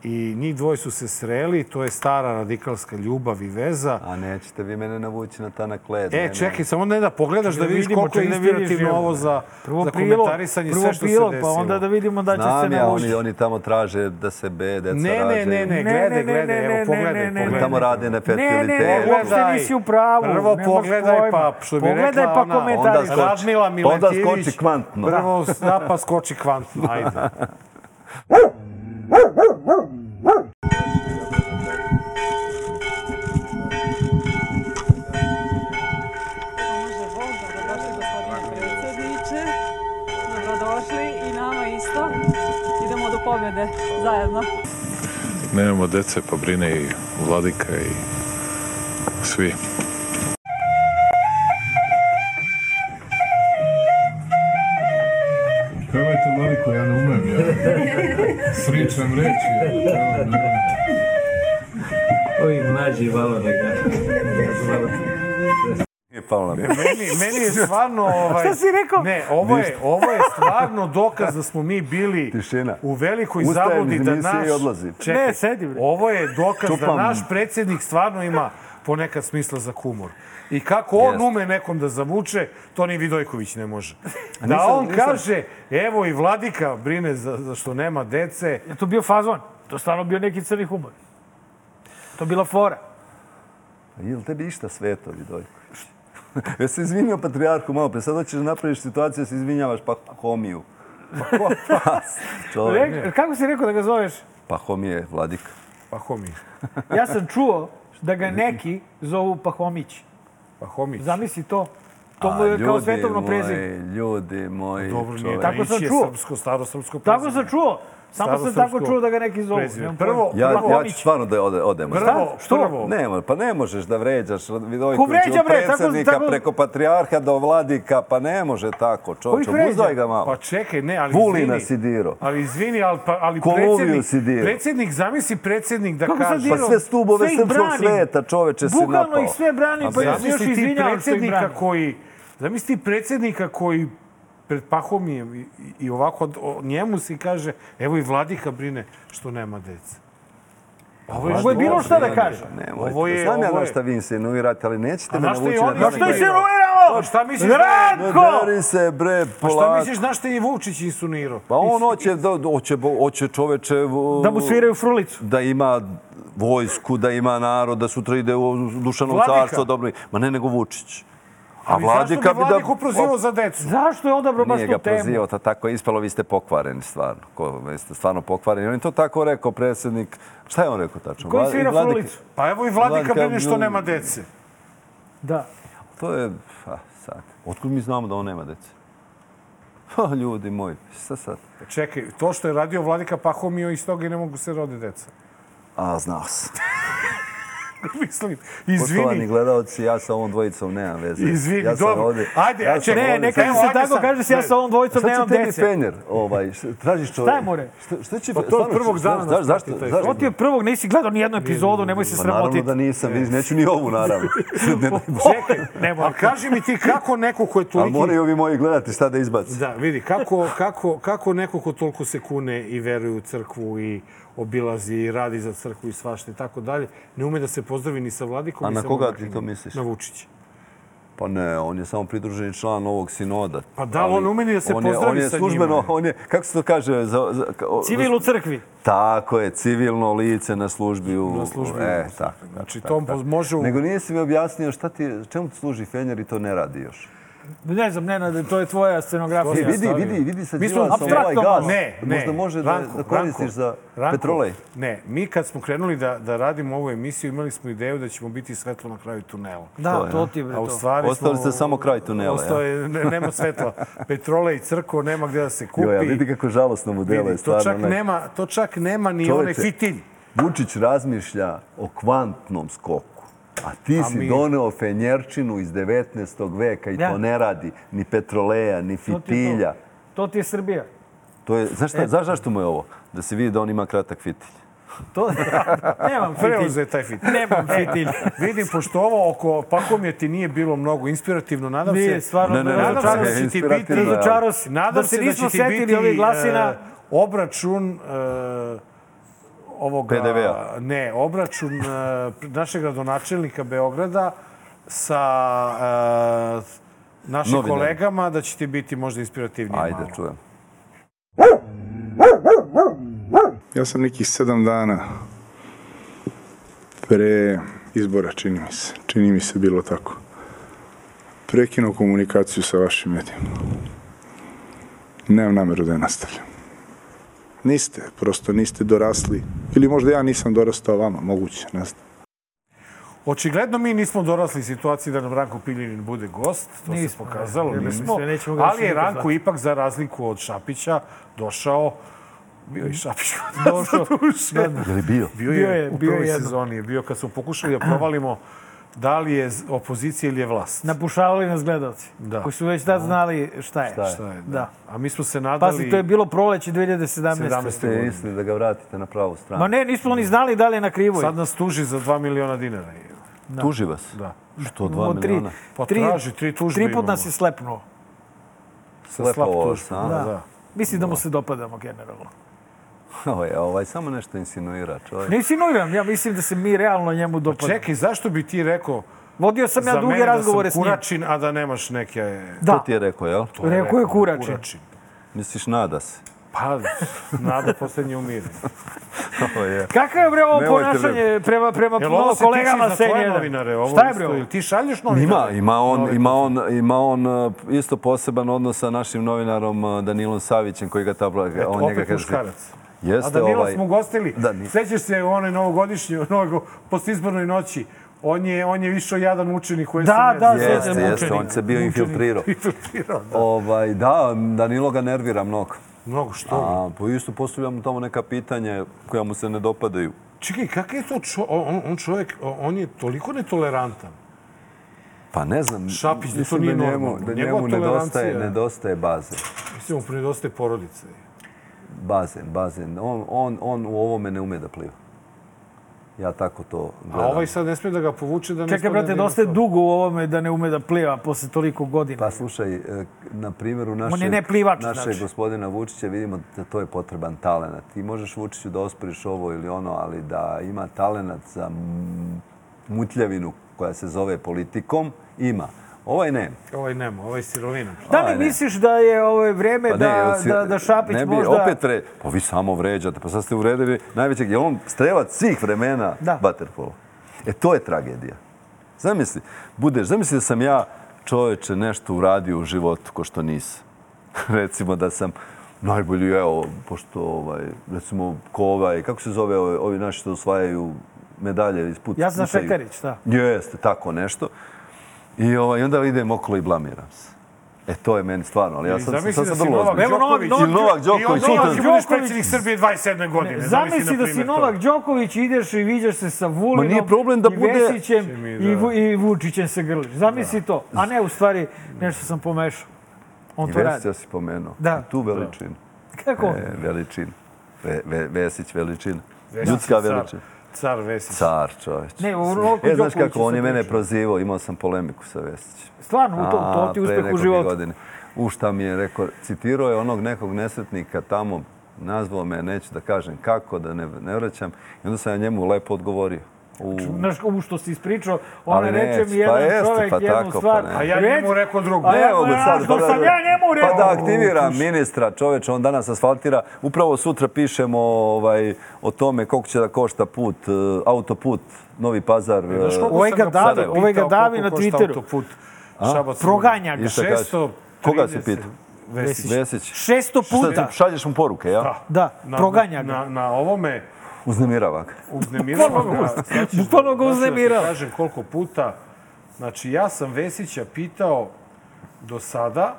Speaker 1: I njih dvoje su se sreli, to je stara radikalska ljubav i veza.
Speaker 7: A nećete vi mene navući na tanak led. ne,
Speaker 1: E,
Speaker 7: ne.
Speaker 1: čekaj, samo ne da pogledaš da
Speaker 2: Da
Speaker 1: vidiš
Speaker 2: vidimo
Speaker 1: koliko je
Speaker 2: čiji stil je
Speaker 1: inspirativno
Speaker 2: život.
Speaker 1: ovo za,
Speaker 2: Prvo
Speaker 1: za
Speaker 2: prilog,
Speaker 1: komentarisanje
Speaker 2: prvo
Speaker 1: sve što
Speaker 2: prilog,
Speaker 1: se
Speaker 2: pa
Speaker 1: desilo.
Speaker 2: onda da vidimo da će se
Speaker 7: Znam ja,
Speaker 2: navući.
Speaker 7: oni, oni tamo traže da se be, deca
Speaker 1: Ne, ne,
Speaker 7: rađaju.
Speaker 1: ne, ne,
Speaker 2: Ne,
Speaker 1: E, gledaj,
Speaker 2: ne,
Speaker 1: gledaj,
Speaker 2: ne,
Speaker 1: evo,
Speaker 2: ne,
Speaker 1: pogledaj,
Speaker 2: ne, ne,
Speaker 7: Oni
Speaker 1: pogledaj.
Speaker 7: tamo rade na fertilitetu.
Speaker 2: Ne, ne, ne, uopšte nisi u pravu.
Speaker 1: E, Prvo
Speaker 2: nemaš
Speaker 1: pogledaj,
Speaker 2: pojma.
Speaker 1: pa, što bi
Speaker 2: pogledaj,
Speaker 1: rekla
Speaker 2: pa
Speaker 1: ona, onda
Speaker 2: komentariš.
Speaker 7: skoči.
Speaker 1: Radmila
Speaker 7: Pa onda skoči
Speaker 1: Miletijević.
Speaker 7: kvantno.
Speaker 1: Prvo napa skoči kvantno, ajde.
Speaker 8: Može Bog, dobrodošli gospodine predsjedniče. Dobrodošli i nama isto. Idemo do pobjede zajedno.
Speaker 3: Nemamo dece, pa brine i vladika i svi. Pevajte vladiku, ja ne umem, ja. Sričam reći.
Speaker 9: Ovi mlađi malo neka.
Speaker 7: Nije palo na pamet.
Speaker 1: Meni, meni je stvarno... Ovaj,
Speaker 2: Šta si rekao?
Speaker 1: Ne, ovo je, ovo je stvarno dokaz da smo mi bili
Speaker 7: Tišina.
Speaker 1: u velikoj
Speaker 7: Ustajem
Speaker 1: zabludi
Speaker 7: iz
Speaker 1: da
Speaker 7: emisije
Speaker 1: naš...
Speaker 7: i odlazim.
Speaker 1: Čekaj,
Speaker 2: Ne, sedi, bre.
Speaker 1: Ovo je dokaz da
Speaker 7: Čupam.
Speaker 1: naš predsjednik stvarno ima ponekad smisla za humor. I kako on
Speaker 7: Jeste.
Speaker 1: ume nekom da zavuče, to ni Vidojković ne može. Da
Speaker 7: nisam-
Speaker 1: on
Speaker 7: nisam-
Speaker 1: kaže, evo i vladika brine za, za što nema dece,
Speaker 2: Je to bio fazon? To je stvarno bio neki crni humor. To je bila fora.
Speaker 7: Jel tebi išta sveto, Vidojko? Jesi se izvinio patrijarhu malo pre, sad hoćeš da napraviš situaciju da se izvinjavaš pa homiju. Pa ko pa, čovjek.
Speaker 2: Rek, kako si rekao da ga zoveš?
Speaker 7: Pa homije, vladika.
Speaker 1: Pahomić.
Speaker 2: Ja sam čuo da ga neki zovu Pahomić.
Speaker 1: Pahomić.
Speaker 2: Zamisli to. To
Speaker 7: A,
Speaker 2: mu je kao
Speaker 7: ljudi ovaj,
Speaker 2: svetovno prezime.
Speaker 7: moji, Ljudi moji,
Speaker 1: Dobro, nije
Speaker 7: čovjek.
Speaker 2: Tako
Speaker 1: Tako
Speaker 2: sam
Speaker 1: sam je
Speaker 2: čuo.
Speaker 1: srpsko, staro srpsko
Speaker 2: Tako sam čuo. Samo sam tako čuo da ga neki zovu.
Speaker 1: prezime.
Speaker 2: Nemam
Speaker 1: Prvo-
Speaker 2: pojma.
Speaker 7: Ja,
Speaker 1: Prvo-
Speaker 7: ja ću stvarno da ode, odemo.
Speaker 1: Prvo,
Speaker 2: Šta? Što?
Speaker 1: prvo,
Speaker 7: Ne, mo- pa ne možeš da vređaš od
Speaker 2: Ko
Speaker 7: Vidojkovića
Speaker 2: vređa,
Speaker 7: od
Speaker 2: bre, tako-
Speaker 7: predsjednika
Speaker 2: tako-
Speaker 7: preko patrijarha do vladika, pa ne može tako, čovječe,
Speaker 2: Ko ih vređa?
Speaker 7: obuzdaj ga malo.
Speaker 1: Pa čekaj, ne, ali
Speaker 7: Vulina
Speaker 1: izvini.
Speaker 7: si dirao.
Speaker 1: Ali izvini, ali, pa, ali
Speaker 7: Koluviju
Speaker 1: predsjednik,
Speaker 7: si dirao.
Speaker 1: predsjednik, zamisli predsjednik da
Speaker 2: Kako sad
Speaker 1: kaže...
Speaker 7: Pa
Speaker 2: dirao?
Speaker 7: sve stubove
Speaker 2: Sve ih
Speaker 7: srpskog
Speaker 2: branim.
Speaker 7: sveta, čoveče, si napao.
Speaker 2: Bukvalno ih sve brani,
Speaker 7: A
Speaker 2: pa ja se još
Speaker 1: Zamisli ti
Speaker 2: izvinjavam što ih
Speaker 1: predsjednika
Speaker 2: brani.
Speaker 1: koji... Zamisli ti predsjednika koji pred pahom je i, i ovako od- o njemu se kaže evo i vladika brine što nema dece. Pa Ovo
Speaker 7: Pa
Speaker 2: Ovo je bilo šta da kaže.
Speaker 7: Nemojte,
Speaker 1: Ovo je-
Speaker 7: znam ja
Speaker 1: ovo
Speaker 7: na
Speaker 1: je-
Speaker 7: šta vi insinuirate, ali nećete
Speaker 1: A
Speaker 7: me
Speaker 1: znaš šta i
Speaker 7: navući
Speaker 1: oni-
Speaker 2: Pa
Speaker 1: Pa
Speaker 7: na
Speaker 1: šta
Speaker 2: što
Speaker 7: tako
Speaker 1: je
Speaker 2: se
Speaker 1: insinuirao?
Speaker 2: roviramo?
Speaker 1: Pa šta misliš da je-
Speaker 7: Ne
Speaker 2: Ranko!
Speaker 7: dari se, bre,
Speaker 1: Pa šta
Speaker 7: polako.
Speaker 1: misliš, znaš šta je Vučić insunirao?
Speaker 7: Pa on hoće, da, hoće, hoće čoveče... u-
Speaker 2: Da mu sviraju frulicu.
Speaker 7: da ima vojsku, da ima narod, da sutra ide u Dušanovo
Speaker 1: Vladika.
Speaker 7: carstvo. Dobro, ma ne nego Vučić. A
Speaker 1: Ali zašto
Speaker 7: Vladika
Speaker 1: bi
Speaker 7: bi da...
Speaker 1: Vladiku prozivao za decu?
Speaker 2: Zašto je odabrao baš
Speaker 7: Nije ga
Speaker 2: tu temu?
Speaker 7: prozivao, ta tako je ispalo, vi ste pokvareni stvarno. Ko, vi ste stvarno pokvareni. On je to tako rekao, predsjednik. Šta je on rekao tačno?
Speaker 2: Koji
Speaker 7: Vla-
Speaker 2: svira
Speaker 7: Vladik-
Speaker 2: frulicu?
Speaker 1: Pa evo i vladika
Speaker 7: Vladika
Speaker 1: brine što
Speaker 7: bi-
Speaker 1: nema dece.
Speaker 2: Da.
Speaker 7: To je, a, sad, otkud mi znamo da on nema dece? Pa, ljudi moji, šta sad?
Speaker 1: Čekaj, to što je radio vladika Pahomio iz toga i ne mogu se rode deca.
Speaker 7: A, znao sam.
Speaker 1: Mislim,
Speaker 7: Poštovani
Speaker 1: izvini.
Speaker 7: gledalci, ja sa ovom dvojicom nemam veze.
Speaker 1: Izvini,
Speaker 7: ja sam
Speaker 1: dobro.
Speaker 7: Ovdje,
Speaker 1: Ajde,
Speaker 7: ja
Speaker 1: čekaj,
Speaker 7: sam
Speaker 2: znači, Ne,
Speaker 1: Evo,
Speaker 2: ne
Speaker 7: ovdje-
Speaker 2: kaže
Speaker 1: evo,
Speaker 2: se
Speaker 1: ajde
Speaker 2: tako,
Speaker 1: sad.
Speaker 2: kaže se ja sa ovom dvojicom
Speaker 7: Šta
Speaker 2: nemam
Speaker 7: će tebi
Speaker 2: dece.
Speaker 7: penjer? Ovaj, šta- tražiš čovjek?
Speaker 2: je more?
Speaker 7: Šta, šta će...
Speaker 1: to od
Speaker 7: stvarno,
Speaker 1: prvog
Speaker 7: šta-
Speaker 1: dana
Speaker 7: šta-
Speaker 1: nas
Speaker 7: Zašto?
Speaker 1: prati taj
Speaker 7: zašto-
Speaker 2: To ti je prvog, nisi gledao ni jednu epizodu, nemoj se
Speaker 7: Pa naravno
Speaker 2: sramotiti.
Speaker 7: da nisam, vidiš, neću ni ovu naravno. ne, daj Bože.
Speaker 1: Čekaj, nemoj. A kaži mi ti kako neko ko je
Speaker 7: Ali
Speaker 1: toliko...
Speaker 7: moraju ovi moji gledati šta da izbaci.
Speaker 1: Da, vidi, kako, kako, kako neko ko toliko se kune i veruje u crkvu i obilazi i radi za crkvu i svašta i tako dalje, ne ume da se pozdravi ni sa vladikom
Speaker 7: A
Speaker 1: ni
Speaker 7: na
Speaker 1: sa
Speaker 7: koga
Speaker 1: monarhijom.
Speaker 7: ti to misliš?
Speaker 1: Na Vučića. Znači,
Speaker 7: Pa ne, on je samo pridruženi član ovog sinoda.
Speaker 1: Pa da, ali on umeni da se
Speaker 7: on je-
Speaker 1: pozdravi
Speaker 7: on je
Speaker 1: sa
Speaker 7: službeno,
Speaker 1: njima.
Speaker 7: On je, kako se to kaže? Za, za, ka- o-
Speaker 2: Civil u crkvi.
Speaker 7: Tako je, civilno lice na službi u...
Speaker 1: Na službi u-
Speaker 7: E, tako,
Speaker 1: Znači,
Speaker 7: tako,
Speaker 1: to
Speaker 7: tako.
Speaker 1: može u-
Speaker 7: Nego nisi mi objasnio šta ti, čemu ti služi fenjer i to ne radi još.
Speaker 2: Ne znam, Nenade, to je tvoja
Speaker 7: E,
Speaker 2: scenografija.
Speaker 7: vidi,
Speaker 1: stavio.
Speaker 7: vidi, vidi sa
Speaker 1: Mi smo
Speaker 7: Đilasom ovaj
Speaker 2: apstraktno
Speaker 7: gaz.
Speaker 2: malo.
Speaker 1: Ne, ne.
Speaker 7: Možda može da,
Speaker 1: Ranko,
Speaker 7: da koristiš
Speaker 1: Ranko,
Speaker 7: za
Speaker 1: Ranko,
Speaker 7: petrolej.
Speaker 1: Ne, mi kad smo krenuli da, da radimo ovu emisiju, imali smo ideju da ćemo biti svetlo na kraju tunela.
Speaker 2: Da, to ti je bre
Speaker 1: A u
Speaker 2: to.
Speaker 1: stvari
Speaker 7: Ostali
Speaker 1: smo-
Speaker 7: ste samo kraj tunela,
Speaker 1: Ostao je, ne, nema svetla. Petrola i crko, nema gdje da se kupi.
Speaker 7: Joja, vidi kako žalosno mu
Speaker 1: Vidi,
Speaker 7: deluje
Speaker 1: to,
Speaker 7: stvarno.
Speaker 1: čak
Speaker 7: onaj-
Speaker 1: nema, to čak nema ni onaj
Speaker 7: Čoveče.
Speaker 1: fitilj.
Speaker 7: Vučić razmišlja o kvantnom skoku. A ti si
Speaker 1: mi-
Speaker 7: doneo fenjerčinu iz 19. veka i
Speaker 2: Da.
Speaker 7: to ne radi ni petroleja, ni
Speaker 2: To E. ti je to.
Speaker 7: fitilja.
Speaker 2: To ti je Srbija.
Speaker 7: To je, znaš, šta, znaš zašto mu je ovo? Da se vidi da on ima kratak fitilj.
Speaker 2: To, nemam
Speaker 1: Preuzeo
Speaker 2: fitilj.
Speaker 1: je taj fitilj. E,
Speaker 2: Nemam fitilj.
Speaker 1: Vidim, pošto ovo oko pa Pakomjeti nije bilo mnogo inspirativno, nadam
Speaker 2: Nije,
Speaker 1: se...
Speaker 2: stvarno,
Speaker 7: Ne, ne, ne,
Speaker 1: nadam se da će
Speaker 7: čekaj,
Speaker 1: ti biti...
Speaker 7: inspirativno je, ali-
Speaker 2: Razočarao si.
Speaker 1: Nadam
Speaker 2: Da
Speaker 1: se
Speaker 2: se
Speaker 1: da
Speaker 2: nismo
Speaker 1: će ti
Speaker 2: setili
Speaker 1: biti
Speaker 2: ovih glasina.
Speaker 1: e, obračun e, ovoga...
Speaker 7: PDV-a.
Speaker 1: Ne, obračun e, našeg gradonačelnika Beograda sa e, našim
Speaker 7: Novinarima.
Speaker 1: kolegama da će ti biti možda inspirativnije.
Speaker 7: Ajde,
Speaker 1: malo.
Speaker 7: čujem.
Speaker 10: Ja sam nekih sedam dana pre izbora, čini mi se. Čini mi se bilo tako. Prekinuo komunikaciju sa vašim medijima. Nemam nameru da je nastavljam. Niste, prosto niste dorasli. Ili možda ja nisam dorastao vama, moguće, ne znam.
Speaker 1: Očigledno mi nismo dorasli situaciji da nam Ranko Piljanin bude gost, to se
Speaker 2: Nismo,
Speaker 1: pokazalo,
Speaker 2: ne, ne,
Speaker 1: nismo.
Speaker 2: mislim, nećemo ga
Speaker 1: Ali
Speaker 2: više
Speaker 1: je
Speaker 2: nikad
Speaker 1: Ranko
Speaker 2: zvati.
Speaker 1: ipak, za razliku od Šapića, došao, bio je i Šapić kod nas
Speaker 2: Došao.
Speaker 1: doduše.
Speaker 7: Je li bio?
Speaker 1: Bio
Speaker 2: Bio
Speaker 1: je
Speaker 2: je,
Speaker 1: u
Speaker 2: bio je
Speaker 1: prvoj
Speaker 2: jedno.
Speaker 1: sezoni, je bio kad smo pokušali da provalimo da li je z- opozicija ili je vlast.
Speaker 2: Napušavali nas gledalci.
Speaker 1: Da.
Speaker 2: Koji su već tad znali šta je.
Speaker 1: Šta je,
Speaker 2: Da.
Speaker 1: A mi smo se nadali...
Speaker 2: Pazi, to je bilo proleće 2017.
Speaker 1: 17..
Speaker 7: Ste mislili da ga vratite na pravu stranu.
Speaker 2: Ma ne, nismo ni znali da li je na krivoj.
Speaker 1: Sad nas tuži za 2 miliona dinara.
Speaker 7: Tuži vas?
Speaker 1: Da.
Speaker 7: Što, dva
Speaker 2: Imamo tri-
Speaker 7: miliona?
Speaker 1: Pa
Speaker 2: tri-
Speaker 1: traži, tri tužbe
Speaker 2: Tri put
Speaker 1: imamo.
Speaker 2: nas je slepnuo.
Speaker 1: Sa slab
Speaker 7: ovo,
Speaker 1: tužb.
Speaker 7: a?
Speaker 1: Da. da.
Speaker 2: Mislim da mu se dopadamo generalno.
Speaker 7: Ovaj, ovaj, samo nešto insinuira čovjek.
Speaker 2: Ne insinuiram, ja mislim da se mi realno njemu dopadamo.
Speaker 1: Pa Čekaj, zašto bi ti rekao
Speaker 2: Vodio sam ja
Speaker 1: za
Speaker 2: duge
Speaker 1: mene da sam
Speaker 2: razgovore s njim.
Speaker 1: kuračin, a da nemaš neke...
Speaker 7: To
Speaker 2: Da, Pa
Speaker 7: ti je rekao, jel?
Speaker 2: rekao je kuračin.
Speaker 1: Kuračin.
Speaker 7: Misliš, nada se.
Speaker 1: Pa, nada poslednje umire.
Speaker 7: Ovo je.
Speaker 2: Kakav je bre ovo
Speaker 7: Nemojte, bre.
Speaker 2: ponašanje prema, prema
Speaker 1: Jel ovo
Speaker 2: Pa, malo
Speaker 1: se kolegama
Speaker 2: kolegama
Speaker 1: tiče i za tvoje
Speaker 2: N1?
Speaker 1: novinare? Ovo
Speaker 2: Šta je bre
Speaker 1: isto,
Speaker 2: ovo?
Speaker 1: ili Ti šalješ
Speaker 7: Ima,
Speaker 1: novinare?
Speaker 7: ima on, ima on, ima on e, isto poseban odnos sa našim novinarom e, Danilom Savićem koji ga tabla,
Speaker 1: Eto,
Speaker 7: on njega
Speaker 1: opet
Speaker 7: kaže.
Speaker 1: muškarac. A
Speaker 7: Jeste
Speaker 1: Danila
Speaker 7: ovaj.
Speaker 1: smo gostili.
Speaker 7: Da, ni-
Speaker 1: Sećaš se u onoj novogodišnjoj, novo, postizbornoj noći. On je, on je više jadan učenik u SNS.
Speaker 2: Da, da,
Speaker 1: Je.
Speaker 7: Jeste,
Speaker 2: Sedam
Speaker 7: jeste, on
Speaker 2: učenika.
Speaker 7: se bio infiltrirao.
Speaker 1: Infiltrirao, da.
Speaker 7: Ovaj, da, Danilo ga nervira mnogo.
Speaker 1: Mnogo što.
Speaker 7: A, po isto postavljamo tamo neka pitanja koja mu se ne dopadaju.
Speaker 1: Čekaj, kakav je to čo, on, on čovjek, on je toliko netolerantan.
Speaker 7: Pa ne znam,
Speaker 1: Šapić, da to
Speaker 7: mislim
Speaker 1: nije
Speaker 7: da njemu,
Speaker 1: normalno.
Speaker 7: da
Speaker 1: Njegova
Speaker 7: njemu nedostaje,
Speaker 1: tolerancija-
Speaker 7: nedostaje baze.
Speaker 1: Mislim, mu predostaje porodice.
Speaker 7: Bazen, bazen. On, on, on u ovome ne ume da pliva. Ja tako to
Speaker 1: A
Speaker 7: gledam.
Speaker 1: ovaj sad ne smije da ga povuče da ne
Speaker 2: Čekaj,
Speaker 1: ispadne da
Speaker 2: brate,
Speaker 1: ima
Speaker 2: dosta je
Speaker 1: to.
Speaker 2: dugo u ovome da ne ume da pliva posle toliko godina.
Speaker 7: Pa slušaj, e, na primjeru našeg,
Speaker 2: je ne plivač,
Speaker 7: našeg
Speaker 2: znači.
Speaker 7: gospodina Vučića vidimo da to je potreban talenat. Ti možeš Vučiću da osporiš ovo ili ono, ali da ima talenat za m- mutljavinu koja se zove politikom, ima. Ovaj ne.
Speaker 1: Ovaj nema, ovaj sirovina.
Speaker 2: Da
Speaker 7: Aj,
Speaker 2: li
Speaker 7: Pa ne.
Speaker 2: misliš da je ovo vreme
Speaker 7: Pa ne,
Speaker 2: da,
Speaker 7: jel si-
Speaker 2: da, da Šapić
Speaker 7: ne bi,
Speaker 2: možda...
Speaker 7: Opet re, pa vi samo vređate, pa sad ste uvredili najvećeg. Je on strelac svih vremena
Speaker 2: Da.
Speaker 7: Waterpola. E, to je tragedija. Zamisli, budeš, zamisli da sam ja čoveče nešto uradio u životu ko što nisam. recimo da sam najbolji, evo, pošto ovaj, recimo ko ovaj, kako se zove ovi, ovi naši što osvajaju medalje iz puta?
Speaker 2: Ja sam Šekarić, da.
Speaker 7: Jeste, tako nešto. I ovaj, onda idem okolo i blamiram se. E, to je meni stvarno, ali ja
Speaker 1: I
Speaker 7: sam,
Speaker 1: zamisli
Speaker 7: sam, sam
Speaker 1: da si
Speaker 7: vrlo
Speaker 1: Novak
Speaker 7: ozbiljan.
Speaker 2: Evo Novak,
Speaker 1: Đoković.
Speaker 7: Ili Novak Đoković,
Speaker 1: I onda
Speaker 7: sutra
Speaker 1: ti budeš
Speaker 2: Đoković-
Speaker 1: predsjednik Srbije 27. godine.
Speaker 2: Zamisli
Speaker 1: zamisli,
Speaker 2: da
Speaker 1: na
Speaker 2: si
Speaker 1: primjer, to.
Speaker 2: Novak Đoković, ideš i viđaš se sa Vulinom,
Speaker 7: Ma nije problem da
Speaker 2: i
Speaker 7: bude-
Speaker 2: Vesićem
Speaker 1: Čim i
Speaker 2: i,
Speaker 1: da.
Speaker 2: Vu- i Vučićem se grliš. Zamisli to. A ne, u stvari, nešto sam pomešao. On
Speaker 7: I
Speaker 2: to radi.
Speaker 7: Vesića si pomenuo.
Speaker 2: Da.
Speaker 7: I Tu veličinu.
Speaker 2: Kako?
Speaker 7: E, veličinu. Ve, ve, Vesić veličina.
Speaker 1: Vesić,
Speaker 7: Ljudska
Speaker 1: car.
Speaker 7: veličina.
Speaker 1: Car Vesić.
Speaker 7: Car, čovječ.
Speaker 2: Ne, o Novku
Speaker 7: E, znaš
Speaker 2: Đokoviću
Speaker 7: kako, on
Speaker 2: sam
Speaker 7: je mene
Speaker 2: pričao.
Speaker 7: prozivao, imao sam polemiku sa Vesićem.
Speaker 2: Stvarno, u to, to ti
Speaker 7: A, pre
Speaker 2: uspeh u
Speaker 7: nekoliko
Speaker 2: životu.
Speaker 7: Godine. U šta mi je rekao, citirao je onog nekog nesretnika tamo, nazvao me, neću da kažem kako, da ne, ne vraćam. I onda sam ja njemu lepo odgovorio. U,
Speaker 2: Znaš, ovo što si ispričao, ona
Speaker 7: Ali
Speaker 2: reče
Speaker 7: neće,
Speaker 2: mi jedan
Speaker 7: pa jeste,
Speaker 2: čovjek
Speaker 7: pa
Speaker 2: jednu
Speaker 7: tako, pa
Speaker 2: stvar.
Speaker 7: ne.
Speaker 1: A ja
Speaker 2: Reci-
Speaker 1: njemu rekao drugo.
Speaker 2: A ja-
Speaker 7: Evo ga
Speaker 2: znaš,
Speaker 7: sad,
Speaker 2: dok sam ja njemu
Speaker 7: Pa
Speaker 2: rekao.
Speaker 7: da aktivira ministra, čoveče, on danas asfaltira. Upravo sutra pišemo ovaj, o tome koliko će da košta put, eh, autoput, Novi Pazar. eh,
Speaker 1: koliko
Speaker 2: Ovaj
Speaker 1: sam
Speaker 2: ga
Speaker 1: ga
Speaker 2: davi,
Speaker 1: pitao
Speaker 2: ovaj ga
Speaker 1: koliko
Speaker 2: davi na
Speaker 1: košta
Speaker 2: Twitteru.
Speaker 1: autoput Šabac-
Speaker 2: Proganja ga.
Speaker 7: I šta kaže?
Speaker 1: 630.
Speaker 7: Koga si pitao?
Speaker 1: Vesić.
Speaker 7: Vesić.
Speaker 2: 600 puta.
Speaker 7: Šta, šalješ mu poruke, ja?
Speaker 1: Da.
Speaker 2: Da,
Speaker 1: Na-
Speaker 2: proganja ga.
Speaker 1: Na, na ovome
Speaker 7: Uznemirava ga.
Speaker 1: uznemirava ga. Sad ćeš da-
Speaker 2: bukvalno
Speaker 1: sad
Speaker 2: ga
Speaker 1: ću da ti
Speaker 2: uznemirava.
Speaker 1: Kažem koliko puta. Znači, ja sam Vesića pitao do sada,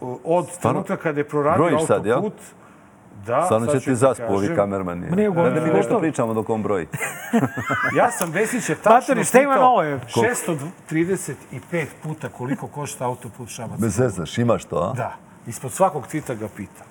Speaker 1: o- od trenutka kada je proradio
Speaker 7: Brojiš sad, jel?
Speaker 1: autoput, da,
Speaker 7: Stvarno
Speaker 1: sad
Speaker 7: će
Speaker 1: ću
Speaker 7: ti
Speaker 1: ti
Speaker 7: zaspu ovi
Speaker 1: kažem.
Speaker 7: kamermani. E,
Speaker 2: nije ugodno.
Speaker 7: Da mi nešto pričamo dok on broji.
Speaker 1: Ja sam Vesića tačno
Speaker 2: Matori, šta ima novo, je?
Speaker 1: 635 puta koliko košta autoput Šabac.
Speaker 7: Bez zeznaš, imaš to, a?
Speaker 1: Da, ispod svakog tvita ga pita.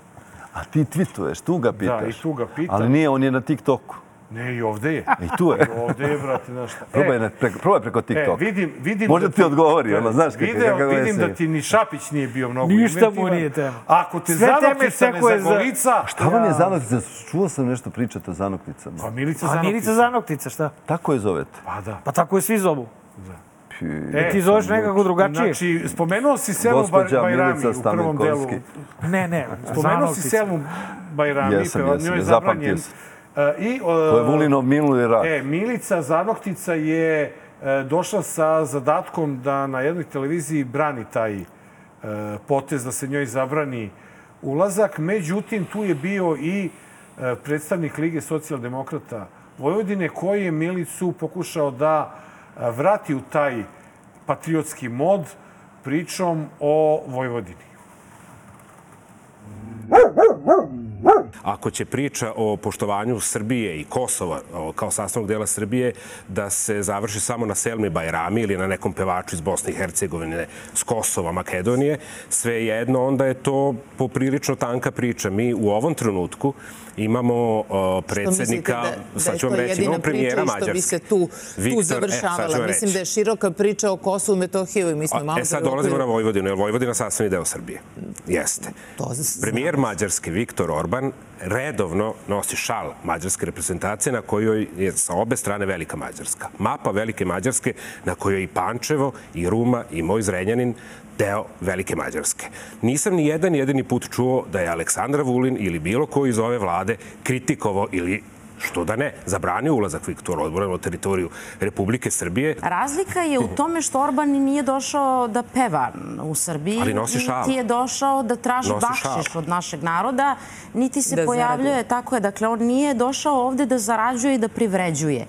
Speaker 7: A ti tweetuješ, tu ga pitaš.
Speaker 1: i tu ga pitam.
Speaker 7: Ali nije, on je na TikToku.
Speaker 1: Ne, i ovde je.
Speaker 7: I tu je.
Speaker 1: Ovde je, brate, znaš šta.
Speaker 7: Probaj,
Speaker 1: E,
Speaker 7: na, preko, probaj preko
Speaker 1: E,
Speaker 7: TikToka.
Speaker 1: vidim, vidim
Speaker 7: Možda ti odgovori,
Speaker 1: Da,
Speaker 7: ono, znaš kako-
Speaker 1: video,
Speaker 7: kakav je
Speaker 1: Vidim
Speaker 7: se-
Speaker 1: da ti ni Šapić nije bio mnogo
Speaker 2: Ništa
Speaker 1: inventivan.
Speaker 2: mu nije tema.
Speaker 1: Ako te
Speaker 2: Sve teme
Speaker 1: zanokli sa
Speaker 2: sekuje za-
Speaker 1: nezagolica...
Speaker 7: Šta vam je zanoktica? Čuo sam nešto pričati o zanokticama.
Speaker 1: Pa Milica
Speaker 2: A
Speaker 1: zanokli.
Speaker 2: Milica Zanoktica, šta?
Speaker 7: Tako je zovete.
Speaker 1: Pa da.
Speaker 2: Pa tako je svi zovu.
Speaker 7: Pi-
Speaker 1: E,
Speaker 2: Ti zoveš nekako drugačije.
Speaker 1: Znači, spomenuo si Selmu
Speaker 7: Gospođa
Speaker 1: Bar- Bajrami
Speaker 7: Milica
Speaker 1: u prvom delu.
Speaker 7: Stamenkovski.
Speaker 2: Ne, ne,
Speaker 1: Spomenuo si
Speaker 2: Zanoktica.
Speaker 1: Selmu Bajrami,
Speaker 7: Jesam,
Speaker 1: peva-
Speaker 7: jesam,
Speaker 1: njoj je
Speaker 7: zapamtio
Speaker 1: zabranjen.
Speaker 7: sam.
Speaker 1: E, I,
Speaker 7: To je Vulinov minuli rad.
Speaker 1: E, Milica Zanoktica je e, došla sa zadatkom da na jednoj televiziji brani taj e, potez, da se njoj zabrani ulazak. Međutim, tu je bio i e, predstavnik Lige socijaldemokrata Vojvodine koji je Milicu pokušao da e, vrati u taj patriotski mod pričom o Vojvodini.
Speaker 11: Ako će priča o poštovanju Srbije i Kosova o, kao sastavnog dela Srbije da se završi samo na Selmi Bajrami ili na nekom pevaču iz Bosne i Hercegovine, s Kosova, Makedonije, sve jedno, onda je to poprilično tanka priča. Mi u ovom trenutku imamo o,
Speaker 12: mislite
Speaker 11: predsednika,
Speaker 12: da, da
Speaker 11: sad
Speaker 12: je
Speaker 11: ću
Speaker 12: to
Speaker 11: vam reći,
Speaker 12: jedina
Speaker 11: imamo
Speaker 12: priča
Speaker 11: premijera
Speaker 12: i što bi se
Speaker 11: Mađarske.
Speaker 12: tu, tu
Speaker 11: Viktor, e, sad ću vam
Speaker 12: završavala.
Speaker 11: reći.
Speaker 12: Mislim da je široka priča o Kosovu i Metohiju i mi smo malo...
Speaker 11: E sad dolazimo na Vojvodinu, jer Vojvodina je sastavni deo Srbije. Jeste.
Speaker 12: To z-
Speaker 11: Premijer Mađarske Viktor Orban redovno nosi šal Mađarske reprezentacije na kojoj je sa obe strane Velika Mađarska. Mapa Velike Mađarske na kojoj je i Pančevo, i Ruma, i moj Zrenjanin deo Velike Mađarske. Nisam ni jedan jedini put čuo da je Aleksandra Vulin ili bilo ko iz ove vlade kritikovao ili što da ne, zabranio ulazak Viktor Orban na teritoriju Republike Srbije.
Speaker 13: Razlika je u tome što Orban nije došao da peva u Srbiji,
Speaker 11: Ali nosi šal.
Speaker 13: niti je došao da traži
Speaker 11: Nosi šal.
Speaker 13: bakšiš od našeg naroda, niti se
Speaker 12: Da
Speaker 13: pojavljuje, tako je, dakle, on nije došao ovde da zarađuje i da privređuje.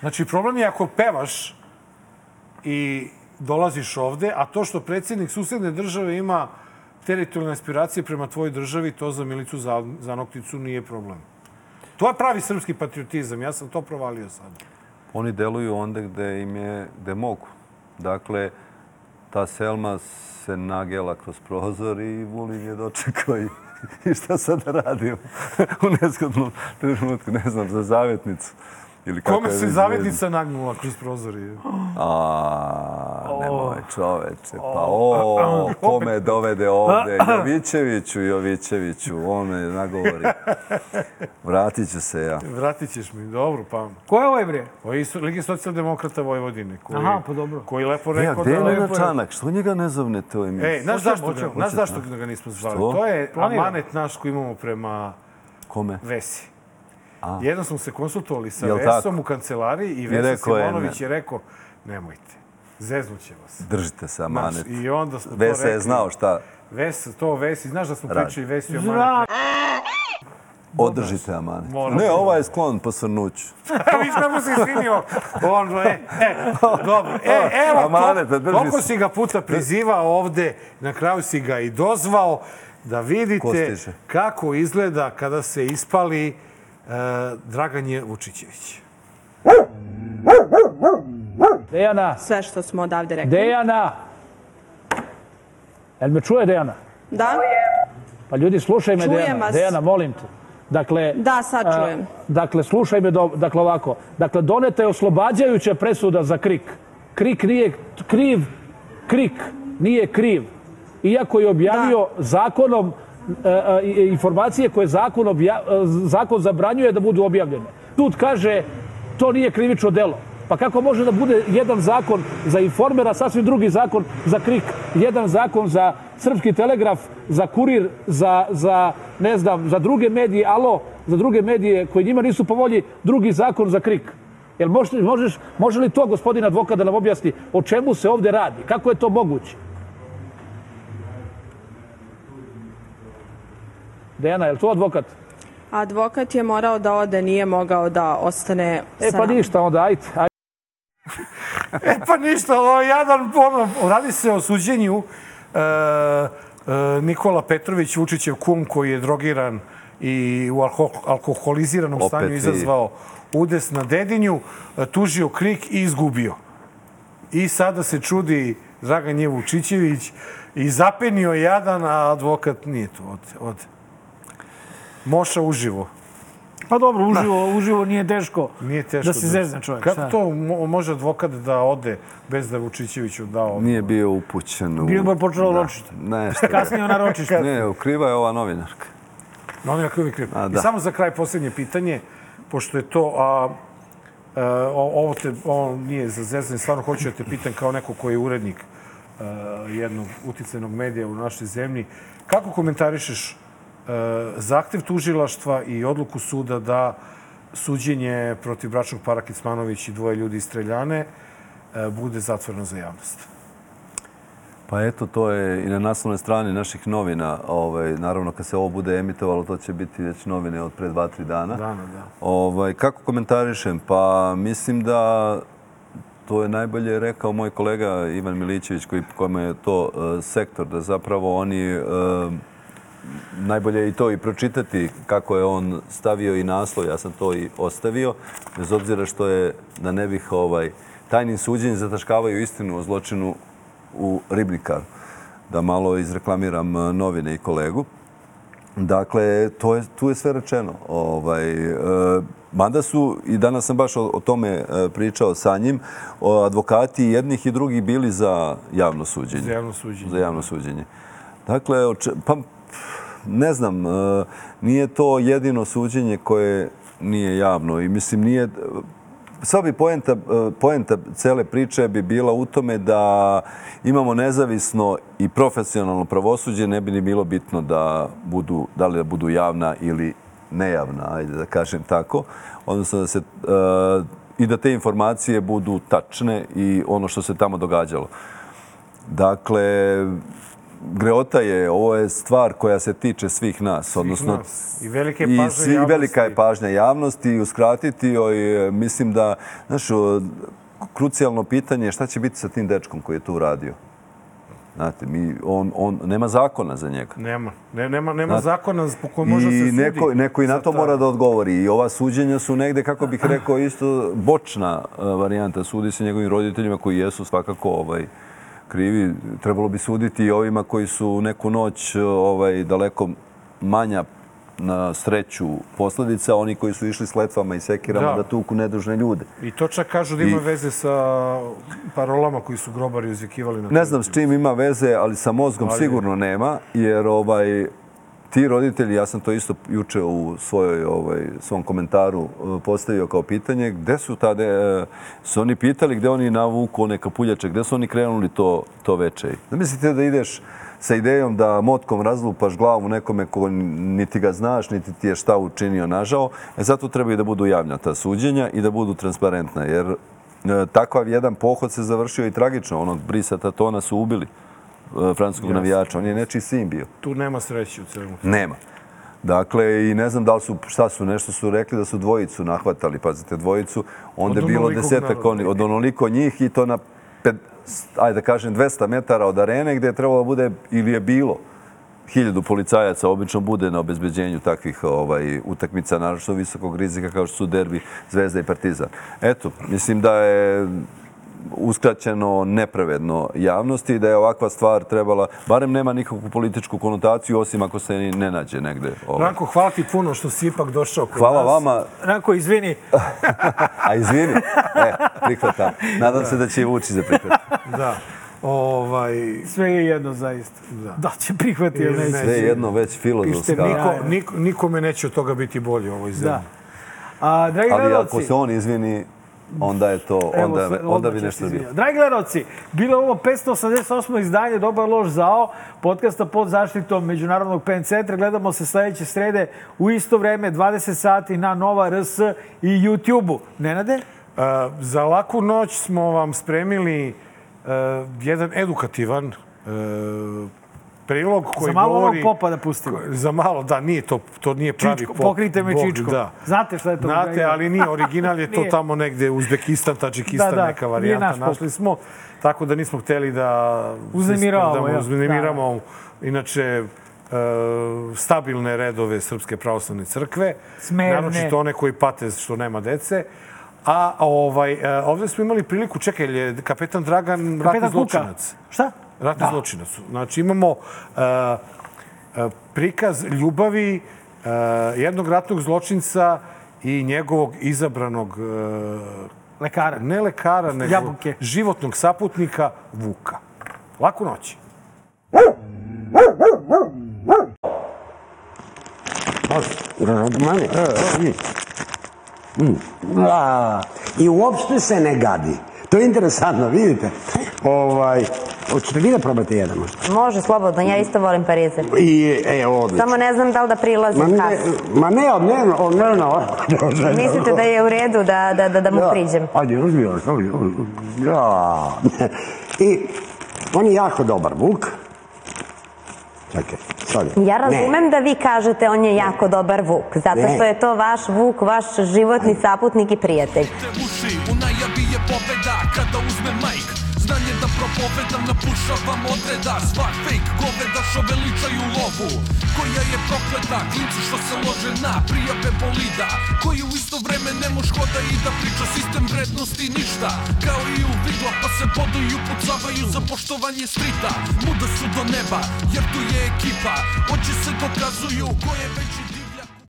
Speaker 1: Znači, problem je ako pevaš i dolaziš ovde, a to što predsjednik susedne države ima
Speaker 2: teritorijalne aspiracije prema tvojoj državi, to za Milicu Za- Zanokticu nije problem. To je pravi srpski patriotizam. Ja sam to provalio sad.
Speaker 7: Oni deluju onda gde im je, gde mogu. Dakle, ta Selma se nagela kroz prozor i Vulin je dočekao i, i šta sad da radimo u neskodnom trenutku, ne znam, za zavetnicu. Ili kako
Speaker 2: Kome
Speaker 7: je
Speaker 2: se
Speaker 7: već
Speaker 2: zavetnica nagnula kroz prozori? Oh.
Speaker 7: A, nemoj čoveče, pa o, ko me dovede ovde? Jovićeviću, Jovićeviću, on me nagovori. Vratit ću se ja.
Speaker 2: Vratit ćeš mi, dobro, pa...
Speaker 1: Ko je ovaj bre?
Speaker 2: Ovo je isto- Lige socijaldemokrata Vojvodine, koji,
Speaker 1: Aha, pa dobro.
Speaker 2: koji je lepo
Speaker 7: Ja,
Speaker 2: rekao
Speaker 7: gde je
Speaker 2: da...
Speaker 7: Nenad Čanak? Što njega ne zovnete u emisiju?
Speaker 2: Ej, znaš
Speaker 7: Hoćemo,
Speaker 2: zašto, ga,
Speaker 7: hoćemo,
Speaker 2: znaš
Speaker 7: hoćemo.
Speaker 2: zašto ga nismo zvali?
Speaker 7: Što?
Speaker 2: To je
Speaker 7: Planirano.
Speaker 2: amanet naš koji imamo prema
Speaker 7: Kome?
Speaker 2: Vesi.
Speaker 7: A.
Speaker 2: Jedno smo se konsultovali sa
Speaker 7: Jel
Speaker 2: Vesom
Speaker 7: tako?
Speaker 2: u kancelariji i
Speaker 7: I
Speaker 2: Vesa
Speaker 7: rekao je,
Speaker 2: Simonović
Speaker 7: ne.
Speaker 2: je rekao, nemojte, zeznuće vas.
Speaker 7: Držite se amanet.
Speaker 2: Znaš, I onda smo to
Speaker 7: Vesa
Speaker 2: rekli.
Speaker 7: je znao šta.
Speaker 2: Ves, to Vesi, znaš da smo
Speaker 7: Radi.
Speaker 2: pričali Vesi o amanetu.
Speaker 1: Zra...
Speaker 7: Održite amanet.
Speaker 2: Moram.
Speaker 7: Ne, ova je sklon posrnuću.
Speaker 2: Viš kako si svinio. On, e, e, dobro. E, evo,
Speaker 7: Amanet,
Speaker 2: to,
Speaker 7: pa drži
Speaker 2: toliko
Speaker 7: se.
Speaker 2: si ga puta prizivao ovde, na kraju si ga i dozvao da
Speaker 7: Ko
Speaker 2: vidite
Speaker 7: stiže?
Speaker 2: kako izgleda kada se ispali e, Dragan je Vučićević.
Speaker 14: Dejana,
Speaker 13: sve što smo odavde rekli.
Speaker 14: Dejana! Jel me čuje Dejana?
Speaker 13: Da?
Speaker 14: Pa ljudi, slušaj me
Speaker 13: Čujem
Speaker 14: Dejana.
Speaker 13: vas.
Speaker 14: Dejana, molim te. Dakle,
Speaker 13: Da, sad
Speaker 14: a,
Speaker 13: čujem.
Speaker 14: dakle, slušaj me, do, dakle ovako. Dakle, doneta je oslobađajuća presuda za krik. Krik nije kriv, krik nije kriv. Iako je objavio zakonom e, e, i- informacije koje zakon, obja, e, zakon zabranjuje da budu objavljene. Sud kaže, to nije krivično delo. Pa kako može da bude jedan zakon za informera, sasvim drugi zakon za krik, jedan zakon za srpski telegraf, za kurir, za, za ne znam, za druge medije, alo, za druge medije koji njima nisu po volji, drugi zakon za krik. Jel možeš, možeš, može li to gospodin advokat da nam objasni o čemu se ovde radi? Kako je to moguće? Dejana, je li to advokat?
Speaker 13: Advokat je morao da ode, nije mogao da ostane
Speaker 14: E
Speaker 13: sa
Speaker 14: pa
Speaker 13: nama.
Speaker 14: ništa, onda ajde. ajde.
Speaker 2: E pa ništa, ovo je jadan ono, Radi se o suđenju e, e, Nikola Petrović, Vučićev kum koji je drogiran i u alko alkoholiziranom
Speaker 7: Opet
Speaker 2: stanju
Speaker 7: vi.
Speaker 2: izazvao udes na dedinju, e, tužio krik i izgubio. I sada se čudi Dragan je Vučićević i zapenio je jadan, a advokat nije tu. Od, od. Moša uživo.
Speaker 1: Pa dobro, uživo, uživo nije teško.
Speaker 2: Nije teško.
Speaker 1: Da se zezne čovjek,
Speaker 2: Kako
Speaker 1: Pa šta?
Speaker 2: to mo- može advokat da ode bez da je Vučićeviću dao?
Speaker 7: Nije bio upućen u...
Speaker 2: Bilo mu je počelo
Speaker 7: Da,
Speaker 2: ročište.
Speaker 7: Nešto.
Speaker 2: Kasnije ona ročišta.
Speaker 7: Ne, ukriva je ova novinarka.
Speaker 2: Novinarka uvijek kriva.
Speaker 7: A,
Speaker 2: I
Speaker 7: da.
Speaker 2: samo za kraj posljednje pitanje, pošto je to... A, e, o- ovo, te, ovo nije za zezanje, stvarno hoću da te pitam kao neko koji je urednik e, jednog uticajnog medija u našoj zemlji. Kako komentarišeš e, zahtev tužilaštva i odluku suda da suđenje protiv bračnog para Kicmanović i dvoje ljudi iz Streljane e, bude zatvoreno za javnost?
Speaker 7: Pa eto, to je i na naslovnoj strani naših novina. Ovaj, naravno, kad se ovo bude emitovalo, to će biti već novine od pre dva, tri dana.
Speaker 2: Dana, da.
Speaker 7: Ovaj, kako komentarišem? Pa mislim da to je najbolje rekao moj kolega Ivan Milićević, koji, kome je to eh, sektor, da zapravo oni... eh, najbolje je i to i pročitati kako je on stavio i naslov, ja sam to i ostavio, bez obzira što je, da ne bih ovaj, tajnim suđenjem zataškavaju istinu o zločinu u Ribnikaru. Da malo izreklamiram eh, novine i kolegu. Dakle, to je, tu je sve rečeno. Ovaj, e, mada su, i danas sam baš o, o tome e, pričao sa njim, o, advokati i jednih i drugih bili za javno suđenje.
Speaker 2: Za javno suđenje.
Speaker 7: Za javno suđenje. Dakle, oče- pa, pff, ne znam, e, nije to jedino suđenje koje nije javno. I mislim, nije, sva bi poenta, e, poenta cele priče bi bila u tome da imamo nezavisno i profesionalno pravosuđe, ne bi ni bilo bitno da budu, da li da budu javna ili nejavna, ajde da kažem tako, odnosno da se e, i da te informacije budu tačne i ono što se tamo događalo. Dakle, greota je, ovo je stvar koja se tiče svih nas, odnosno
Speaker 2: nas. I velike
Speaker 7: i
Speaker 2: pažnje
Speaker 7: svi- i velika je pažnja javnosti i uskratiti joj, e, mislim da, znaš, o, krucijalno pitanje je šta će biti sa tim dečkom koji je to uradio. Znate, mi, on, on, nema zakona za njega.
Speaker 1: Nema. Ne, nema nema
Speaker 7: Znate,
Speaker 1: zakona po kojem može da se
Speaker 7: I
Speaker 1: sudi.
Speaker 7: neko, neko i na
Speaker 1: za
Speaker 7: to
Speaker 1: ta-
Speaker 7: mora da odgovori. I ova suđenja su negde, kako bih rekao, isto bočna e, varijanta. Sudi se njegovim roditeljima koji jesu svakako ovaj, krivi. Trebalo bi suditi i ovima koji su neku noć e, ovaj, daleko manja na sreću posledica, oni koji su išli s letvama i sekirama
Speaker 1: Da.
Speaker 7: da, tuku nedužne ljude.
Speaker 1: I to čak kažu da ima
Speaker 7: I-
Speaker 1: veze sa parolama koji su grobari uzvikivali na
Speaker 7: Ne znam s čim ima veze, ali sa mozgom
Speaker 1: Ali-
Speaker 7: sigurno nema, jer ovaj ti roditelji, ja sam to isto juče u svojoj ovaj svom komentaru eh, postavio kao pitanje, gde su tada eh, su oni pitali gde oni navuku one kapuljače, gde su oni krenuli to to veče. Zamislite da ideš sa idejom da motkom razlupaš glavu nekome ko niti ga znaš, niti ti je šta učinio nažao. E zato trebaju da budu javna ta suđenja i da budu transparentna, jer E, takav jedan pohod se završio i tragično. Onog Brisa Tatona su ubili e, francuskog navijača. On je nečiji sin bio.
Speaker 1: Tu nema sreće u celom.
Speaker 7: Nema. Dakle, i ne znam da li su, šta su, nešto su rekli da su dvojicu nahvatali, pazite, dvojicu. Onda je
Speaker 1: Od
Speaker 7: bilo
Speaker 1: onolikog
Speaker 7: desetak
Speaker 1: naroda.
Speaker 7: oni, od onoliko njih i to na, pet, ajde da kažem, 200 metara od arene gdje je trebalo da bude, ili je bilo, hiljadu policajaca obično bude na obezbeđenju takvih ovaj, utakmica, naročito visokog rizika kao što su derbi Zvezda i Partizan. Eto, mislim da je uskraćeno nepravedno javnosti i da je ovakva stvar trebala, barem nema nikakvu političku konotaciju, osim ako se ni ne nađe negde. Ovaj.
Speaker 1: Ranko, hvala ti puno što si ipak došao kod
Speaker 7: Hvala
Speaker 1: nas.
Speaker 7: vama,
Speaker 2: Ranko, izvini.
Speaker 7: a izvini, e, prihvatam. Nadam se da će i Vučić da prihvati.
Speaker 1: Da. Ovaj...
Speaker 2: Sve je jedno zaista. Da, će prihvatiti ili neće.
Speaker 7: Sve je jedno već
Speaker 1: Pište,
Speaker 7: filozofska.
Speaker 1: niko, niko, nikome neće od toga biti bolje u ovoj zemlji.
Speaker 2: Da. A, dragi
Speaker 7: Ali ako
Speaker 2: gledalci,
Speaker 7: se on izvini, onda je to,
Speaker 2: Evo,
Speaker 7: onda,
Speaker 2: sve-
Speaker 7: onda
Speaker 2: odmah
Speaker 7: bi
Speaker 2: ću
Speaker 7: nešto
Speaker 2: se
Speaker 7: bilo.
Speaker 2: izvinjati. Dragi gledalci, bilo je ovo 588. izdanje Dobar lož zao, podcasta pod zaštitom Međunarodnog PN centra. Gledamo se sledeće srede u isto vreme, 20 sati na Nova RS i YouTube-u. Nenade?
Speaker 1: E, za laku noć smo vam spremili e, jedan edukativan e, prilog koji
Speaker 2: Za malo
Speaker 1: govori...
Speaker 2: onog popa da pustimo.
Speaker 1: Za malo, da, nije to, to nije pravi
Speaker 2: Čičko,
Speaker 1: pop.
Speaker 2: pokrite me
Speaker 1: Bog,
Speaker 2: čičkom.
Speaker 1: Da.
Speaker 2: Znate šta je to?
Speaker 1: Znate, ali nije original, je to
Speaker 2: Nije.
Speaker 1: tamo negde Uzbekistan, Tadžikistan,
Speaker 2: Da, da,
Speaker 1: neka
Speaker 2: nije
Speaker 1: varijanta.
Speaker 2: naš pop.
Speaker 1: Našli smo, tako da nismo hteli da...
Speaker 2: Uznemiravamo,
Speaker 1: da
Speaker 2: jel?
Speaker 1: uznemiravamo, inače, e, stabilne redove Srpske pravoslavne crkve.
Speaker 2: Smerne.
Speaker 1: Naročito one koji pate što nema dece. A ovaj, e, ovdje smo imali priliku, čekaj, jel je kapetan Dragan ratni
Speaker 2: Kapetan Kuka.
Speaker 1: zločinac.
Speaker 2: Šta?
Speaker 1: Ratni zločinac. Znači imamo e, e, prikaz ljubavi e, jednog ratnog zločinca i njegovog izabranog e,
Speaker 2: lekara.
Speaker 1: Ne lekara, nego
Speaker 2: Jabuke.
Speaker 1: životnog saputnika Vuka. Laku noć.
Speaker 15: Mane, Da. Mm. I uopšte se ne gadi. To je interesantno, vidite. Ovaj, hoćete vi da probate jedan možda?
Speaker 16: Može, slobodno, ja isto volim parizer.
Speaker 15: I, e, odlično.
Speaker 16: Samo ne znam da li da
Speaker 15: Ma
Speaker 16: prilazim
Speaker 15: ne,
Speaker 16: kasno.
Speaker 15: ma ne, od mene, od mene ovako.
Speaker 16: Mislite da je u redu da, da, da, da mu priđem?
Speaker 15: Ajde, uzmi još, uzmi, uzmi. Ja. I on je jako dobar vuk. Čekaj, sorry.
Speaker 16: Ja
Speaker 15: Ne.
Speaker 16: razumem da vi kažete on je jako dobar vuk, zato
Speaker 15: Ne.
Speaker 16: što je to vaš vuk, vaš životni saputnik i prijatelj.
Speaker 17: uši U najavi je pobeda kada uzme majk Znanje da propovedam, napušavam odreda Svak fake goveda što veličaju lovu Koja je prokleta, klinci što se lože na prijave bolida Koji u isto vreme ne moš hoda i da priča Sistem vrednosti ništa, kao i u vidla Pa se boduju, pucavaju za poštovanje strita Muda su do neba, jer tu je ekipa Oči se dokazuju, ko je veći